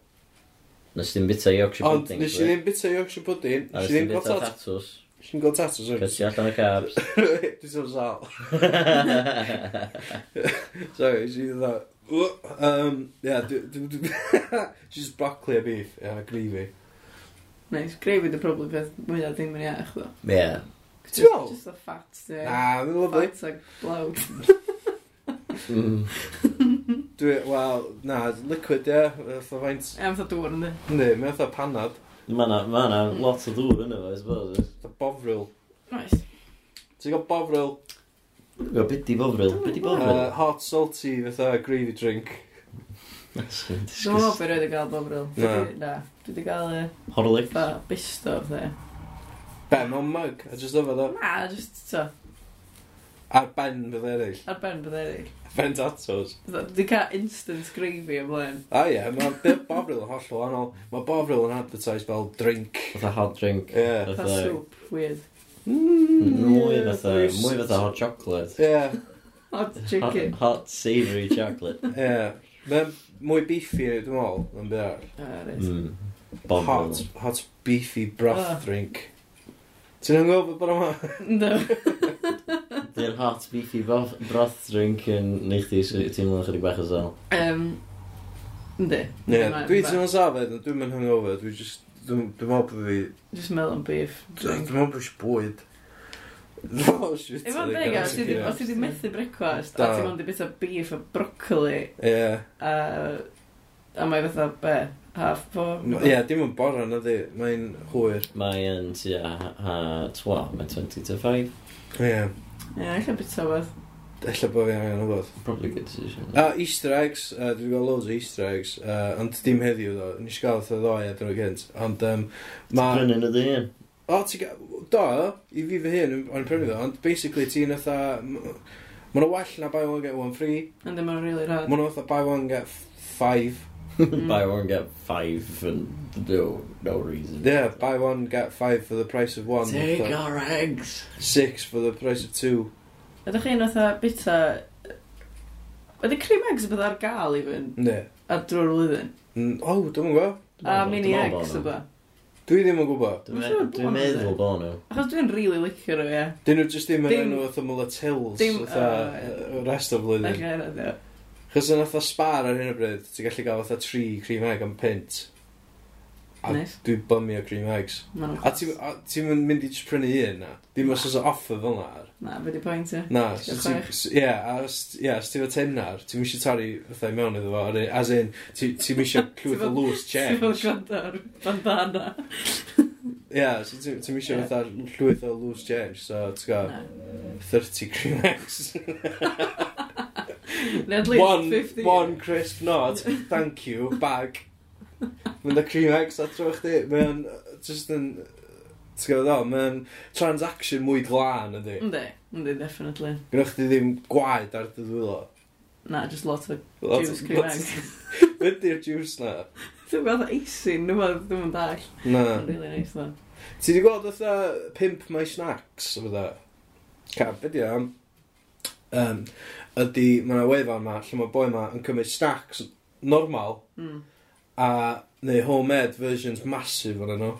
[SPEAKER 2] Nes ti'n bita Yorkshire
[SPEAKER 3] Ond
[SPEAKER 2] pudding?
[SPEAKER 3] nes i ddim bita Yorkshire pudding,
[SPEAKER 2] A
[SPEAKER 3] nes
[SPEAKER 2] nes
[SPEAKER 3] i
[SPEAKER 2] ti'n
[SPEAKER 3] ddim
[SPEAKER 2] bita
[SPEAKER 3] gael tat.
[SPEAKER 2] tatws?
[SPEAKER 3] Nes i ddim gael tat o
[SPEAKER 2] Cysio allan y carbs.
[SPEAKER 3] [LAUGHS] Dwi'n sôn sal. [LAUGHS] Sorry, nes i ddim dda. Um, ia, dwi- dwi- [LAUGHS] dwi- just broccoli a beef, ia, gravy.
[SPEAKER 4] Nice. Greu fi probably beth mwyaf ddim yn iach, ddo.
[SPEAKER 2] Ie.
[SPEAKER 3] Ti'n meddwl?
[SPEAKER 4] Just a fat, ie.
[SPEAKER 3] Na, mae'n lyflu.
[SPEAKER 4] Fat ag blawd.
[SPEAKER 2] Mm.
[SPEAKER 3] Dwi, wel, na, liquid, ia, fatha faint.
[SPEAKER 4] Ie, fatha dŵr yn di.
[SPEAKER 3] Ne, mae'n fatha panad,
[SPEAKER 2] Mae na, ma na lot o ddŵr yna fo, I suppose.
[SPEAKER 3] fatha bovril.
[SPEAKER 4] Nice.
[SPEAKER 3] Ti'n gael bovril,
[SPEAKER 2] Go, byddi bofril, byddi
[SPEAKER 3] uh,
[SPEAKER 2] bofril.
[SPEAKER 3] hot salty, fatha gravy drink.
[SPEAKER 4] Dwi'n meddwl bod wedi cael bobril.
[SPEAKER 3] Na.
[SPEAKER 4] Na. Dwi wedi cael yy,
[SPEAKER 2] Horlic.
[SPEAKER 4] fatha bisto, fatha.
[SPEAKER 3] Be, mewn mug, a just yfod o.
[SPEAKER 4] Na, just, so,
[SPEAKER 3] Ar ben fydd eraill.
[SPEAKER 4] ar ben bydd eraill.
[SPEAKER 3] Ben tatos.
[SPEAKER 4] Fatha, Dwi wedi cael instant gravy o blaen.
[SPEAKER 3] A ie, mae bit bovril yn holl o anol. Mae bovril yn advertised fel drink.
[SPEAKER 2] Fatha hot drink.
[SPEAKER 3] Ie.
[SPEAKER 4] Fatha
[SPEAKER 2] Fatha...
[SPEAKER 4] soup, weird.
[SPEAKER 2] Mm, Mwy fatha, mwy fatha hot chocolate.
[SPEAKER 3] Ie,
[SPEAKER 4] Hot
[SPEAKER 2] Hot,
[SPEAKER 3] [LAUGHS]
[SPEAKER 4] chicken.
[SPEAKER 2] hot savoury
[SPEAKER 4] [LAUGHS]
[SPEAKER 2] chocolate.
[SPEAKER 3] ie. Mae'n mwy beefy, dwi'n meddwl, yn byd arall.
[SPEAKER 4] Ah, reit.
[SPEAKER 2] Mm.
[SPEAKER 3] Hot,
[SPEAKER 2] Bofril.
[SPEAKER 3] hot beefy
[SPEAKER 4] Ah.
[SPEAKER 3] broth Hmm.
[SPEAKER 4] [LAUGHS]
[SPEAKER 3] drink. Ti'n anghofio bod yma?
[SPEAKER 4] Yndw.
[SPEAKER 2] Di'r hot beefy bof, broth drink yn neud chdi sy- teimlo'n chydig bach o sal.
[SPEAKER 4] Yym, Ynddi.
[SPEAKER 3] Ie, dwi'n teimlo'n safed, ond dwi'n mynd hungover, dwi'n just, dwi'n dwi'n meddwl bod fi,
[SPEAKER 4] Just melon beef.
[SPEAKER 3] dwi'n meddwl bod fi bwyd. Oh, shit.
[SPEAKER 4] Efo'n deg, os ti
[SPEAKER 3] Ie.
[SPEAKER 4] wedi methu brecwast, a
[SPEAKER 3] Da.
[SPEAKER 4] ti'n mynd i bita beef a broccoli,
[SPEAKER 3] Ie.
[SPEAKER 4] a, a mae fatha be, half four.
[SPEAKER 3] Ie, dim yn boron ydi, mae'n hwyr.
[SPEAKER 2] Mae yn tua ha, ha, twa, mae 20 to 5.
[SPEAKER 3] Ie,
[SPEAKER 4] Ie, eich bita wedd.
[SPEAKER 3] ella bod fi angen o bod.
[SPEAKER 2] Probably good decision.
[SPEAKER 3] A Easter eggs, uh, dwi wedi gael loads o Easter eggs, uh, ond dim heddiw ddo, nes i gael oedd ddoe a dyna gynt. Ond um, mae...
[SPEAKER 2] Bryn yn y
[SPEAKER 3] [LAUGHS]
[SPEAKER 2] dyn.
[SPEAKER 3] O, ti gael... Do, i fi fy hun, o'n i'n prynu ddo, ond basically ti'n eitha... Mae'n well na buy one get one free,
[SPEAKER 4] Ynddi, mae'n really rhad.
[SPEAKER 3] mae'n eitha buy one get f- five.
[SPEAKER 2] Hmm. Buy one, get five for no, no reason.
[SPEAKER 3] Yeah, buy one, get five for the price of one.
[SPEAKER 2] Take
[SPEAKER 3] fatha.
[SPEAKER 2] our eggs!
[SPEAKER 3] Six for the price of two.
[SPEAKER 4] Ydych chi'n fatha bita... Ydy cream eggs bydd ar gael i fynd
[SPEAKER 3] Ne.
[SPEAKER 4] ar drwy'r flwyddyn?
[SPEAKER 3] Mm, O, oh, dwi'n gwybod.
[SPEAKER 4] A Ah, mini eggs o ba.
[SPEAKER 3] Dwi ddim yn gwybod.
[SPEAKER 2] Dwi'n
[SPEAKER 4] Mae'n siŵr
[SPEAKER 2] me-
[SPEAKER 4] bod
[SPEAKER 2] dwi'n
[SPEAKER 4] nhw,
[SPEAKER 2] meddwl
[SPEAKER 4] yndi?
[SPEAKER 2] bod nhw.
[SPEAKER 4] Achos dwi'n rili licio nhw, ie.
[SPEAKER 3] Dyn nhw jyst ddim yn
[SPEAKER 4] Dim-
[SPEAKER 3] enw fatha Muller Tills,
[SPEAKER 4] dim-
[SPEAKER 3] fatha
[SPEAKER 4] yy,
[SPEAKER 3] y rest o
[SPEAKER 4] Ac
[SPEAKER 3] flwyddyn.
[SPEAKER 4] yn ydy.
[SPEAKER 3] Chos yn fatha spar ar hyn o bryd, ti'n gallu gael fatha tri cream egg am pint. A
[SPEAKER 4] Nice.
[SPEAKER 3] dwi'n bymio cream eggs.
[SPEAKER 4] Ma' nhw'n
[SPEAKER 3] A ti- a ti'n mynd- mynd i jyst prynu un na? Dim os oes o offer fel na.
[SPEAKER 4] Na, be di pwynt ie.
[SPEAKER 3] Na, so
[SPEAKER 4] Diolch
[SPEAKER 3] ti-
[SPEAKER 4] fawr.
[SPEAKER 3] s- ie, a os ie, os ti'n fod tennar, ti'n mysio torri fatha i mewn iddo fo, ar- as in, ti- ti'n
[SPEAKER 4] [LAUGHS]
[SPEAKER 3] mysio clwyth o
[SPEAKER 4] fel-
[SPEAKER 3] loose
[SPEAKER 4] Ti'n fawr
[SPEAKER 3] change.
[SPEAKER 4] gwrando ar bandana.
[SPEAKER 3] Ie, so ti- ti'n mysio
[SPEAKER 4] Ie.
[SPEAKER 3] fatha llwyth o loose change, so ti'n gael
[SPEAKER 4] Na.
[SPEAKER 3] 30 cream eggs. [LAUGHS]
[SPEAKER 4] Neu at least
[SPEAKER 3] one,
[SPEAKER 4] 50.
[SPEAKER 3] one crisp nod, thank you, bag. Mae'n y cream eggs at drwy chdi, mae'n just yn, ti'n gwybod o, mae'n transaction mwy glân ydi.
[SPEAKER 4] Yndi, yndi, definitely.
[SPEAKER 3] Gwneud chdi ddim gwaed ar dy ddwylo.
[SPEAKER 4] Na, just lot o
[SPEAKER 3] Lot-
[SPEAKER 4] juice cream
[SPEAKER 3] lot-
[SPEAKER 4] eggs. [LAUGHS]
[SPEAKER 3] Beth di'r juice na?
[SPEAKER 4] Dwi'n gweld o eisin, dwi'n gweld ddim yn dall.
[SPEAKER 3] Na.
[SPEAKER 4] Yn really nice dda.
[SPEAKER 3] Ti wedi gweld fatha pimp my snacks o fydda? Ca, be di am? Um, ydy, mae yna wefan ma, lle mae boi ma yn cymryd snacks normal
[SPEAKER 4] Mm.
[SPEAKER 3] a neu homemade versions massive o'n nhw.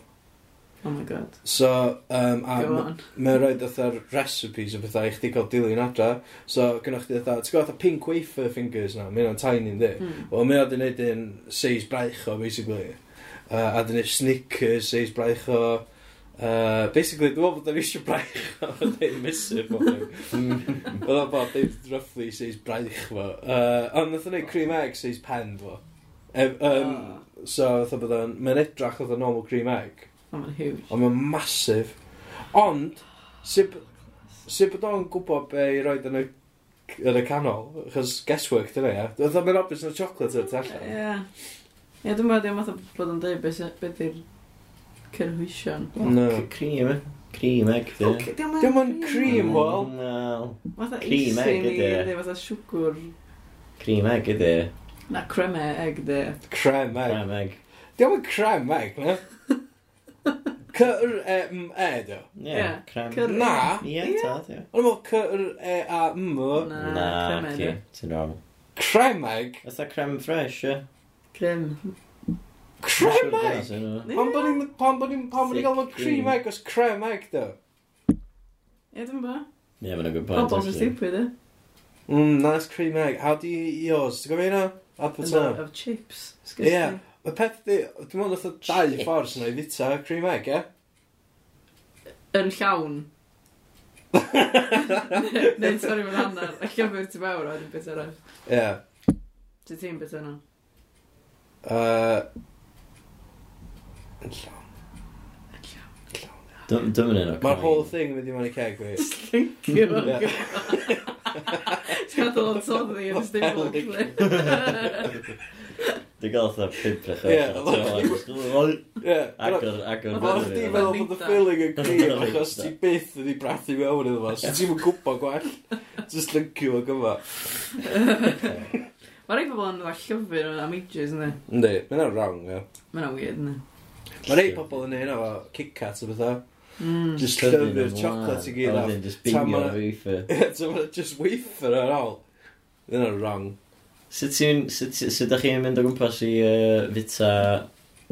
[SPEAKER 4] Oh my god,
[SPEAKER 3] So, um, a
[SPEAKER 4] go
[SPEAKER 3] m-
[SPEAKER 4] on.
[SPEAKER 3] mae'n rhoi fatha'r recipes o bethau i chdi cael dilyn adra. So, gynnwch chi fatha, ti'n gwybod fatha pink wafer fingers na, mae'n o'n tiny ynddi.
[SPEAKER 4] Mm.
[SPEAKER 3] Wel, mae o di wneud un seis braich o, basically. Uh, a di wneud snickers, seis braich o... Uh, basically, dwi'n meddwl bod o'n eisiau braich [LAUGHS] o, dwi'n misif o. Oedd o'n bod, dwi'n roughly seis braich fo. Uh, ond nath o'n neud cream egg seis pen fo. Um, um,
[SPEAKER 4] Ah.
[SPEAKER 3] So, oedd o'n bod o'n... Mae'n edrach oedd o'n normal cream egg.
[SPEAKER 4] Oh, mae'n huge.
[SPEAKER 3] Ond mae'n masif. Ond, sut sut bod o'n gwybod be i roed yn y, yn y canol? Achos guesswork dyna, ia. Oedd o'n mynd obvious na chocolate o'r tu allan.
[SPEAKER 4] Ie. Ie, dwi'n meddwl ddim oedd bod yn dweud beth- beth yw'r cynhwysion.
[SPEAKER 3] No.
[SPEAKER 2] C- Cream, eh? Cream egg, di.
[SPEAKER 4] Fuck, Diolch yn
[SPEAKER 3] Dim ond cream, wel.
[SPEAKER 2] Wel,
[SPEAKER 4] Fatha
[SPEAKER 2] Cream
[SPEAKER 4] eisin
[SPEAKER 2] egg
[SPEAKER 4] i,
[SPEAKER 2] ydi e.
[SPEAKER 4] ydy, fatha siwgr.
[SPEAKER 2] cream egg, ydi.
[SPEAKER 4] Na, creme egg, ydy. e?
[SPEAKER 3] Crem egg.
[SPEAKER 2] Cream egg.
[SPEAKER 3] Diolch yn crem egg,
[SPEAKER 4] [LAUGHS]
[SPEAKER 3] na? e, C-R-E-M-E, do.
[SPEAKER 2] Ie,
[SPEAKER 4] Ie,
[SPEAKER 2] cream.
[SPEAKER 4] cur-
[SPEAKER 3] Na.
[SPEAKER 2] Ie,
[SPEAKER 4] Ie.
[SPEAKER 2] ta, ie.
[SPEAKER 3] Ond mae'n C-R-E-A-M e, o.
[SPEAKER 4] Na,
[SPEAKER 2] Na,
[SPEAKER 4] creme e?
[SPEAKER 2] ti,
[SPEAKER 4] egg.
[SPEAKER 2] ti'n wrong.
[SPEAKER 3] Crem egg?
[SPEAKER 2] Ydda creme fresh, ie?
[SPEAKER 4] Creme.
[SPEAKER 3] Crem
[SPEAKER 2] Siŵr
[SPEAKER 3] egg?
[SPEAKER 2] dyna sy'n nhw.
[SPEAKER 3] Pan bod ni'n pan bod ni'n pan bod ni'n gael o'n
[SPEAKER 2] Thick
[SPEAKER 3] cream
[SPEAKER 2] cream.
[SPEAKER 3] egg os crem egg, do.
[SPEAKER 4] Ie, dwi'n meddwl.
[SPEAKER 2] Ie, mae'n good point.
[SPEAKER 4] Pobl sy'n
[SPEAKER 2] actually.
[SPEAKER 4] stupid, e?
[SPEAKER 3] Mm, nice cream egg. How do you eat yours? Ti'n gofio hynna? Up the top.
[SPEAKER 4] Of chips.
[SPEAKER 3] Ie. Y peth di, dwi'n meddwl oedd dau
[SPEAKER 2] Shit.
[SPEAKER 3] ffordd sy'n ei fita cream egg, ie?
[SPEAKER 4] Yn
[SPEAKER 3] [LAUGHS]
[SPEAKER 4] llawn. [LAUGHS] Neu'n torri mewn hanner. A llyfr ti fawr a dwi'n bit arall.
[SPEAKER 3] Ie.
[SPEAKER 4] Ti ti'n bit yna?
[SPEAKER 3] Yy, Yn llawn.
[SPEAKER 2] Dym dym yn un o
[SPEAKER 3] Mae'r
[SPEAKER 2] coin.
[SPEAKER 3] whole thing yn mynd i mewn i ceg fi.
[SPEAKER 4] Thank you. Ti'n gadw o'n toddi yn ystafell o clip.
[SPEAKER 2] Dwi'n gael fatha pibrach
[SPEAKER 3] Ie, [LAUGHS]
[SPEAKER 2] o'r
[SPEAKER 3] Ie.
[SPEAKER 2] Agor, agor.
[SPEAKER 3] Wel, chdi
[SPEAKER 2] fyny.
[SPEAKER 3] feddwl bod y
[SPEAKER 4] Nita.
[SPEAKER 3] feeling yn cream
[SPEAKER 2] Nita.
[SPEAKER 3] achos ti byth wedi brathu mewn iddo fo, so ti'n mynd gwybod [LAUGHS] gwell. Just lyncw o gyfa.
[SPEAKER 4] [LAUGHS] Mae rei pobl yn dda llyfr yn am ages, ynddi?
[SPEAKER 3] Ynddi, mae'n ar wrong, ie.
[SPEAKER 4] Mae'n weird, ynddi?
[SPEAKER 3] Mae rei pobl yn neud efo Kit Kat o bethau.
[SPEAKER 4] Mm.
[SPEAKER 3] Just llyfr chocolate i gyd
[SPEAKER 2] A
[SPEAKER 3] off.
[SPEAKER 2] wedyn just
[SPEAKER 3] Tan
[SPEAKER 2] bingio
[SPEAKER 3] ma-
[SPEAKER 2] wafer.
[SPEAKER 3] [LAUGHS] Ie, so mae'n just wafer ar ôl. Mae'n ar wrong.
[SPEAKER 2] Sut ti'n... Sut ti- sut dach chi'n mynd o gwmpas i yy, fita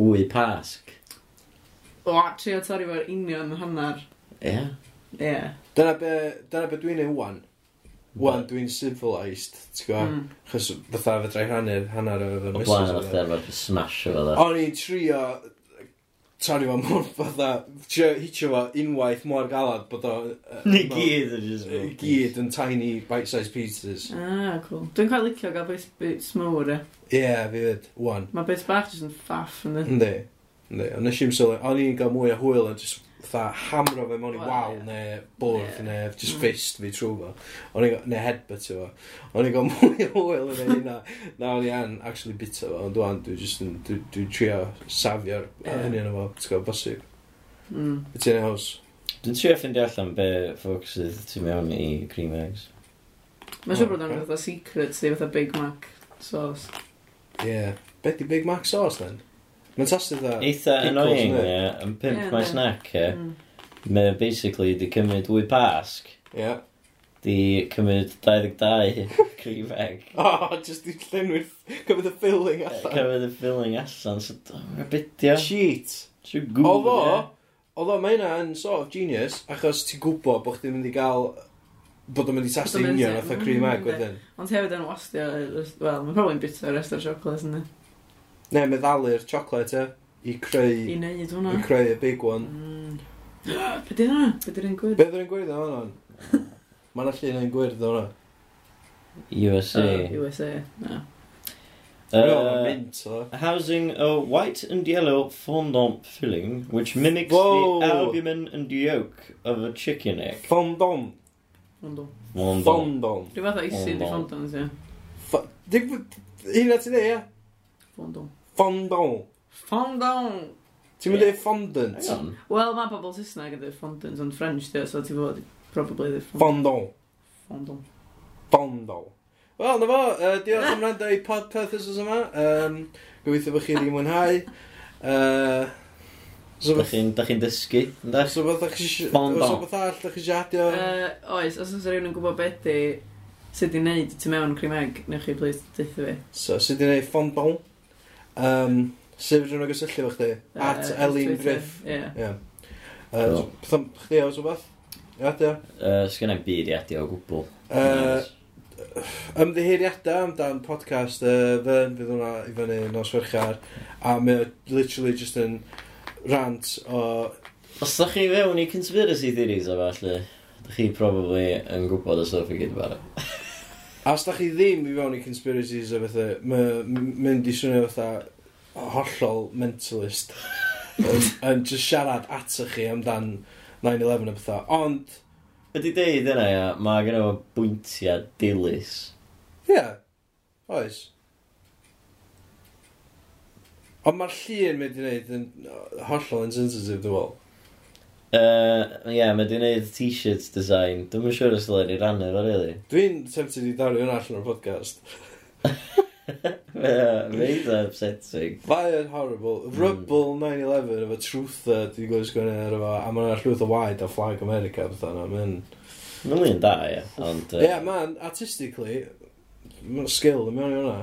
[SPEAKER 2] wy pasg?
[SPEAKER 4] O, trio torri fo'r union yn hanner.
[SPEAKER 2] Ie.
[SPEAKER 4] Ie.
[SPEAKER 3] Dyna be, dyna be dwi'n ei wan. Wan, dwi'n civilised, ti'n gwybod?
[SPEAKER 4] Mm.
[SPEAKER 3] Chos fatha fe drai hanner, hanner o fy
[SPEAKER 2] O
[SPEAKER 3] misys
[SPEAKER 2] blaen
[SPEAKER 3] oedd
[SPEAKER 2] o'ch
[SPEAKER 3] e.
[SPEAKER 2] derfod just smash o fel e.
[SPEAKER 3] O'n i'n trio torri fo mor fatha, trio hitio fo unwaith mor galad bod o... yy,
[SPEAKER 2] Ni
[SPEAKER 3] mewn-
[SPEAKER 2] gyd yn just...
[SPEAKER 3] yy, gyd yn tiny bite-sized pieces.
[SPEAKER 4] Ah, cool. Dwi'n cael licio gael bit, bit smwr, e.
[SPEAKER 3] Ie, yeah, fi fyd, wan.
[SPEAKER 4] Mae bit bach jyst yn ffaff, ynddi?
[SPEAKER 3] Ynddi. Ynddi, ond nes i'n sylwi, o'n i'n cael mwy o hwyl yn just fatha hamro fe mewn i
[SPEAKER 4] Wel,
[SPEAKER 3] wal
[SPEAKER 4] ie.
[SPEAKER 3] neu bwrdd
[SPEAKER 4] Ie.
[SPEAKER 3] neu just
[SPEAKER 4] Mm.
[SPEAKER 3] fist fi trwy fo. O'n i'n cael, neu headbutt fo. O'n i'n cael [LAUGHS] mwy o hwyl yn ei hynna. Na o'n i'n actually bita fo, ond dwi'n dwi just yn, dwi- dwi'n trio safio'r
[SPEAKER 4] Ie.
[SPEAKER 3] hynny yn efo, ti'n cael bosib.
[SPEAKER 4] Mm.
[SPEAKER 3] Be ti'n ei haws?
[SPEAKER 2] Dwi'n trio ffindio allan be ffwc sydd tu mewn i cream eggs.
[SPEAKER 4] Mae'n siŵr bod
[SPEAKER 3] Oh,
[SPEAKER 4] o'n
[SPEAKER 3] ocê.
[SPEAKER 4] fatha secret, sydd fatha Big Mac sauce.
[SPEAKER 3] Ie. Be di Big Mac sauce, then? Mae'n tasty dda.
[SPEAKER 2] Eitha
[SPEAKER 3] Pickles,
[SPEAKER 2] annoying,
[SPEAKER 3] yndi?
[SPEAKER 2] ie, yn
[SPEAKER 4] Ie,
[SPEAKER 2] pimp mae
[SPEAKER 4] yndi.
[SPEAKER 2] snack, ie.
[SPEAKER 4] Mm.
[SPEAKER 2] Mae basically di cymryd wy pasg,
[SPEAKER 3] Ie. [LAUGHS]
[SPEAKER 2] di cymryd 22 cream egg.
[SPEAKER 3] O, just i llenwi'r... Cymryd y filling allan.
[SPEAKER 2] Cymryd y filling allan, so mae'n bidio.
[SPEAKER 3] Cheat.
[SPEAKER 2] Siw
[SPEAKER 3] Oedd
[SPEAKER 2] gŵr,
[SPEAKER 3] o...
[SPEAKER 2] ie.
[SPEAKER 3] Oedd o, mae hynna yn sort of genius, achos ti'n gwybod bod chdi'n mynd i gael... Bod o'n mynd i tasty
[SPEAKER 4] Bod o'n mynd
[SPEAKER 3] union
[SPEAKER 4] i-
[SPEAKER 3] oedd y cream egg
[SPEAKER 4] Mm, yndi.
[SPEAKER 3] wedyn.
[SPEAKER 4] Ond hefyd yn wastio, wel, mae'n probably'n bita rest o'r siocled yn
[SPEAKER 3] Ne, meddalu'r chocolate, e, i creu...
[SPEAKER 4] i neud
[SPEAKER 3] I
[SPEAKER 4] hwnna.
[SPEAKER 3] creu y big one.
[SPEAKER 4] Mm. [GASPS] Be di hwnna? Be di'r un gwyd?
[SPEAKER 3] Beth yw'n gwirth o'n hwn?
[SPEAKER 4] [LAUGHS]
[SPEAKER 3] Mae'n allan yn gwirth o'n hwn.
[SPEAKER 2] USA.
[SPEAKER 4] Uh, USA. Na.
[SPEAKER 3] Mae'n
[SPEAKER 2] Uh,
[SPEAKER 3] mint o.
[SPEAKER 2] Housing a white and yellow fondant filling which mimics
[SPEAKER 3] Whoa.
[SPEAKER 2] the albumin and yolk of a chicken egg.
[SPEAKER 3] Fondom.
[SPEAKER 4] Fondant.
[SPEAKER 2] Fondant.
[SPEAKER 3] Fondom.
[SPEAKER 4] Rhyw fath o isi di
[SPEAKER 2] Fondant.
[SPEAKER 4] fondant, ie.
[SPEAKER 3] Fo- Di- Hynna ti'n ei, ie?
[SPEAKER 4] Fondant.
[SPEAKER 3] Fondom.
[SPEAKER 4] Fondant!
[SPEAKER 3] Ti'n mynd ei fondant?
[SPEAKER 2] Hang on.
[SPEAKER 4] Wel, mae pobl Saesneg yn dweud fondant yn French, dweud, so ti'n fod probably dweud fondant.
[SPEAKER 3] Fondom.
[SPEAKER 4] Fondant.
[SPEAKER 3] Fondom. Wel, na fo, yy, diolch am rando i podpeth ysys yma. Yym, Gobeithio bod chi wedi mwynhau. Yy, Os
[SPEAKER 2] Dach chi'n dach chi'n dysgu, ynddo?
[SPEAKER 3] Os o beth ydych chi isio...
[SPEAKER 2] Fondant.
[SPEAKER 3] Os o beth arall ydych chi isio adio...
[SPEAKER 4] Yy, oes, os oes rhywun yn gwybod beth di, sut i neud ti mewn cream egg, newch chi please deitha fi.
[SPEAKER 3] So, sydd wedi'i gwneud fondom. Yym, Sef rhywun o gysylltu fo chdi?
[SPEAKER 4] Yy,
[SPEAKER 3] At
[SPEAKER 4] ar
[SPEAKER 3] Elin
[SPEAKER 4] Twitter.
[SPEAKER 3] Griff.
[SPEAKER 4] Ie.
[SPEAKER 3] Ie.
[SPEAKER 2] Cool.
[SPEAKER 3] Yy, Pethau chdi oes o beth? Ia, ia.
[SPEAKER 2] Uh, Sgynnau'n byd i adio o gwbl.
[SPEAKER 3] Yy, Ymddiheiriadau amdan podcast uh, fy, fydd hwnna i fyny nos ferchar a mae o literally just yn rant o
[SPEAKER 2] Os dach chi fewn i conspiracy theories o falle, dach chi probably yn gwybod y stuff i gyd bara.
[SPEAKER 3] a os da chi ddim i fewn i conspiracies o bethau mae'n mynd i swnio fatha hollol mentalist yn, yn just siarad atoch chi amdan 9-11 a bethau ond
[SPEAKER 2] Ydy deud yna, ia, mae gen o bwyntiau dilys.
[SPEAKER 3] ie yeah, oes ond mae'r llun mynd i wneud yn hollol insensitive dwi'n fel
[SPEAKER 2] Uh, Ie, yeah, mae di wneud t-shirt design. Dwi'n siŵr os dylen i rannu fo, really.
[SPEAKER 3] Dwi'n tempted i dario hwnna allan o'r podcast.
[SPEAKER 2] Mae eitha upsetting.
[SPEAKER 3] Mae yn horrible. Rubble 9-11 efo truther, dwi wedi gwneud sgwini ar efo, a mae'n llwyth o waed a flag America beth yna. Mae'n...
[SPEAKER 2] Mae'n da, ie. Ond...
[SPEAKER 3] Ie,
[SPEAKER 2] yy,
[SPEAKER 3] yeah, man, artistically, mae'n skill yn mewn i hwnna.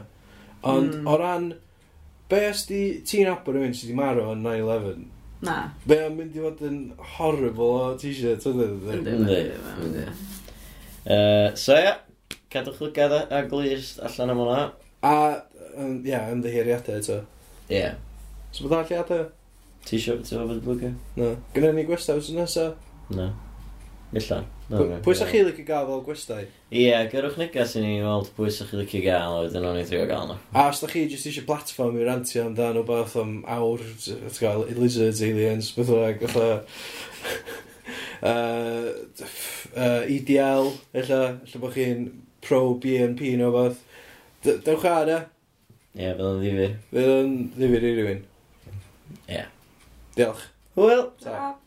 [SPEAKER 3] Ond
[SPEAKER 2] Hmm.
[SPEAKER 4] Mm.
[SPEAKER 3] o ran, be os di ti'n abod rhywun sydd wedi marw yn 9-11,
[SPEAKER 4] Na.
[SPEAKER 3] be o'n mynd i fod yn horrible o t-shirt, e, ydyn?
[SPEAKER 4] Yndi,
[SPEAKER 2] Yndi,
[SPEAKER 4] yndi, yndi.
[SPEAKER 2] Yy, so ia, cadwch lygad a- a glist allan am hwnna.
[SPEAKER 3] A, yym, ie, ymddiheiriadau eto.
[SPEAKER 2] Ie. Yeah.
[SPEAKER 3] So bydd alliadau?
[SPEAKER 2] Ti isio ti fod blwgio?
[SPEAKER 3] Na. Gwneud ni gwestau wrth nesaf?
[SPEAKER 2] Na. Illa. Na, na.
[SPEAKER 3] Pwy sa'ch chi licio gael fel gwestau?
[SPEAKER 2] Ie, gyrwch negas i ni i weld pwy sa'ch chi licio gael, a wedyn o'n i trio gael nhw.
[SPEAKER 3] A os da chi jyst eisiau platform i rantio amdan o beth am awr, ti'n gael, lizards, aliens, beth o'n ag, [LAUGHS] fatha, uh, EDL, ella, ella bod chi'n pro-BNP neu beth. Dewch ar e,
[SPEAKER 2] Ie, fel yn ddifur.
[SPEAKER 3] fydd yn ddifur i rywun.
[SPEAKER 2] Ie.
[SPEAKER 3] Diolch.
[SPEAKER 2] Hwyl!
[SPEAKER 3] Ta.